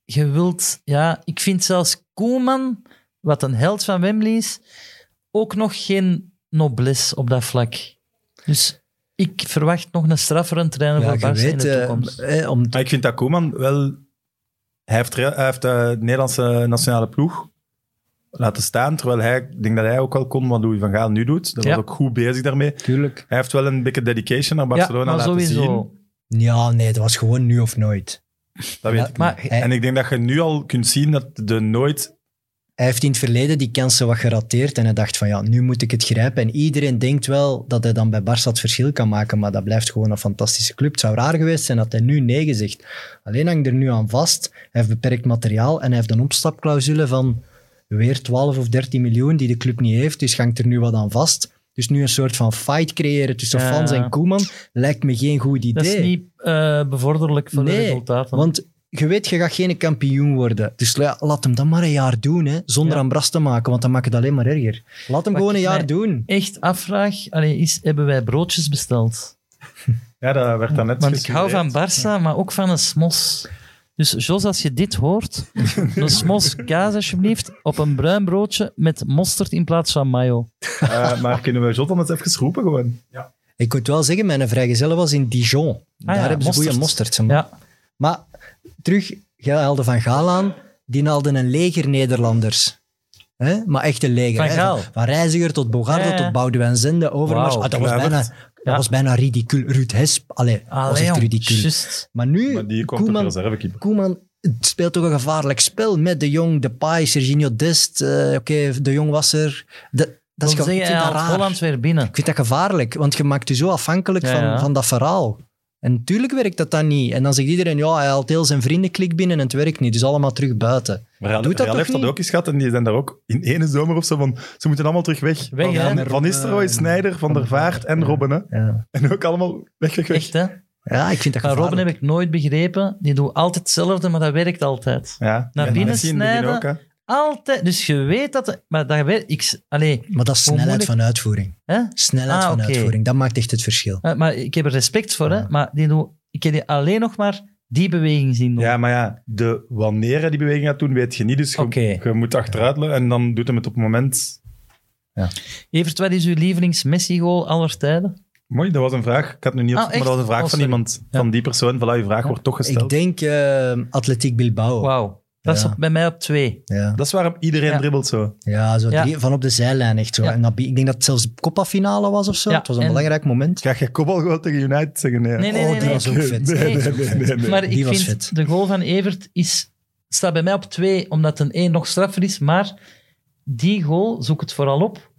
je wilt, ja, ik vind zelfs Koeman, wat een held van Wembley is, ook nog geen noblesse op dat vlak. Dus ik verwacht nog een strafferend trainer Ja, voor je Barca in weet, de eh, toekomst. eh, om Maar ik vind dat Koeman wel... Hij heeft, re- hij heeft de Nederlandse nationale ploeg laten staan, terwijl hij, ik denk dat hij ook wel kon wat Louis van Gaal nu doet. Dat Ja. was ook goed bezig daarmee. Tuurlijk. Hij heeft wel een beetje dedication naar Barcelona ja, maar laten sowieso. zien. Ja, nee, het was gewoon nu of nooit. Dat weet Ja, ik maar niet. hij- En ik denk dat je nu al kunt zien dat de nooit... Hij heeft in het verleden die kansen wat gerateerd en hij dacht van ja, nu moet ik het grijpen. En iedereen denkt wel dat hij dan bij Barça het verschil kan maken, maar dat blijft gewoon een fantastische club. Het zou raar geweest zijn dat hij nu nee gezegd. Alleen hangt er nu aan vast. Hij heeft beperkt materiaal en hij heeft een opstapclausule van weer 12 of 13 miljoen die de club niet heeft, dus hangt er nu wat aan vast. Dus nu een soort van fight creëren tussen Ja. fans en Koeman lijkt me geen goed idee. Dat is niet eh, bevorderlijk voor de Nee, resultaten. Want je weet, je gaat geen kampioen worden. Dus la- laat hem dat maar een jaar doen, hè, zonder Ja. aan bras te maken, want dan maakt het alleen maar erger. Laat hem Wat gewoon een ik jaar mij- doen. Echt afvraag, allee, is, hebben wij broodjes besteld? Ja, dat werd dan net Want ik hou gesuggereerd. van Barça, maar ook van een smos. Dus Jos, als je dit hoort, een smos kaas alsjeblieft op een bruin broodje met mosterd in plaats van mayo. Eh, maar kunnen we Jot dan eens even roepen gewoon? Ik moet wel zeggen, mijn vrijgezel was in Dijon. Daar Ah ja, hebben ze mosterd. goede mosterd. ze- Ja, Maar terug, jij haalde Van Gaal aan. Die haalde een leger Nederlanders. hè? Maar echt een leger. Van hè. Gaal. van Reiziger tot Bogarde Ja, ja. tot Boudewijn Zende, Overmars. Wauw, Ah, dat was Kluivert. bijna, dat Ja. was bijna ridicul. Ruud Hesp. Allee, was allee echt jong, ridicul. juist. Maar nu, Maar die komt op Koeman, reservekeeper. Koeman het speelt toch een gevaarlijk spel met De Jong, De Pai, Serginho Dest. eh, Oké, De Jong was er. De, dat is Dat wil gewoon- ik zeggen, hij vind dat haalt raar. Holland weer binnen. Ik vind dat gevaarlijk, want je maakt je zo afhankelijk Ja, van, ja. van dat verhaal. En natuurlijk werkt dat dan niet. En dan zegt iedereen, ja, hij haalt heel zijn vriendenklik binnen en het werkt niet. Dus allemaal terug buiten. Maar Real, Doet dat Real toch heeft dat niet? ook eens gehad en die zijn daar ook in ene zomer of zo van... Ze moeten allemaal terug weg. Weg, van, hè? eh, van, Met van Nistelrooy, Robben. Snijder, Van der Vaart en Robben. Hè? Ja, En ook allemaal weg, weg, weg. Echt, hè? ja ik vind dat Maar gevaarlijk. Robin heb ik nooit begrepen. Die doet altijd hetzelfde, maar dat werkt altijd. Ja. Naar Ja, binnen Messi in het begin snijden. ook, hè. Altijd. Dus je weet dat... Maar dat weet ik... Allee, Maar dat is Hoe snelheid moeilijk- van uitvoering. hè? Snelheid Ah, van oké. uitvoering, dat maakt echt het verschil. Eh, Maar ik heb er respect voor, hè. Maar die doet... Ik heb die alleen nog maar die beweging zien doen. Ja, maar ja, de, wanneer hij die beweging gaat doen, weet je niet. Dus je, Oké. je moet achteruit lopen en dan doet hem het op het moment. Evert, wat is uw lievelings Messi-goal aller tijden? Mooi, dat was een vraag. Ik had nu niet Ah, opgezocht, maar dat was een echt? vraag Oh, van sorry. iemand, Ja. van die persoon. Voilà, je vraag wordt toch gesteld. Ik denk eh Atletiek Bilbao. Wauw. Dat is Ja. op- bij mij op twee. Ja, Dat is waarom iedereen Ja. dribbelt zo. ja, zo Ja. drie- van op de zijlijn echt zo. Ja. En dat, be- ik denk dat het zelfs de kopaffinale was of zo. Ja, het was een en- belangrijk moment. Ga je kopbal gewoon tegen United zeggen? Nee, Nee, nee, oh, nee, die nee. was ook vet. Nee, nee, nee, nee, nee. Maar Die ik was vind vet. de goal van Evert is, staat bij mij op twee, omdat een één nog straffer is. Maar die goal, zoek het vooral op,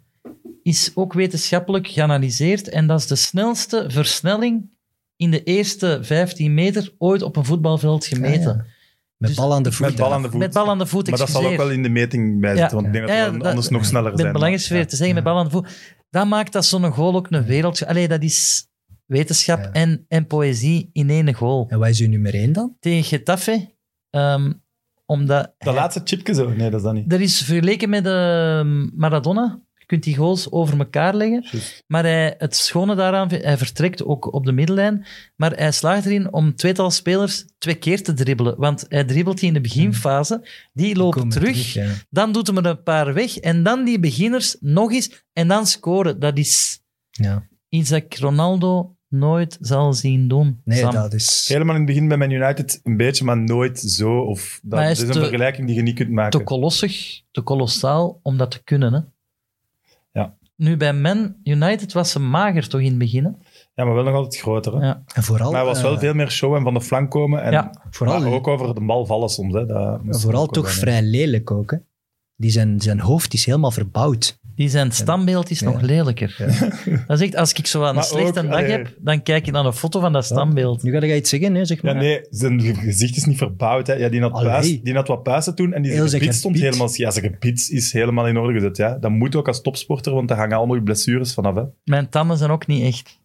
is ook wetenschappelijk geanalyseerd. En dat is de snelste versnelling in de eerste 15 meter ooit op een voetbalveld gemeten. Ah, Ja, ja. Met Dus- bal aan de voet. Met bal aan de voet. Met bal aan de voet, maar dat zal ook excuseer. wel in de meting bij zitten, want ik denk dat Ja, we dat- anders nog sneller Met zijn. belangrijkste weer te zeggen, met bal aan de voet. Dat maakt dat zo'n goal ook een wereld. Allee, dat is wetenschap Ja. en, en poëzie in één goal. En wat is uw nummer één dan? Tegen Getafe, ehm, omdat... Dat laatste chipje zo? Nee, dat is dat niet. Dat is vergeleken met ehm, Maradona. Je kunt die goals over elkaar leggen. Juist. Maar hij, het schone daaraan, vind- hij vertrekt ook op de middenlijn. Maar hij slaagt erin om tweetal spelers twee keer te dribbelen. Want hij dribbelt die in de beginfase. Die lopen Hmm. Komen terug. ja. Dan doet hem er een paar weg. En dan die beginners nog eens. En dan scoren. Dat is Ja. iets dat ik Ronaldo nooit zal zien doen. Nee, Sam. dat is... Helemaal in het begin bij Man United een beetje, maar nooit zo. Of dat, Maar hij dat is is een te- vergelijking die je niet kunt te maken. kolossig, te kolossaal om dat te kunnen. Hè? Ja. Nu bij Man United was ze mager toch in het begin. hè? Ja, maar wel nog altijd groter. Hè? Ja. En vooral... Maar hij was wel eh, veel meer show en van de flank komen. En Ja, vooral, maar ook over de bal vallen soms. Hè. Dat moest vooral ook wel toch zijn, hè. vrij lelijk ook, hè. Die zijn, zijn hoofd is helemaal verbouwd. Die zijn standbeeld is Ja. nog lelijker. Dat is echt, als ik zo aan een Maar slechte ook, eh, dag allee. heb, dan kijk je naar een foto van dat standbeeld. Nu ga jij iets zeggen, hè, zeg Ja, maar. nee, zijn gezicht is niet verbouwd. Hè. Ja, die, had Allee. puis, die had wat puisten toen en die Heel zijn zijn gebit stond gebied. helemaal... Ja, zijn gebit is helemaal in orde gezet. Ja. Dat moet ook als topsporter, want daar hangen allemaal je blessures vanaf. Hè. Mijn tanden zijn ook niet echt.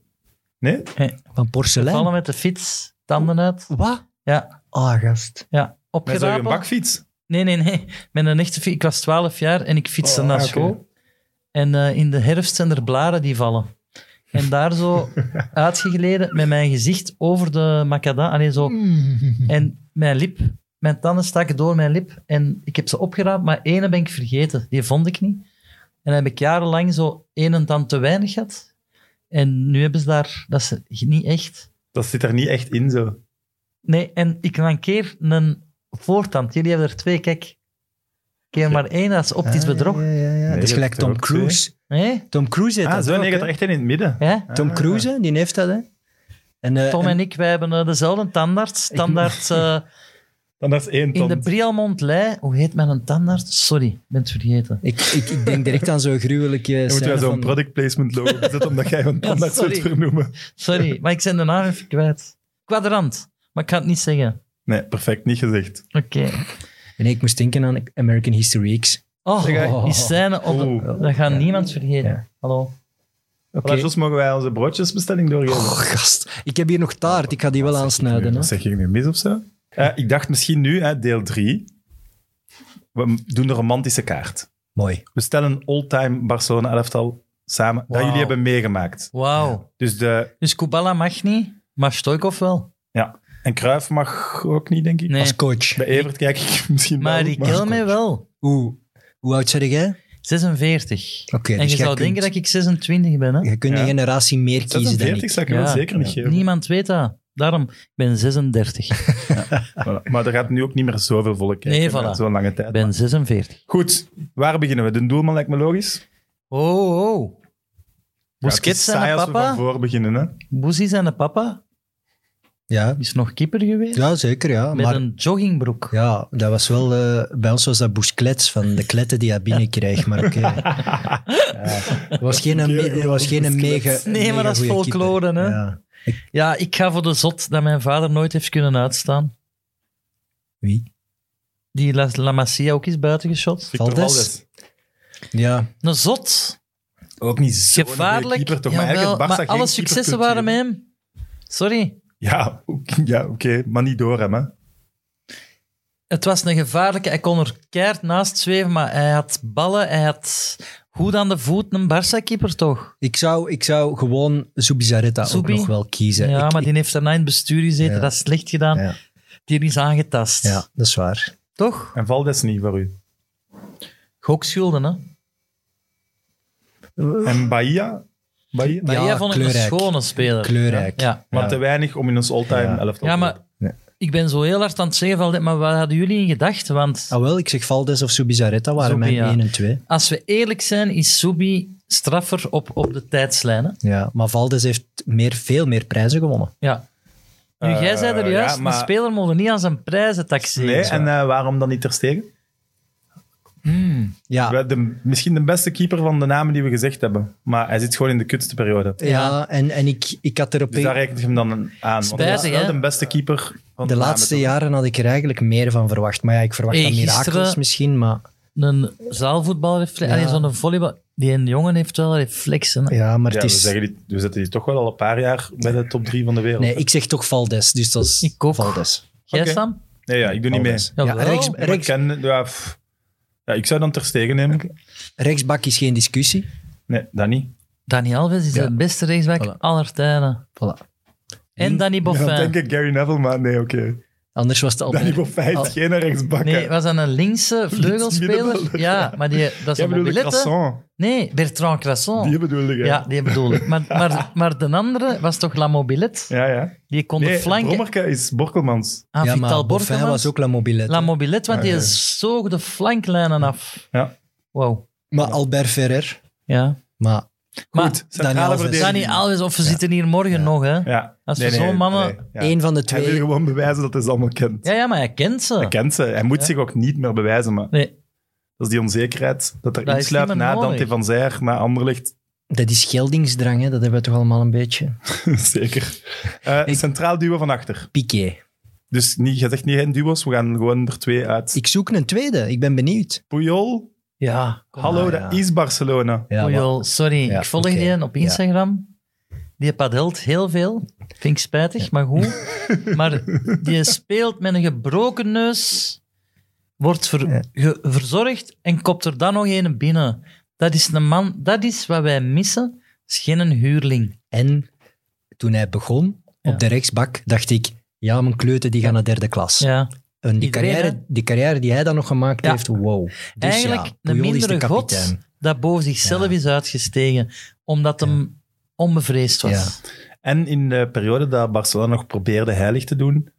Nee? Van Vallen porselein. met de fiets, tanden uit. Wat? Ja, Ah, gast. ja. Met zo'n opgerapeld. bakfiets. Nee, nee, nee. Met een echte fiets. Ik was 12 jaar en ik fietste Oh, naar oké. school. En eh, in de herfst zijn er blaren die vallen. En daar zo uitgegleden met mijn gezicht over de macadam. Allee, zo. En mijn lip, mijn tanden staken door mijn lip. En ik heb ze opgeraapt, maar ene ben ik vergeten. Die vond ik niet. En dan heb ik jarenlang zo één en tand te weinig gehad. En nu hebben ze daar... Dat is niet echt... Dat zit er niet echt in, zo. Nee, en ik mankeer een voortand. Jullie hebben er twee, kijk. Ik heb er maar één, dat is optisch Ah, bedrog. Ja, ja, ja. Nee, dat is je gelijk hebt er Tom ook Cruise. Hé? Tom Cruise heeft Ah, dat zo, ook, nee, je hè. hebt er echt één in het midden. Ja? Tom Cruise, hè, die heeft dat, hè. En, eh, Tom en- en ik, wij hebben eh, dezelfde tandarts. Tandarts eh, Dan dat is één in tand. de Brialmond Lei. Hoe heet men een tandarts? Sorry, ik ben het vergeten. ik, ik, ik denk direct aan zo'n gruwelijke Dan moeten scène wij zo'n van- product placement logo zetten, omdat jij een tandarts sorry. zult vernoemen. Sorry, maar ik ben de naam even kwijt. Kwadrant, maar ik ga het niet zeggen. Nee, perfect, niet gezegd. Oké. Nee, ik moest denken aan American History X. Oh, Zeg, die scène op... de- Oeh. Dat gaat niemand vergeten. Ja. Hallo. Oké. Okay. mogen wij onze broodjesbestelling doorgeven? Oh, gast. Ik heb hier nog taart. Ik ga die wel aansnijden. Hè. Dat zeg ik nu mis of zo? Eh, ik dacht misschien nu, hè, deel 3. We doen de romantische kaart. Mooi. We stellen een all-time Barcelona elftal samen dat Wauw. jullie hebben meegemaakt. Wauw. Dus de, Dus Kubala mag niet, maar Stoikov wel. ja. En Cruijff mag ook niet, denk ik. Nee. Als coach. Bij Evert kijk ik misschien Maar wel. die Kelme wel. Hoe, hoe oud zeg jij? 46. Oké, en dus jij je zou kunt- denken dat ik 26 ben, hè? Je kunt Ja. een generatie meer kiezen dan 46 ik. zou ik wel zeker niet geven. Niemand weet dat. Daarom, ik ben 36. Voilà. Maar er gaat nu ook niet meer zoveel volk kijken. Nee, voilà. na Zo'n lange Ik tijd. ben 46. Goed, waar beginnen we? De doelman lijkt me logisch. Oh, oh. Busquets Ja, het is saai zijn de als we van papa. voor beginnen, hè? Boezie zijn de papa. Ja, Is nog keeper geweest. ja zeker. Ja. Met Maar een joggingbroek. ja, dat was wel... eh, bij ons was dat boesklets van de kletten die hij binnenkreeg. Maar oké. ja. Het was geen, het was geen mega Nee, maar mega dat is goeie keeper. folklore, hè. Ja. Ja, ik ga voor de zot dat mijn vader nooit heeft kunnen uitstaan. Wie? Die La, La Masia ook is buitengeschot. Victor Valdes? Ja. Een zot. Ook niet zo Gevaarlijk. keeper, toch? maar Jawel, eigenlijk maar, had Barca geen alle keeper successen kunnen waren met geven. hem. Sorry. Ja, oké, ja, oké, maar niet door hem, hè? Het was een gevaarlijke. Hij kon er keihard naast zweven, maar hij had ballen. Hij had goed aan de voet een Barça-keeper, toch? Ik zou, ik zou gewoon Zubizarreta Zubi? ook nog wel kiezen. Ja, Ik- maar die heeft daarna in het bestuur gezeten. Ja. Dat is slecht gedaan. Ja. Die is aangetast. ja, dat is waar. Toch? En Valdes niet voor u. Gokschulden, hè? En Bahia? Bahia? Maar Ja, jij vond ik een kleurrijk. schone speler. Kleurrijk. Ja. Maar Ja. te weinig om in ons all-time Ja. elftal Ja, te maar hebben. ik ben zo heel hard aan het zeggen van, maar waar hadden jullie in gedacht? Want Ah wel, ik zeg Valdes of Subizarreta waren Zubi, mijn ja. 1 en 2. als we eerlijk zijn, is Subi straffer op, op de tijdslijnen. Ja, maar Valdes heeft meer, veel meer prijzen gewonnen. Ja. Nu, Eh, jij zei er juist, ja, maar- een speler mogen niet aan zijn prijzen taxeren. Nee, en eh, waarom dan niet Ter Stegen? Ja, ja, Wel, de- misschien de beste keeper van de namen die we gezegd hebben. Maar hij zit gewoon in de kutste periode. en, en ik, ik had er op Dus daar rekent je hem dan aan. Want hij is Spijtig, wel hè? de beste keeper van de, de laatste namen, toch? jaren had ik er eigenlijk meer van verwacht. Maar ja, ik verwacht Hey, dan mirakels Eh, gisteren- misschien, maar... Een zaalvoetbalreflex, Ja. alleen zo'n volleybal... Die jongen heeft wel reflexen. hè. Ja, maar het Ja, is... we, zeggen die, we zetten die toch wel al een paar jaar bij de top drie van de wereld. Nee, ik zeg toch Valdes, dus dat is Ik ook. Valdes. Jij, Oké. Sam? Nee, ja, ik doe niet mee. Valdes. Ja, Jawel. rechts, Ja, Ja, maar ik, rechts, ken, ja, pff. Ja, ik zou dan Ter Stegen nemen. rechtsbak is geen discussie. Nee, dat niet. Dani Alves is Ja. de beste rechtsback Voilà. aller tijden. Voilà. En Danny Boffin. Dan denk ik Gary Neville, maar nee, oké. Anders was het al... Danny Boffin heeft Al- geen rechtsbak. Oh. Nee, was dat een linkse vleugelspeler? middenvelder. Ja, maar die, dat is Jij een bedoelde mobilette. Crasson. Nee, Bertrand Crasson. Die bedoelde jij. Ja, die bedoel ik. Maar, maar, maar de andere was toch La Mobilette? ja. ja. Die kon de Nee, flanken Brommerke is Borkelmans. aan ja, maar Vital Boffin Borkelmans. Ah, was ook Ah, La Mobilette. La Mobilette, want Ja, die ja. zoog de flanklijnen af. Ja. Wow. Maar Albert Ferrer. Ja. Maar Maar centrale Dani Alves. verdediging. Dani Alves, of we zitten hier morgen nog, hè? Ja. Als we zo'n mannen- ja. één van de Hij wil twee... gewoon bewijzen dat hij ze allemaal kent. Ja, ja, maar hij kent ze. Hij kent ze. Hij moet Ja. zich ook niet meer bewijzen, maar Nee, dat is die onzekerheid dat Dat er is sluipt niet meer na nodig. Dante van Zijer, na Anderlicht. Dat is geldingsdrang, hè? dat hebben we toch allemaal een beetje. Zeker. Eh, Ik- Centraal duwen van achter. Piqué. Dus niet, je zegt niet geen duo's, we gaan gewoon er twee uit. Ik zoek een tweede, ik ben benieuwd. Puyol, Ah, ja. hallo, maar, dat ja. is Barcelona. Ja, maar- Puyol, Oh, sorry, Ja, ik volg oké. die op Ja. Instagram. Die padelt heel veel. Vind ik spijtig, maar goed. Maar die speelt met een gebroken neus, wordt ver- Ja. ge- verzorgd en kopt er dan nog een binnen. Dat is een man, dat is wat wij missen. Dat is geen een huurling. En toen hij begon Ja. op de rechtsbak, dacht ik, ja, mijn kleuten die gaan naar derde klas. Ja. En die, Iedereen, carrière, die carrière die hij dan nog gemaakt Ja. heeft, wow. Dus Eigenlijk ja, een Puyol is de mindere kapitein. god dat boven zichzelf Ja. is uitgestegen, omdat hem onbevreesd was. Ja. En in de periode dat Barcelona nog probeerde heilig te doen,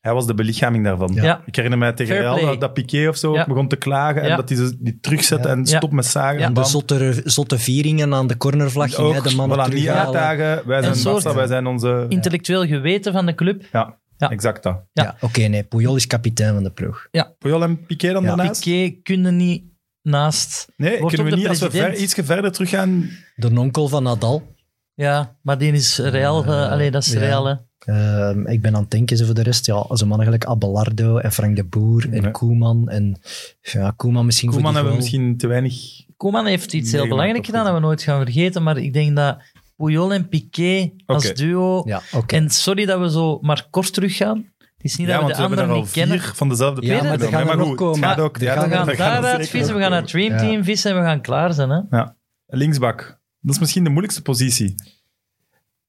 hij was de belichaming daarvan. Ja. Ja. Ik herinner mij tegen Fair Real play. dat, dat Piqué of zo Ja. begon te klagen en Ja. dat hij ze- die terugzette Ja. en Ja. stop met zagen. Ja. en De bam. zotte, zotte vieringen aan de cornervlag, ging hij Ook, de mannen voilà, niet terughalen. uitdagen. Wij Een zijn soort- Barca, wij zijn onze... Intellectueel geweten van de club. Ja, Ja. exact dat. Ja, Ja. oké, nee, Puyol is kapitein van de ploeg. Puyol en Piqué dan Ja. daarnaast? Piqué kunnen niet naast. Nee, Wordt kunnen we ook niet de als we ver, president. iets verder teruggaan? De nonkel van Nadal. Ja, maar die is Real. eh, Eh, allee, dat is ja. Real, hè. Ehm, ik ben aan het denken, zo voor de rest. Ja, zo'n mannen gelijk Abelardo en Frank de Boer en Ja. Koeman. En ja, Koeman misschien Koeman voor hebben die we goal. misschien te weinig... Koeman heeft iets Nee, heel maar belangrijks dat gedaan dat we nooit gaan vergeten, maar ik denk dat Puyol en Piqué als Oké. duo... Ja, oké. En sorry dat we zo maar kort teruggaan. Het is niet ja, dat we want de we hebben anderen er al niet kennen. vier van dezelfde Ja, ploeg maar er genomen, gaan hè. er nog goed, komen. Het gaat ook. Er ja, dat gaan We er- gaan dat daar gaat er daaruit zeker vissen, we ook gaan naar komen. Dream Team vissen en we gaan klaar zijn. Hè? Linksbak. Dat is misschien de moeilijkste positie.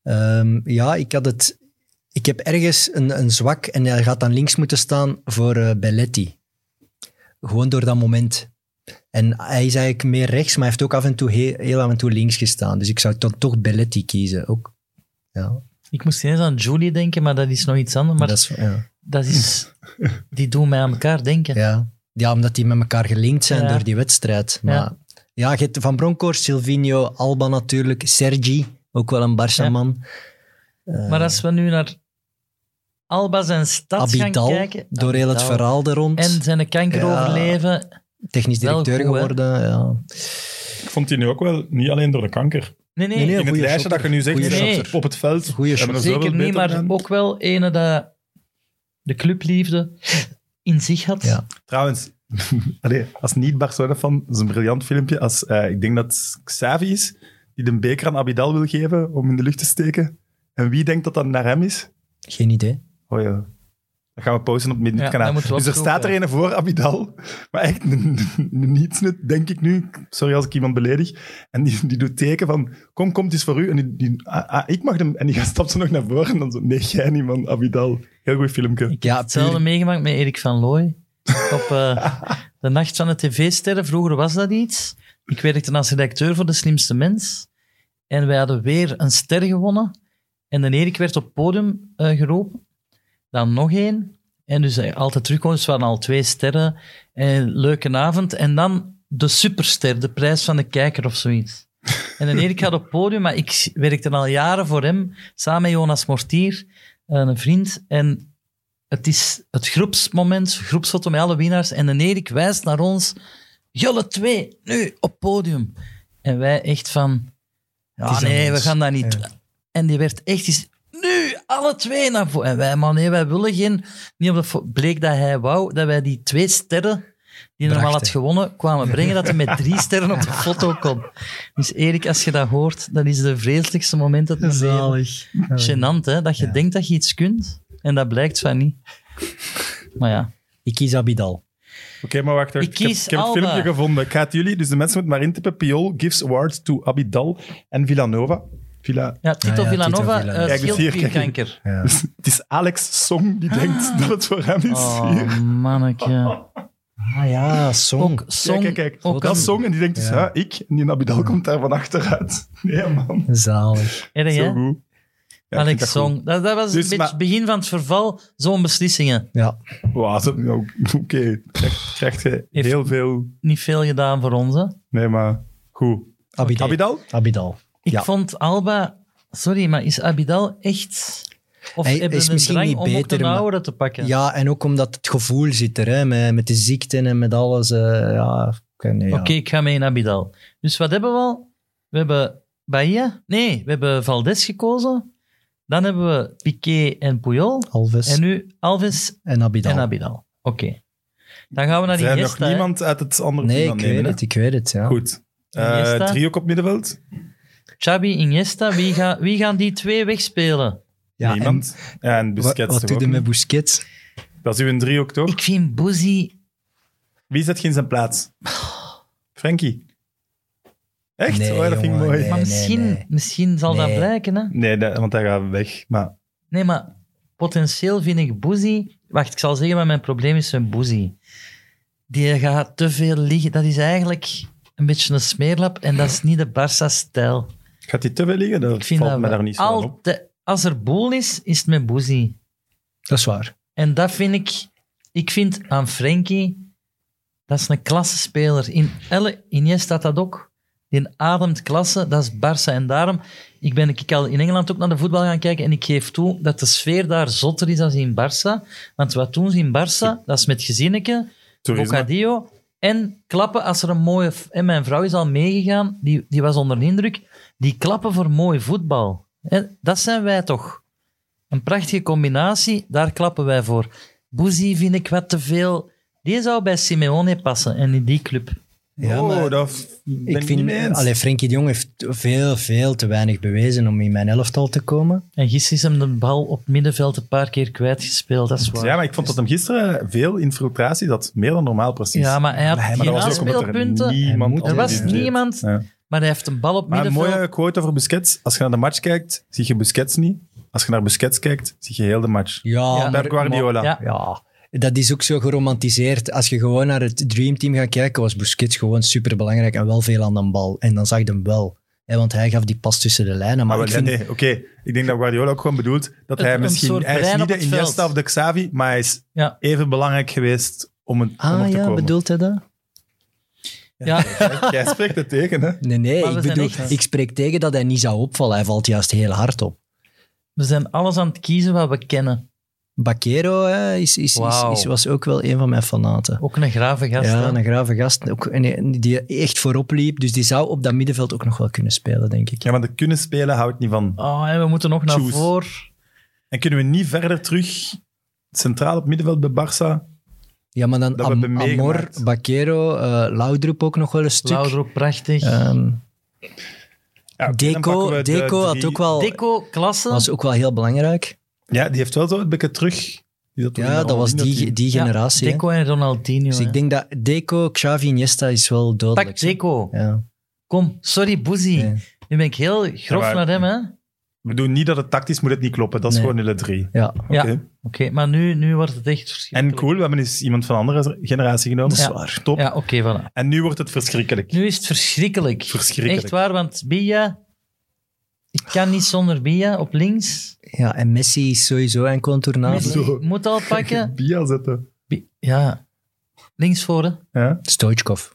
Ehm, ja, ik had het... Ik heb ergens een, een zwak en hij gaat dan links moeten staan voor eh, Belletti. Gewoon door dat moment. En hij is eigenlijk meer rechts, maar hij heeft ook af en toe heel, heel af en toe links gestaan. Dus ik zou dan toch Belletti kiezen. Ook. Ja, Ik moest ineens aan Julie denken, maar dat is nog iets anders. Maar dat is, ja. dat is... Die doen mij aan elkaar denken. Ja. ja, omdat die met elkaar gelinkt zijn Ja. door die wedstrijd. Maar ja, je hebt Van Bronckhorst, Silvino, Alba natuurlijk, Sergi, ook wel een Barça-man. Maar als we nu naar Alba en stad Abidal, gaan kijken... door heel het Abidal. verhaal er rond. En zijn kanker Ja. overleven. Technisch wel directeur goed, hè? geworden. Ja. Ik vond die nu ook wel, niet alleen door de kanker. Nee, nee, Nee, nee, In het goeie lijstje shotter. dat je nu zegt, Goeie nee, shotter. op het veld. Goeie hebben we shotter. er zoveel zeker niet, beter maar gedaan. ook wel ene dat de clubliefde in zich had. Ja. Trouwens, allee, als niet-Barcelona-fan, dat is een briljant filmpje. Als, eh, ik denk dat het Xavi is, die de beker aan Abidal wil geven om in de lucht te steken. En wie denkt dat dat naar hem is? Geen idee. Oh ja. Dat gaan we posten op het Ja, dat Minuutkanaal. moeten we dus er opzoeken. staat er een voor, Abidal. Maar echt niets, denk ik nu. Sorry als ik iemand beledig. En die, die doet teken van, kom, komt is voor u. En die, die- ah, ah, ik mag hem. En die gaat stapt ze nog naar voren. En dan zo, nee, jij niet, man. Abidal. Heel goed filmpje. Ja, puur- Hetzelfde meegemaakt met Erik van Looy. Op eh, de Nacht van de TV-sterren, vroeger was dat iets. Ik werkte als redacteur voor De Slimste Mens. En wij hadden weer een ster gewonnen. En de Erik werd op het podium eh, geroepen. Dan nog één. En dus eh, altijd terugkomen. Ze waren al twee sterren. En leuke avond. En dan de superster, de prijs van de kijker of zoiets. En dan Erik had op het podium, maar ik werkte al jaren voor hem, samen met Jonas Mortier, een vriend. En het is het groepsmoment, groepsfoto met alle winnaars. En dan Erik wijst naar ons, jullie twee, nu, op het podium. En wij echt van, ja is aan nee, we ons." gaan dat niet Ja. doen. En die werd echt eens, nu, alle twee naar voren. En wij, man, nee, wij willen geen... Niet omdat vo- bleek dat hij wou dat wij die twee sterren die normaal had Brachten. gewonnen, kwamen brengen dat hij met drie sterren op de foto kon. Dus Erik, als je dat hoort, dat is de vreselijkste moment dat mijn leven. Zalig. Gênant, hè? Dat je Ja. denkt dat je iets kunt en dat blijkt van niet. Maar ja, Ik kies Abidal. Oké, maar wacht. wacht. Ik heb- kies ik heb, Alba. een filmpje gevonden. Ik ga het jullie... Dus de mensen moeten maar intippen. Piol gives award to Abidal en Villanova. Villa... ja Tito Ah ja, Villanova Tito Villanova. eh, Kijk, dus scheelt hier, weer kijk. kanker. Ja. Dus het is Alex Song die Ah. denkt dat het voor hem is hier. Oh, manneke. Ah ja, Song. Ook Song. kijk, kijk, kijk. Ook dat is Song en die denkt dus, Ja. ja, ik. En die Abidal komt daar van achteruit. Nee, man. Zalig. Erg, Zo hè? goed. Ja, ik vind Alex dat goed. Song. Dat, dat was Dus, een beetje maar- het begin van het verval, zo'n beslissingen. Ja. Wauw, dat- ja, oké. Krijg- Krijgt je Heeft- heel veel... Niet veel gedaan voor ons, hè? Nee, maar goed. Abidal. Abidal? Abidal. Ik Ja. vond Alba... Sorry, maar is Abidal echt... Of Hij hebben is we een misschien drang niet om ook beter, de maar- ouderen te Ja. pakken? en ook omdat het gevoel zit er, hè, met, met de ziekte en met alles. eh, ja, ik weet niet, ja. Oké, ik ga mee in Abidal. Dus wat hebben we al? We hebben Bahia. Nee, we hebben Valdes gekozen. Dan hebben we Piqué en Puyol. Alves En en, nu Alves Abidal. en Abidal. Oké. Dan gaan we naar Zijn nog Iniesta. hè. niemand uit het andere team nee, ik aan weet het nemen, het, ik weet het. Ja. hè? Goed. Iniesta? Eh drie ook op middenveld? Xabi, Iniesta. Wie, gaan wie gaan die twee wegspelen? ja, en Niemand. Ja, en wat, Busquets wat toch doe je ook met niet? Busquets? Dat is uw drie ook, toch? Ik vind Boezie... Wie zet geen zijn plaats? Frankie. Echt? Nee, oh, dat vind ik jongen, mooi. nee. Maar misschien, nee. misschien zal dat Nee. blijken, hè? Nee, dat- want hij gaat weg. Maar Nee, maar potentieel vind ik Boezie... Wacht, ik zal zeggen wat mijn probleem is met Boezie. Die gaat te veel liggen. Dat is eigenlijk een beetje een smeerlap en dat is niet de Barça-stijl. gaat hij te veel liggen? Dat Ik vind valt dat me we daar niet zo aan op. altijd- Als er boel is, is het met Boezie. Dat is waar. En dat vind ik... Ik vind aan Frenkie... Dat is een klassespeler. In Elle, Iniesta staat dat ook. Die ademt klasse, dat is Barça. En daarom, ik ben ik al in Engeland ook naar de voetbal gaan kijken en ik geef toe dat de sfeer daar zotter is dan in Barça. Want wat doen ze in Barça? Dat is met gezinnetje, Toerisme. bocadillo en klappen als er een mooie... f- En mijn vrouw is al meegegaan, die, die was onder de indruk. Die klappen voor mooi voetbal. Hè, dat zijn wij toch. Een prachtige combinatie, daar klappen wij voor. Boezie vind ik wat te veel... Die zou bij Simeone passen en in die club. Ja, oh, maar dat ben ik ik vind, niet mee eens. allee, Frenkie de Jong heeft veel, veel te weinig bewezen om in mijn elftal te komen. En gisteren is hem de bal op het middenveld een paar keer kwijtgespeeld, dat is waar. ja, maar ik vond dat hem gisteren veel infiltratie had. Meer dan normaal, precies. Ja, maar hij had Maar hij- maar geen dat was ook omdat aanspeelpunten. er Hij niemand moet- Er anders was die deed. niemand, Ja. maar hij heeft een bal op Maar een middenveld. mooie quote over Busquets. Als je naar de match kijkt, zie je Busquets niet. Als je naar Busquets kijkt, zie je heel de match. Ja, Ja. maar- Per Guardiola. Ja. ja, dat is ook zo geromantiseerd. Als je gewoon naar het Dreamteam gaat kijken, was Busquets gewoon superbelangrijk en wel veel aan de bal. En dan zag je hem wel. Hè, want hij gaf die pas tussen de lijnen. Maar, Maar ik Ah, wel, vind, nee, oké. Ik denk dat Guardiola ook gewoon bedoelt dat Een- hij een misschien... soort Hij is brein niet op de het veld. Iniesta of de Xavi, maar hij is Ja. even belangrijk geweest om, een, om ah er te ja, komen. bedoelt hij dat? Ja, Jij spreekt het tegen, hè? Nee, nee, Maar we ik, zijn bedoel, echt- ik spreek tegen dat hij niet zou opvallen. Hij valt juist heel hard op. we zijn alles aan het kiezen wat we kennen. Baquero hè, is, is, Wauw. is, is- was ook wel een van mijn fanaten. Ook een grave gast. Ja, hè. een grave gast. Ook, en die- die echt voorop liep. Dus die zou op dat middenveld ook nog wel kunnen spelen, denk ik. Ja, want de kunnen spelen houdt niet van. Oh, en we moeten nog naar Choose. voren. En kunnen we niet verder terug centraal op middenveld bij Barça? Ja, maar dan Dat we Am- hebben Amor, meegemaakt. Baquero, eh Laudrup ook nog wel een stuk. Louder ook prachtig. Ehm, Ja, oké, dan pakken Deco, we de Deco had drie- ook wel, Deco, klasse. was ook wel heel belangrijk. Ja, die heeft wel zo een beetje terug. Die zat toen in Ja, dat was Ronaldinho die, team. die Ja, generatie. hè. Deco en Ronaldinho. dus hè. ik denk dat Deco, Xavi, Iniesta is wel dodelijk. Pak Deco. Ja. Kom, sorry, Boezie. Nee. Nu ben ik heel grof maar- naar hem, hè. We doen niet dat het tactisch moet het niet kloppen. Dat is Nee. gewoon hele drie. Ja. Oké. Ja. Oké, maar nu, nu wordt het echt En verschrikkelijk. cool, we hebben eens iemand van een andere generatie genomen. Dat is waar. Top. Ja, oké, voilà. En nu wordt het verschrikkelijk. Nu is het verschrikkelijk. Verschrikkelijk. Echt waar, want Bia Ik kan niet zonder Bia op links. Ja, en Messi is sowieso een contournable. Messi. Zo. Ik moet al pakken. Bia zetten. Bi- Ja, links voor, hè. Ja. Stoichkov.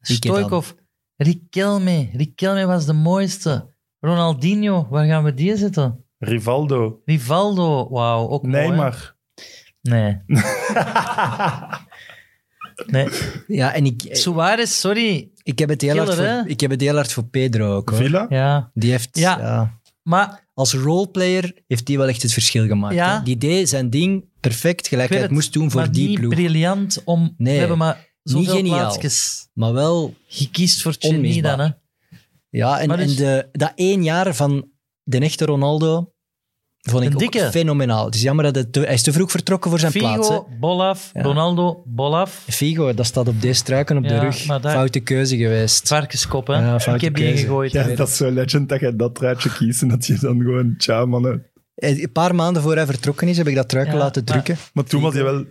Ike dan. Stoikov. Riquelme. Riquelme was de mooiste. Ronaldinho, waar gaan we die zetten? Rivaldo. Rivaldo, wauw, ook mooi, hè? Neymar. Nee. nee. Ja, en ik, Suarez, sorry. ik, heb het heel hard Killer, voor, hè? ik heb het heel hard voor Pedro ook. hoor. Villa. Ja, Die heeft... Ja. ja. maar als roleplayer heeft hij wel echt het verschil gemaakt. Ja. hè. Die deed zijn ding perfect, gelijk ik weet hij het moest doen voor maar die niet ploeg. briljant om... Nee, we hebben maar zoveel geniaal. plaatsjes. Maar wel, Je kiest voor Chini Onmisbaar. dan, hè. ja, en, Maar dus- en de, dat één jaar van de echte Ronaldo vond ik Een ook dikke. fenomenaal. Het is jammer dat het te- hij is te vroeg vertrokken voor zijn plaats. Figo, Hè. Bolaf, Ja. Ronaldo, Bolaf. Figo, dat staat op deze struiken op de Ja, rug. maar daar- Foute keuze geweest. Varkenskop, hè. Ja, ik foute heb die keuze. gegooid. Ja, dat is zo legend dat je dat truitje kiest en dat je dan gewoon, tja mannen. Eh, Een paar maanden voor hij vertrokken is, heb ik dat truiken Ja, laten maar- drukken. Maar toen was hij wel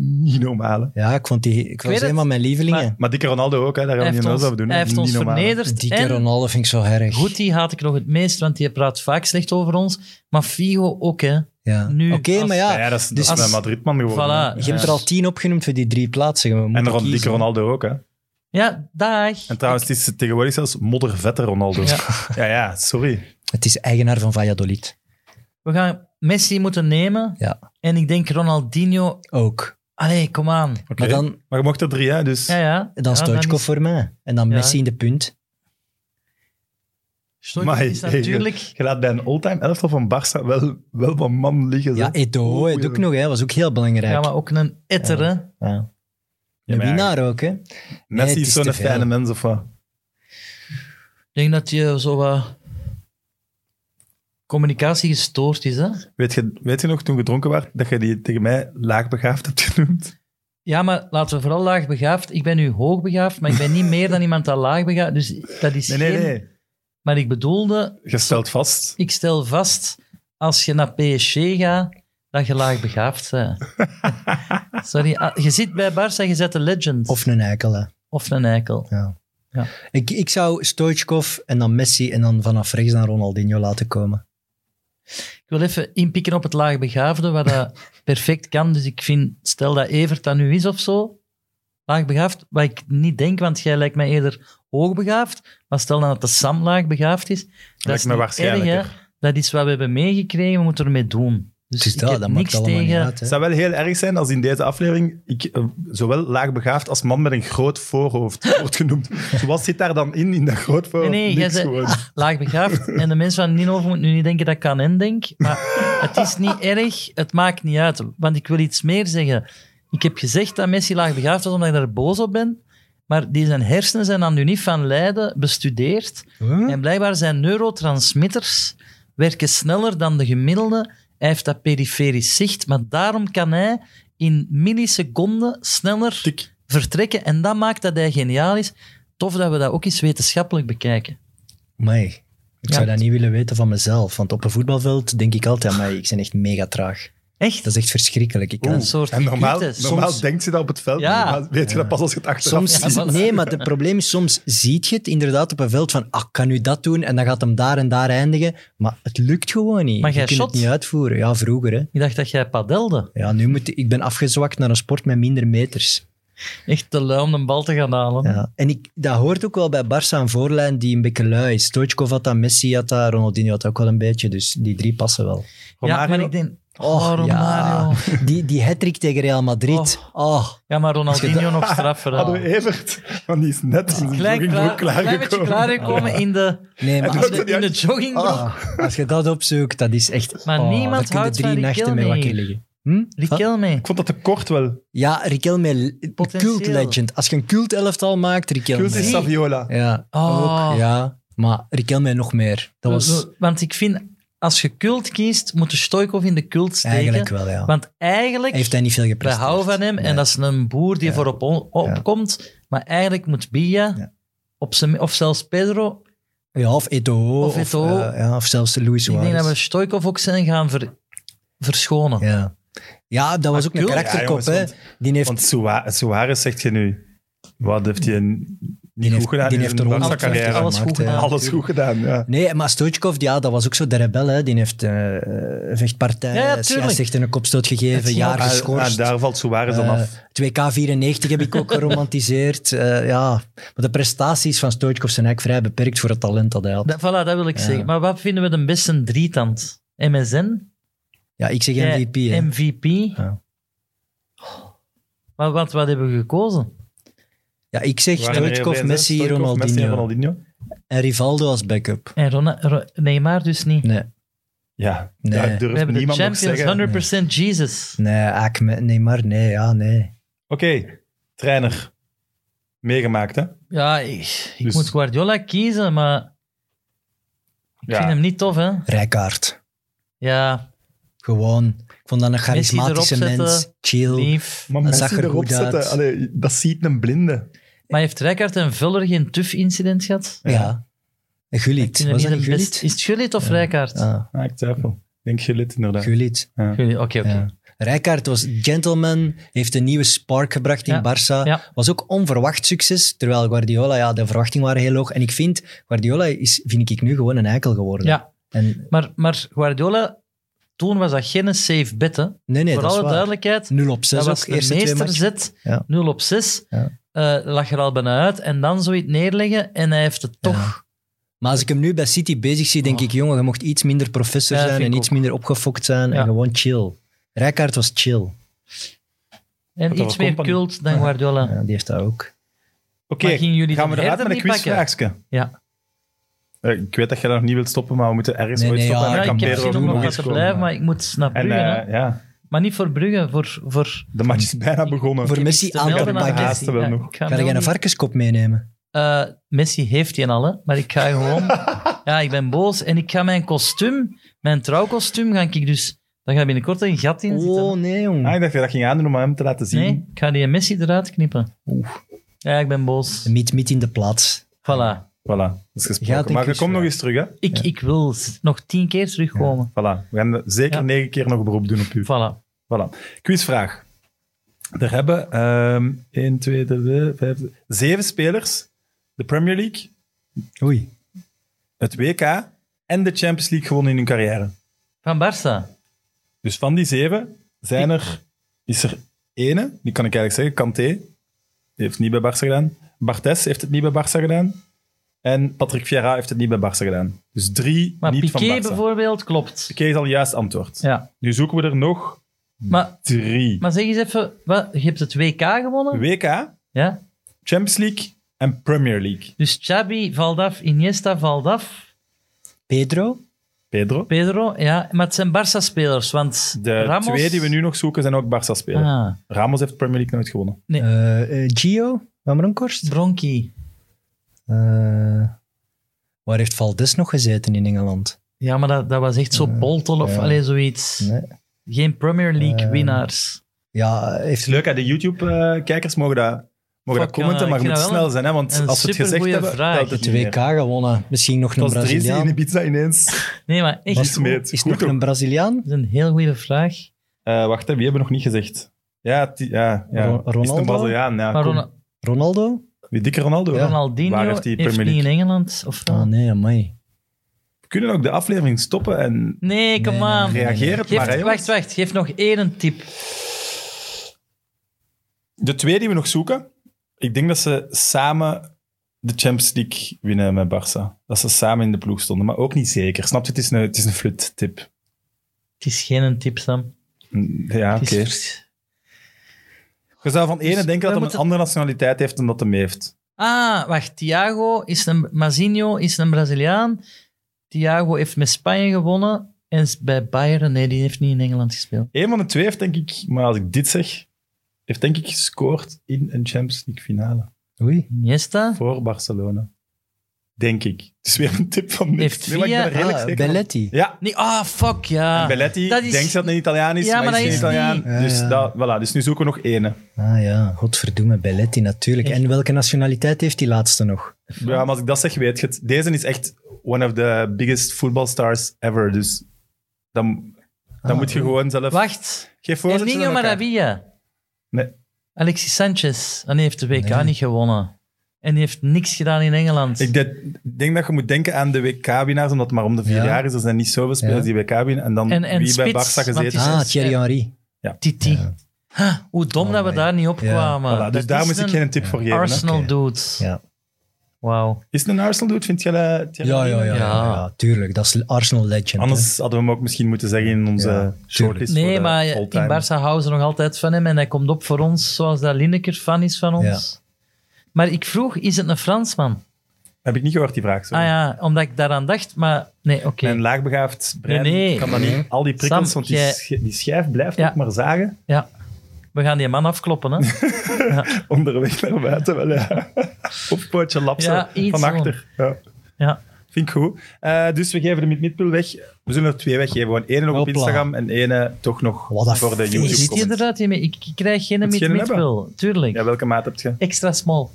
niet normaal. hè. Ja, ik vond die... Ik, was weet het, een van mijn lievelingen. maar- Maar dikke Ronaldo ook, hè, daar gaan Hij we heeft niet ons, anders over doen. hè. hij heeft Niet ons normaal, hè. vernederd. Dikke en Ronaldo vind ik zo erg. Guti haat ik nog het meest, want die praat vaak slecht over ons. Maar Figo ook, hè. Ja. Nu, Oké, als- maar Ah, Ja, ja, dat is, dat Dus is als- een Madridman geworden. hè. Voilà. Je hebt er al tien opgenoemd voor die drie plaatsen. We En moeten Ron, kiezen. dikke Ronaldo ook, hè. Ja, dag. En trouwens, het is tegenwoordig zelfs moddervette Ronaldo. Ja. Ja. ja, sorry. Het is eigenaar van Valladolid. We gaan Messi moeten nemen. Ja. En ik denk Ronaldinho... Ook. Allee, kom aan. Oké. Maar dan, Maar je mocht er drie, hè, dus... Ja, ja. dan ja, Stoichkov is- voor mij. En dan Ja. Messi in de punt. Stoichkov Maar is hey, hey, natuurlijk... Je laat bij een all-time elftal van Barça wel, wel wat man liggen. Ja, zeg. Eto'o Oei, het ook ja. nog. Hè. Was ook heel belangrijk. Ja, maar ook een etter, hè. Ja. Ja, Een maar ja, winnaar ook, hè. Messi het is is zo'n te veel. fijne mens, of wat? Ik denk dat je zo wat... Communicatie gestoord is, hè. Weet je, weet je nog, toen gedronken werd, dat je die tegen mij laagbegaafd hebt genoemd? Ja, maar laten we vooral laagbegaafd... Ik ben nu hoogbegaafd, maar ik ben niet meer dan iemand dat laagbegaafd... Dus dat is Nee, nee, geen... nee. Maar ik bedoelde... Je stelt vast. Ik stel vast, als je naar PSG gaat, dat je laagbegaafd bent. Sorry, ah, je zit bij Barça, je zet een legend. Of, Of een eikel, hè. een eikel. Ja. Ja. Ik, ik zou Stoichkov en dan Messi en dan vanaf rechts naar Ronaldinho laten komen. Ik wil even inpikken op het laagbegaafde, wat dat perfect kan. Dus ik vind, stel dat Evert dat nu is of zo, laagbegaafd, wat ik niet denk, want jij lijkt mij eerder hoogbegaafd. Maar stel dan dat de Sam laagbegaafd is, dat Lijkt is me niet erg, waarschijnlijker. hè. Dat is wat we hebben meegekregen, we moeten ermee doen. Dus Dus ik dat, heb dat niks maakt allemaal tegen... niet uit. Het Hè. zou wel heel erg zijn als in deze aflevering ik eh, zowel laagbegaafd als man met een groot voorhoofd wordt genoemd. Zo, Wat zit daar dan in, in dat groot voorhoofd? Nee, nee, jij Niks zei- Ah, gewoon. laagbegaafd. En de mensen van Ninove moeten nu niet denken dat ik aan hen denk. Maar het is niet erg. Het maakt niet uit. Want ik wil iets meer zeggen. Ik heb gezegd dat Messi laagbegaafd was omdat ik daar boos op ben. Maar die zijn hersenen zijn aan de Unie van Leiden bestudeerd. En blijkbaar zijn neurotransmitters werken sneller dan de gemiddelde. Hij heeft dat periferisch zicht. Maar daarom kan hij in milliseconden sneller Tik. vertrekken. En dat maakt dat hij geniaal is. Tof dat we dat ook eens wetenschappelijk bekijken. Amai. Ik Ja. zou dat niet willen weten van mezelf. Want op een voetbalveld denk ik altijd, amai, ik ben echt mega traag. Echt? Dat is echt verschrikkelijk. Ik kan Oeh. het- soort en normaal, mythes. normaal Soms- denkt ze dat op het veld, Ja. maar weet je dat pas als je het achteraf Soms, ziet. maar- nee, maar het probleem is, soms ziet je het inderdaad op een veld van, ah, ik kan nu dat doen en dan gaat hem daar en daar eindigen. Maar het lukt gewoon niet. Maar je jij kunt shot? het niet uitvoeren. Ja, vroeger hè. Ik dacht dat jij padelde. Ja, nu moet ik, ik ben afgezwakt naar een sport met minder meters. Echt te lui om een bal te gaan halen. Ja. En ik, dat hoort ook wel bij Barça een voorlijn die een beetje lui is. Stoichkov had dat, Messi had dat, Ronaldinho had dat ook wel een beetje. Dus die drie passen wel. Ja, maar Romario- ik denk... Och, Oh, Romario. Ja. ja. Die, die hattrick tegen Real Madrid. oh. maar Ronaldinho nog straffer. Hadden we Evert, want die is net in zijn Klein, jogging klaar, ook klein beetje klaargekomen. klaargekomen in de, Nee, maar in als doet de, het niet in de uit. joggingbroek. Ah, als je dat opzoekt, dat is echt... Maar oh, niemand daar kun je houdt drie van nachten Riquelme mee wakker hier. liggen. Hm? Riquelme. Ik vond dat te kort wel. Ja, Riquelme, Potentieel. cult legend. Als je een cult elftal maakt, Riquelme. Kus is Saviola. Ja, Oh. ook, ja. Maar Riquelme nog meer. Dat was Want ik vind, als je cult kiest, moet je Stoikov in de cult steken. eigenlijk wel, ja. Want eigenlijk, Heeft hij niet veel we gepresteerd. houden van hem. En Nee. dat is een boer die Ja. voorop on- opkomt. Maar eigenlijk moet Bia, Ja. op zijn, of zelfs Pedro, Ja, of Eto'o. Of Eto'o. eh, ja, of zelfs Luis Ik Suarez. denk dat we Stoikov ook zijn gaan ver- verschonen. ja. ja, dat was ook een cult? karakterkop. Ja, jongens, hè. Die heeft... Want Soa- Suarez zegt je nu, wat heeft hij een- niet niet goed heeft- gedaan die in heeft zijn er Barca carrière. alles goed gemaakt, hè. gedaan. Alles goed gedaan, ja. Nee, maar Stoichkov, ja, dat was ook zo de rebel. Hè. Die heeft eh vechtpartij, Ja, ja, ja, tuurlijk. een kopstoot gegeven, Het- jaar Ah, geschorst. ah, daar valt Suarez dan af. Eh, 2K94 heb ik ook geromantiseerd. Eh, ja. Maar de prestaties van Stoichkov zijn eigenlijk vrij beperkt voor het talent dat hij had. Dat, voilà, dat wil ik Ja. zeggen. Maar wat vinden we de beste drietand? MSN? Ja, ik zeg Jij- MVP. hè. MVP? Ja. Maar wat, wat hebben we gekozen? Ja, ik zeg Er waren er heel Stoichkov, veel, hè. Messi, Stoichkov, Ronaldinho. Messi en Ronaldinho. En Rivaldo als backup. En Rona- Ro- Neymar dus niet. Nee, Ja, Nee. daar we durft hebben de niemand nog Champions, zeggen. 100% Jesus. nee, Ak- Neymar, nee, ja, nee. Oké, trainer. Meegemaakt, hè? Ja, ik, ik Dus- moet Guardiola kiezen, maar ik vind hem niet tof, hè? Rijkaard. Ja, Gewoon. Ik vond dat een charismatische erop mens. zetten. Chill. lief. Maar Dat mensen zag er erop goed uit. zetten, allee, dat ziet een blinde. Maar heeft Rijkaard en Vuller geen tuf-incident gehad? Ja. Een Ik Gullit. vind hem Was niet dat een de best- Gullit? Is het Gullit of Rijkaard? Ah, Ah, ik twijfel. Ik denk Gullit, inderdaad. Gullit. Gullit, Oké, oké. Ja. Rijkaard was gentleman, heeft een nieuwe spark gebracht in Ja, Barça. ja. Was ook onverwacht succes, terwijl Guardiola, ja, de verwachtingen waren heel hoog. En ik vind, Guardiola is, vind ik nu gewoon een eikel geworden. Ja, En, maar, maar Guardiola, toen was dat geen safe bet, hè? nee, nee, dat Voor is alle waar. duidelijkheid, 0 op 6 dat ook, was de eerste twee matchen. meesterzet, Ja. 0 op 6. Ja. Eh, lag er al bijna uit. En dan zoiets neerleggen en hij heeft het toch... Maar als ik hem nu bij City bezig zie, denk Oh. ik, jongen, je mocht iets minder professor Ja, zijn vind en ik iets ook. minder opgefokt zijn Ja. en gewoon chill. Rijkaard was chill. En Dat was iets meer Company. cult dan Guardiola. Ja, die heeft dat ook. Oké, Maar gingen jullie gaan de we eruit herder met een niet quizvraagje? Ja. Eh, ik weet dat jij dat nog niet wilt stoppen, maar we moeten ergens Nee, ooit nee, stoppen. ja, en Ja, dan ik kan heb Pedro zin ook om nog nog eens wat te komen. blijven, maar ik moet naar En Brugge. hè. eh, ja, Maar niet voor Brugge, voor... voor de match is bijna begonnen. Voor Ik heb Messi iets te aan te melden aan pakken. Messi. Haasten wel Ja, nog. ik ga Ga jij melden. een varkenskop meenemen? Eh, Messi heeft die al, hè, maar ik ga gewoon... ja, ik ben boos en ik ga mijn kostuum, mijn trouwkostuum, ga ik dus... Daar gaat binnenkort een gat in zitten. Oh, nee, jong. Ah, ik dacht dat je dat ging aandoen om hem te laten zien. Nee, ik ga die Messi eruit knippen. Ja, ik ben boos. Miet, miet in de plaats. Voilà. Voilà, dat is gesproken. Gaat een maar je quizvraag. komt nog eens terug, hè? Ik, ik wil s- nog tien keer terugkomen. Voilà, we gaan zeker Ja. negen keer nog beroep doen op u. Voilà. Voilà. Quizvraag. Er hebben ehm 1, 2, 3, 5, zeven spelers de Premier League, Oei. het WK en de Champions League gewonnen in hun carrière. Van Barça. Dus van die zeven zijn er, is er ene, die kan ik eigenlijk zeggen, Kanté, die heeft het niet bij Barça gedaan. Bartes heeft het niet bij Barça gedaan. En Patrick Vieira heeft het niet bij Barça gedaan. Dus drie Maar niet van Piqué Barça. Dus bijvoorbeeld klopt. Piqué is al juist antwoord. Ja. Nu zoeken we er nog Maar, drie. maar zeg eens even, wat, je hebt het WK gewonnen. WK, Ja? Champions League en Premier League. Dus Xabi valt af, Iniesta valt af, Pedro? Pedro. Pedro. Ja, maar het zijn Barça-spelers, want De Ramos... twee die we nu nog zoeken zijn ook Barça-spelers. Ah, Ramos heeft de Premier League nooit gewonnen. Eh, eh, Gio van Bronkhorst. Bronchi. Eh, waar heeft Valdes nog gezeten in Engeland? Ja, maar dat, dat was echt zo Bolton of ja. alleen zoiets. Nee. Geen Premier League Eh, winnaars. Ja, heeft Het is leuk, hè? de YouTube-kijkers mogen dat, mogen dat Fuck, commenten, ja, maar ik je vind moet dat wel snel zijn, hè? want een als we het gezegd supergoeie hebben, vraag. telt het het niet meer. WK gewonnen. Misschien nog een Het was Dries die in Braziliaan. Ibiza ineens Nee, maar echt. Was- Dat smeet. Is het Goed nog ook. een Braziliaan? is een heel goede vraag. Eh, wacht, hè, wie hebben we nog niet gezegd? Ja, ti- ja, ja. Ro- Is het Ronaldo? een Braziliaan? Ja, Ah, Maar kom. Rona- Ronaldo? Wie dikke Ronaldo? hè? Ronaldinho Waar heeft heeft, hij Premier niet in League? Engeland. Of wel? Ah, nee, amai. We kunnen ook de aflevering stoppen en Nee, come Nee, nee, on. nee. reageer het Geef- maar. hè, jongens. wacht, wacht. Geef nog één tip. De twee die we nog zoeken, ik denk dat ze samen de Champions League winnen met Barça. Dat ze samen in de ploeg stonden, maar ook niet zeker. Snap je? Het is een, het is een flut-tip. Het is geen een tip, Sam. Mm, Ja, Het oké. is vers- Je zou van ene Dus denken dat wij hij een moeten- andere nationaliteit heeft dan dat hem heeft. Ah, wacht. Thiago is een... Mazinho is een Braziliaan. Thiago heeft met Spanje gewonnen. En is bij Bayern... Nee, die heeft niet in Engeland gespeeld. Eén van de twee heeft, denk ik, maar als ik dit zeg, heeft denk ik gescoord in een Champions League finale. Oei. Iniesta? Voor Barcelona. Denk ik. Het is weer een tip van niks. Heeft Nee, maar ik ben er via- redelijk Ah, zeker van. Belletti. Ja, Nee, ah, fuck, ja. en Belletti dat is- denkt dat het een Italiaan is, Ja, maar, maar is geen dat is Italiaan. niet. Ja, Dus, ja. Dat, voilà. dus nu zoeken we nog ene. Ah ja, godverdomme, Belletti natuurlijk. Echt? En welke nationaliteit heeft die laatste nog? Ja, maar als ik dat zeg, weet je het. Deze is echt one of the biggest football stars ever. Dus dan, dan Ah, moet je gewoon zelf... Wacht. Geef El voorzetjes Niño aan elkaar. Maravilla. Nee. Alexis Sanchez. Ah, nee, heeft de WK Nee. niet gewonnen. En die heeft niks gedaan in Engeland. Ik denk, denk dat je moet denken aan de WK-winnaars, omdat het maar om de vier Ja. jaar is. Er zijn niet zoveel spelers Ja. die WK-winnaar. En dan En- en wie bij spits, Barca want die gezeten zijn- is. Ah, Thierry Henry. Titi. Huh, hoe dom Oh dat we my. daar niet op Ja. kwamen. Voilà, dus Dat daar is moest ik een geen tip voor geven. hè. Arsenal Oké. dude. Ja. Wauw. Is het een Arsenal-dude, vind je? eh, Thierry? Ja, ja, ja, Ja. ja, Tuurlijk, dat is Arsenal legend. hè. Anders hadden we hem ook misschien moeten zeggen in onze Ja, shortlist. voor Nee, de maar all-time. in Barça houden ze nog altijd van hem. En hij komt op voor ons, zoals dat Lineker fan is van ons. Maar ik vroeg, is het een Fransman? Heb ik niet gehoord, die vraag. sorry. Ah ja, omdat ik daaraan dacht, maar... Nee, oké. Mijn laagbegaafd brein Nee, nee. kan dan niet al die prikkels, Sam, want die, jij- sch- die schijf blijft Ja. ook maar zagen. Ja. We gaan die man afkloppen, hè. Onderweg naar buiten wel, ja. Of pootje lapsen Ja, iets van achter. Ja. Ja. Vind ik goed. Eh, dus we geven de mid-midpool weg. We zullen er twee weggeven. Gewoon één op Hopla. Instagram en één eh, toch nog Wat een voor de feest. YouTube Je ziet comments. inderdaad, je- ik ik krijg geen Moet je hem mid-mid-wil. Tuurlijk. Ja, welke maat heb je? Extra small.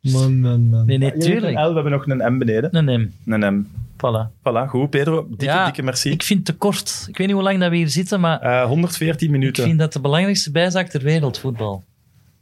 Man, man, man. Nee, nee, Je hebt tuurlijk. Een L, we hebben nog een M beneden. Nee, nee. Een M. Voilà. Voilà, goed. Pedro, dikke, Ja, dikke merci. Ik vind het te kort. Ik weet niet hoe lang dat we hier zitten, maar Eh, 114 ik minuten. vind dat de belangrijkste bijzaak ter wereld, voetbal.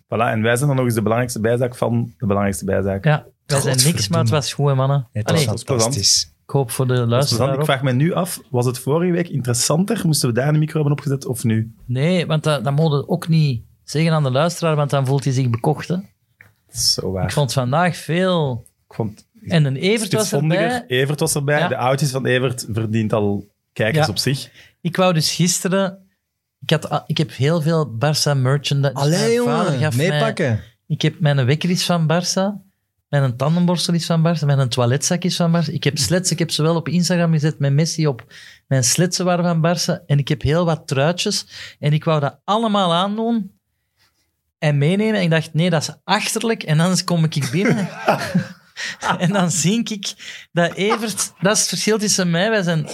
Voilà, en wij zijn dan nog eens de belangrijkste bijzaak van de belangrijkste bijzaak. Ja, wij zijn niks, Godverdomme. maar het was goed, hè, mannen. Het Allee, was dat is plezant. fantastisch. ik hoop voor de Dat is plezant. luisteraar ik ook. vraag me nu af, was het vorige week interessanter? Moesten we daar een micro hebben opgezet of nu? Nee, want dat, dat mogen we ook niet zeggen aan de luisteraar, want dan voelt hij zich bekocht. Hè. Dat is zo waar. Ik vond vandaag veel. Ik vond En een Evert het was erbij. Evert was erbij. Ja. De outfit van Evert verdient al kijkers Ja. op zich. Ik wou dus gisteren... Ik, had, a- ik heb heel veel Barça merchandise. Allee, Mijn vader gaf jongen. mij- Meepakken. ik heb mijn wekker is van Barça. Mijn tandenborstel is van Barça. Mijn toiletzak is van Barça. Ik heb sletsen. Ik heb ze wel op Instagram gezet. Mijn Messi op. Mijn sletsen waren van Barça. En ik heb heel wat truitjes. En ik wou dat allemaal aandoen. En meenemen. En ik dacht, nee, dat is achterlijk. En anders kom ik binnen. en dan zie ik dat Evert... Dat is het verschil tussen mij. Wij zijn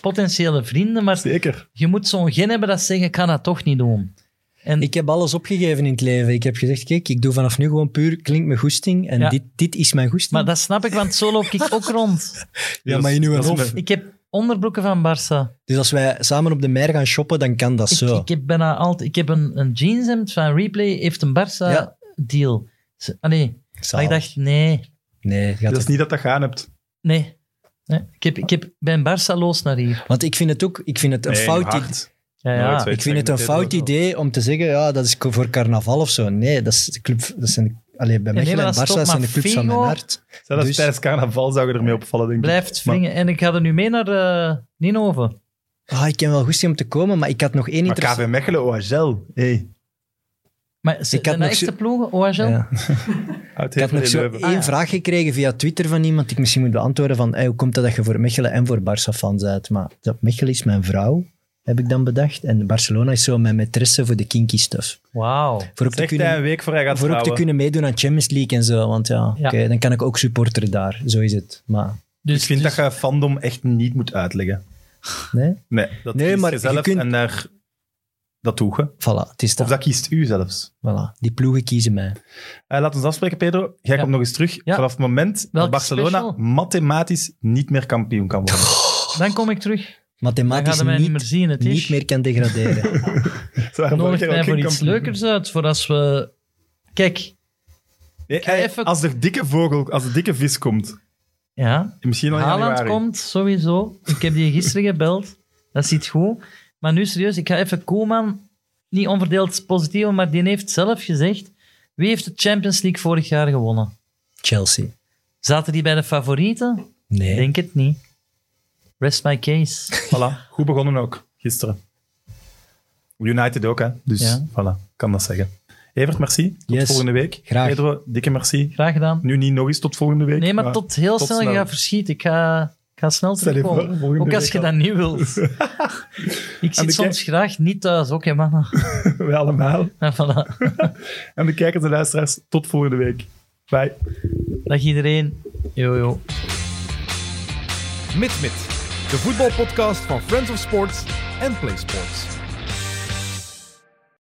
potentiële vrienden. Maar Zeker. je moet zo'n gen hebben dat zeggen, ik kan dat toch niet doen. En Ik heb alles opgegeven in het leven. Ik heb gezegd, kijk, ik doe vanaf nu gewoon puur klinkt mijn goesting. En Ja. dit, dit is mijn goesting. Maar dat snap ik, want zo loop ik ook rond. ja, maar in uw Dat is hof. mijn- Ik heb onderbroeken van Barça. Dus als wij samen op de mer gaan shoppen, dan kan dat Ik, zo. ik heb bijna altijd... Ik heb een, een jeanshemd van Replay, heeft een Ja. Barça-deal. Allee, maar Zalig. ah, ik dacht, nee, nee, gaat Dat het- is niet dat dat gaan hebt. nee. nee. Ik, heb, ik heb, ben Barça los naar hier. Want ik vind het ook ik vind het een Nee, fout idee. hard. Ja, ja. Nooit zo. Ik vind het een Tegen fout Pedro. idee om te zeggen, ja, dat is voor carnaval of zo. Nee, dat is de club... Dat zijn, allee, bij nee, Mechelen maar en dat Barça stopt, zijn de maar clubs van mijn Figo- hart. Zelfs Dus- tijdens carnaval zou je ermee opvallen, denk ik. Blijft wringen. En ik ga er nu mee naar eh Ninove. Ah, ik ken wel goesting om te komen, maar ik had nog één Maar interesse- KV Mechelen, OHL. Hey. Maar ze, Ik had zijn dat nog zo- echte ploegen? OHL? Ja. Oud Ik had nog zo één Ah, ja. vraag gekregen via Twitter van iemand die ik misschien moet beantwoorden van hey, hoe komt het dat je voor Mechelen en voor Barça fan bent? Maar dat Mechelen is mijn vrouw, heb ik dan bedacht. En Barcelona is zo mijn maîtresse voor de kinky stuff. Wauw. Voor ook, te Zegt hij een kunnen, week voor hij gaat voor ook te trouwen. kunnen meedoen aan Champions League en zo. Want ja, Ja. oké, dan kan ik ook supporter daar. Zo is het. Maar Dus, Ik vind dus- dat je fandom echt niet moet uitleggen. nee, Nee, dat Nee, kiest maar je je zelf kunt- en daar, dat doe je. voilà, het is Of dat. dat kiest u zelfs. Voilà, die ploegen kiezen mij. Eh, laat ons afspreken, Pedro. Jij Ja. komt nog eens terug. Ja. Vanaf het moment dat Welke Barcelona special? mathematisch niet meer kampioen kan worden. Dan kom ik terug. Dan Mathematisch gaan mij niet meer niet, zien. Het is... niet meer kan degraderen. Ze waren vorige Nodig keer mij ook geen voor iets kampioen. leukers uit, voor als we... Kijk, Nee, ga eh, even- Als de dikke vogel, als de dikke vis komt, ja, misschien al in Haaland januari. komt sowieso. Ik heb die gisteren gebeld. Dat ziet goed. Maar nu serieus, ik ga even Koeman, niet onverdeeld positief, maar die heeft zelf gezegd, wie heeft de Champions League vorig jaar gewonnen? Chelsea. Zaten die bij de favorieten? Nee. Denk het niet. Rest my case. Voilà, goed begonnen ook, gisteren. United ook, hè. Dus Ja. voilà, kan dat zeggen. Evert, merci. Tot Yes. volgende week. Graag. Pedro, dikke merci. Graag gedaan. Nu niet nog eens tot volgende week. Nee, maar tot heel tot snel. Je snel. gaat verschieten. Ik ga, ik ga snel Stel je voor, terugkomen. volgende ook als week je al. dat niet wilt. ik de zit soms graag niet thuis. Oké, mannen. We allemaal. En voilà. En de kijkers en luisteraars, tot volgende week. Bye. Dag iedereen. Yo, yo. Mid-Mid, de voetbalpodcast van Friends of Sports en Play Sports.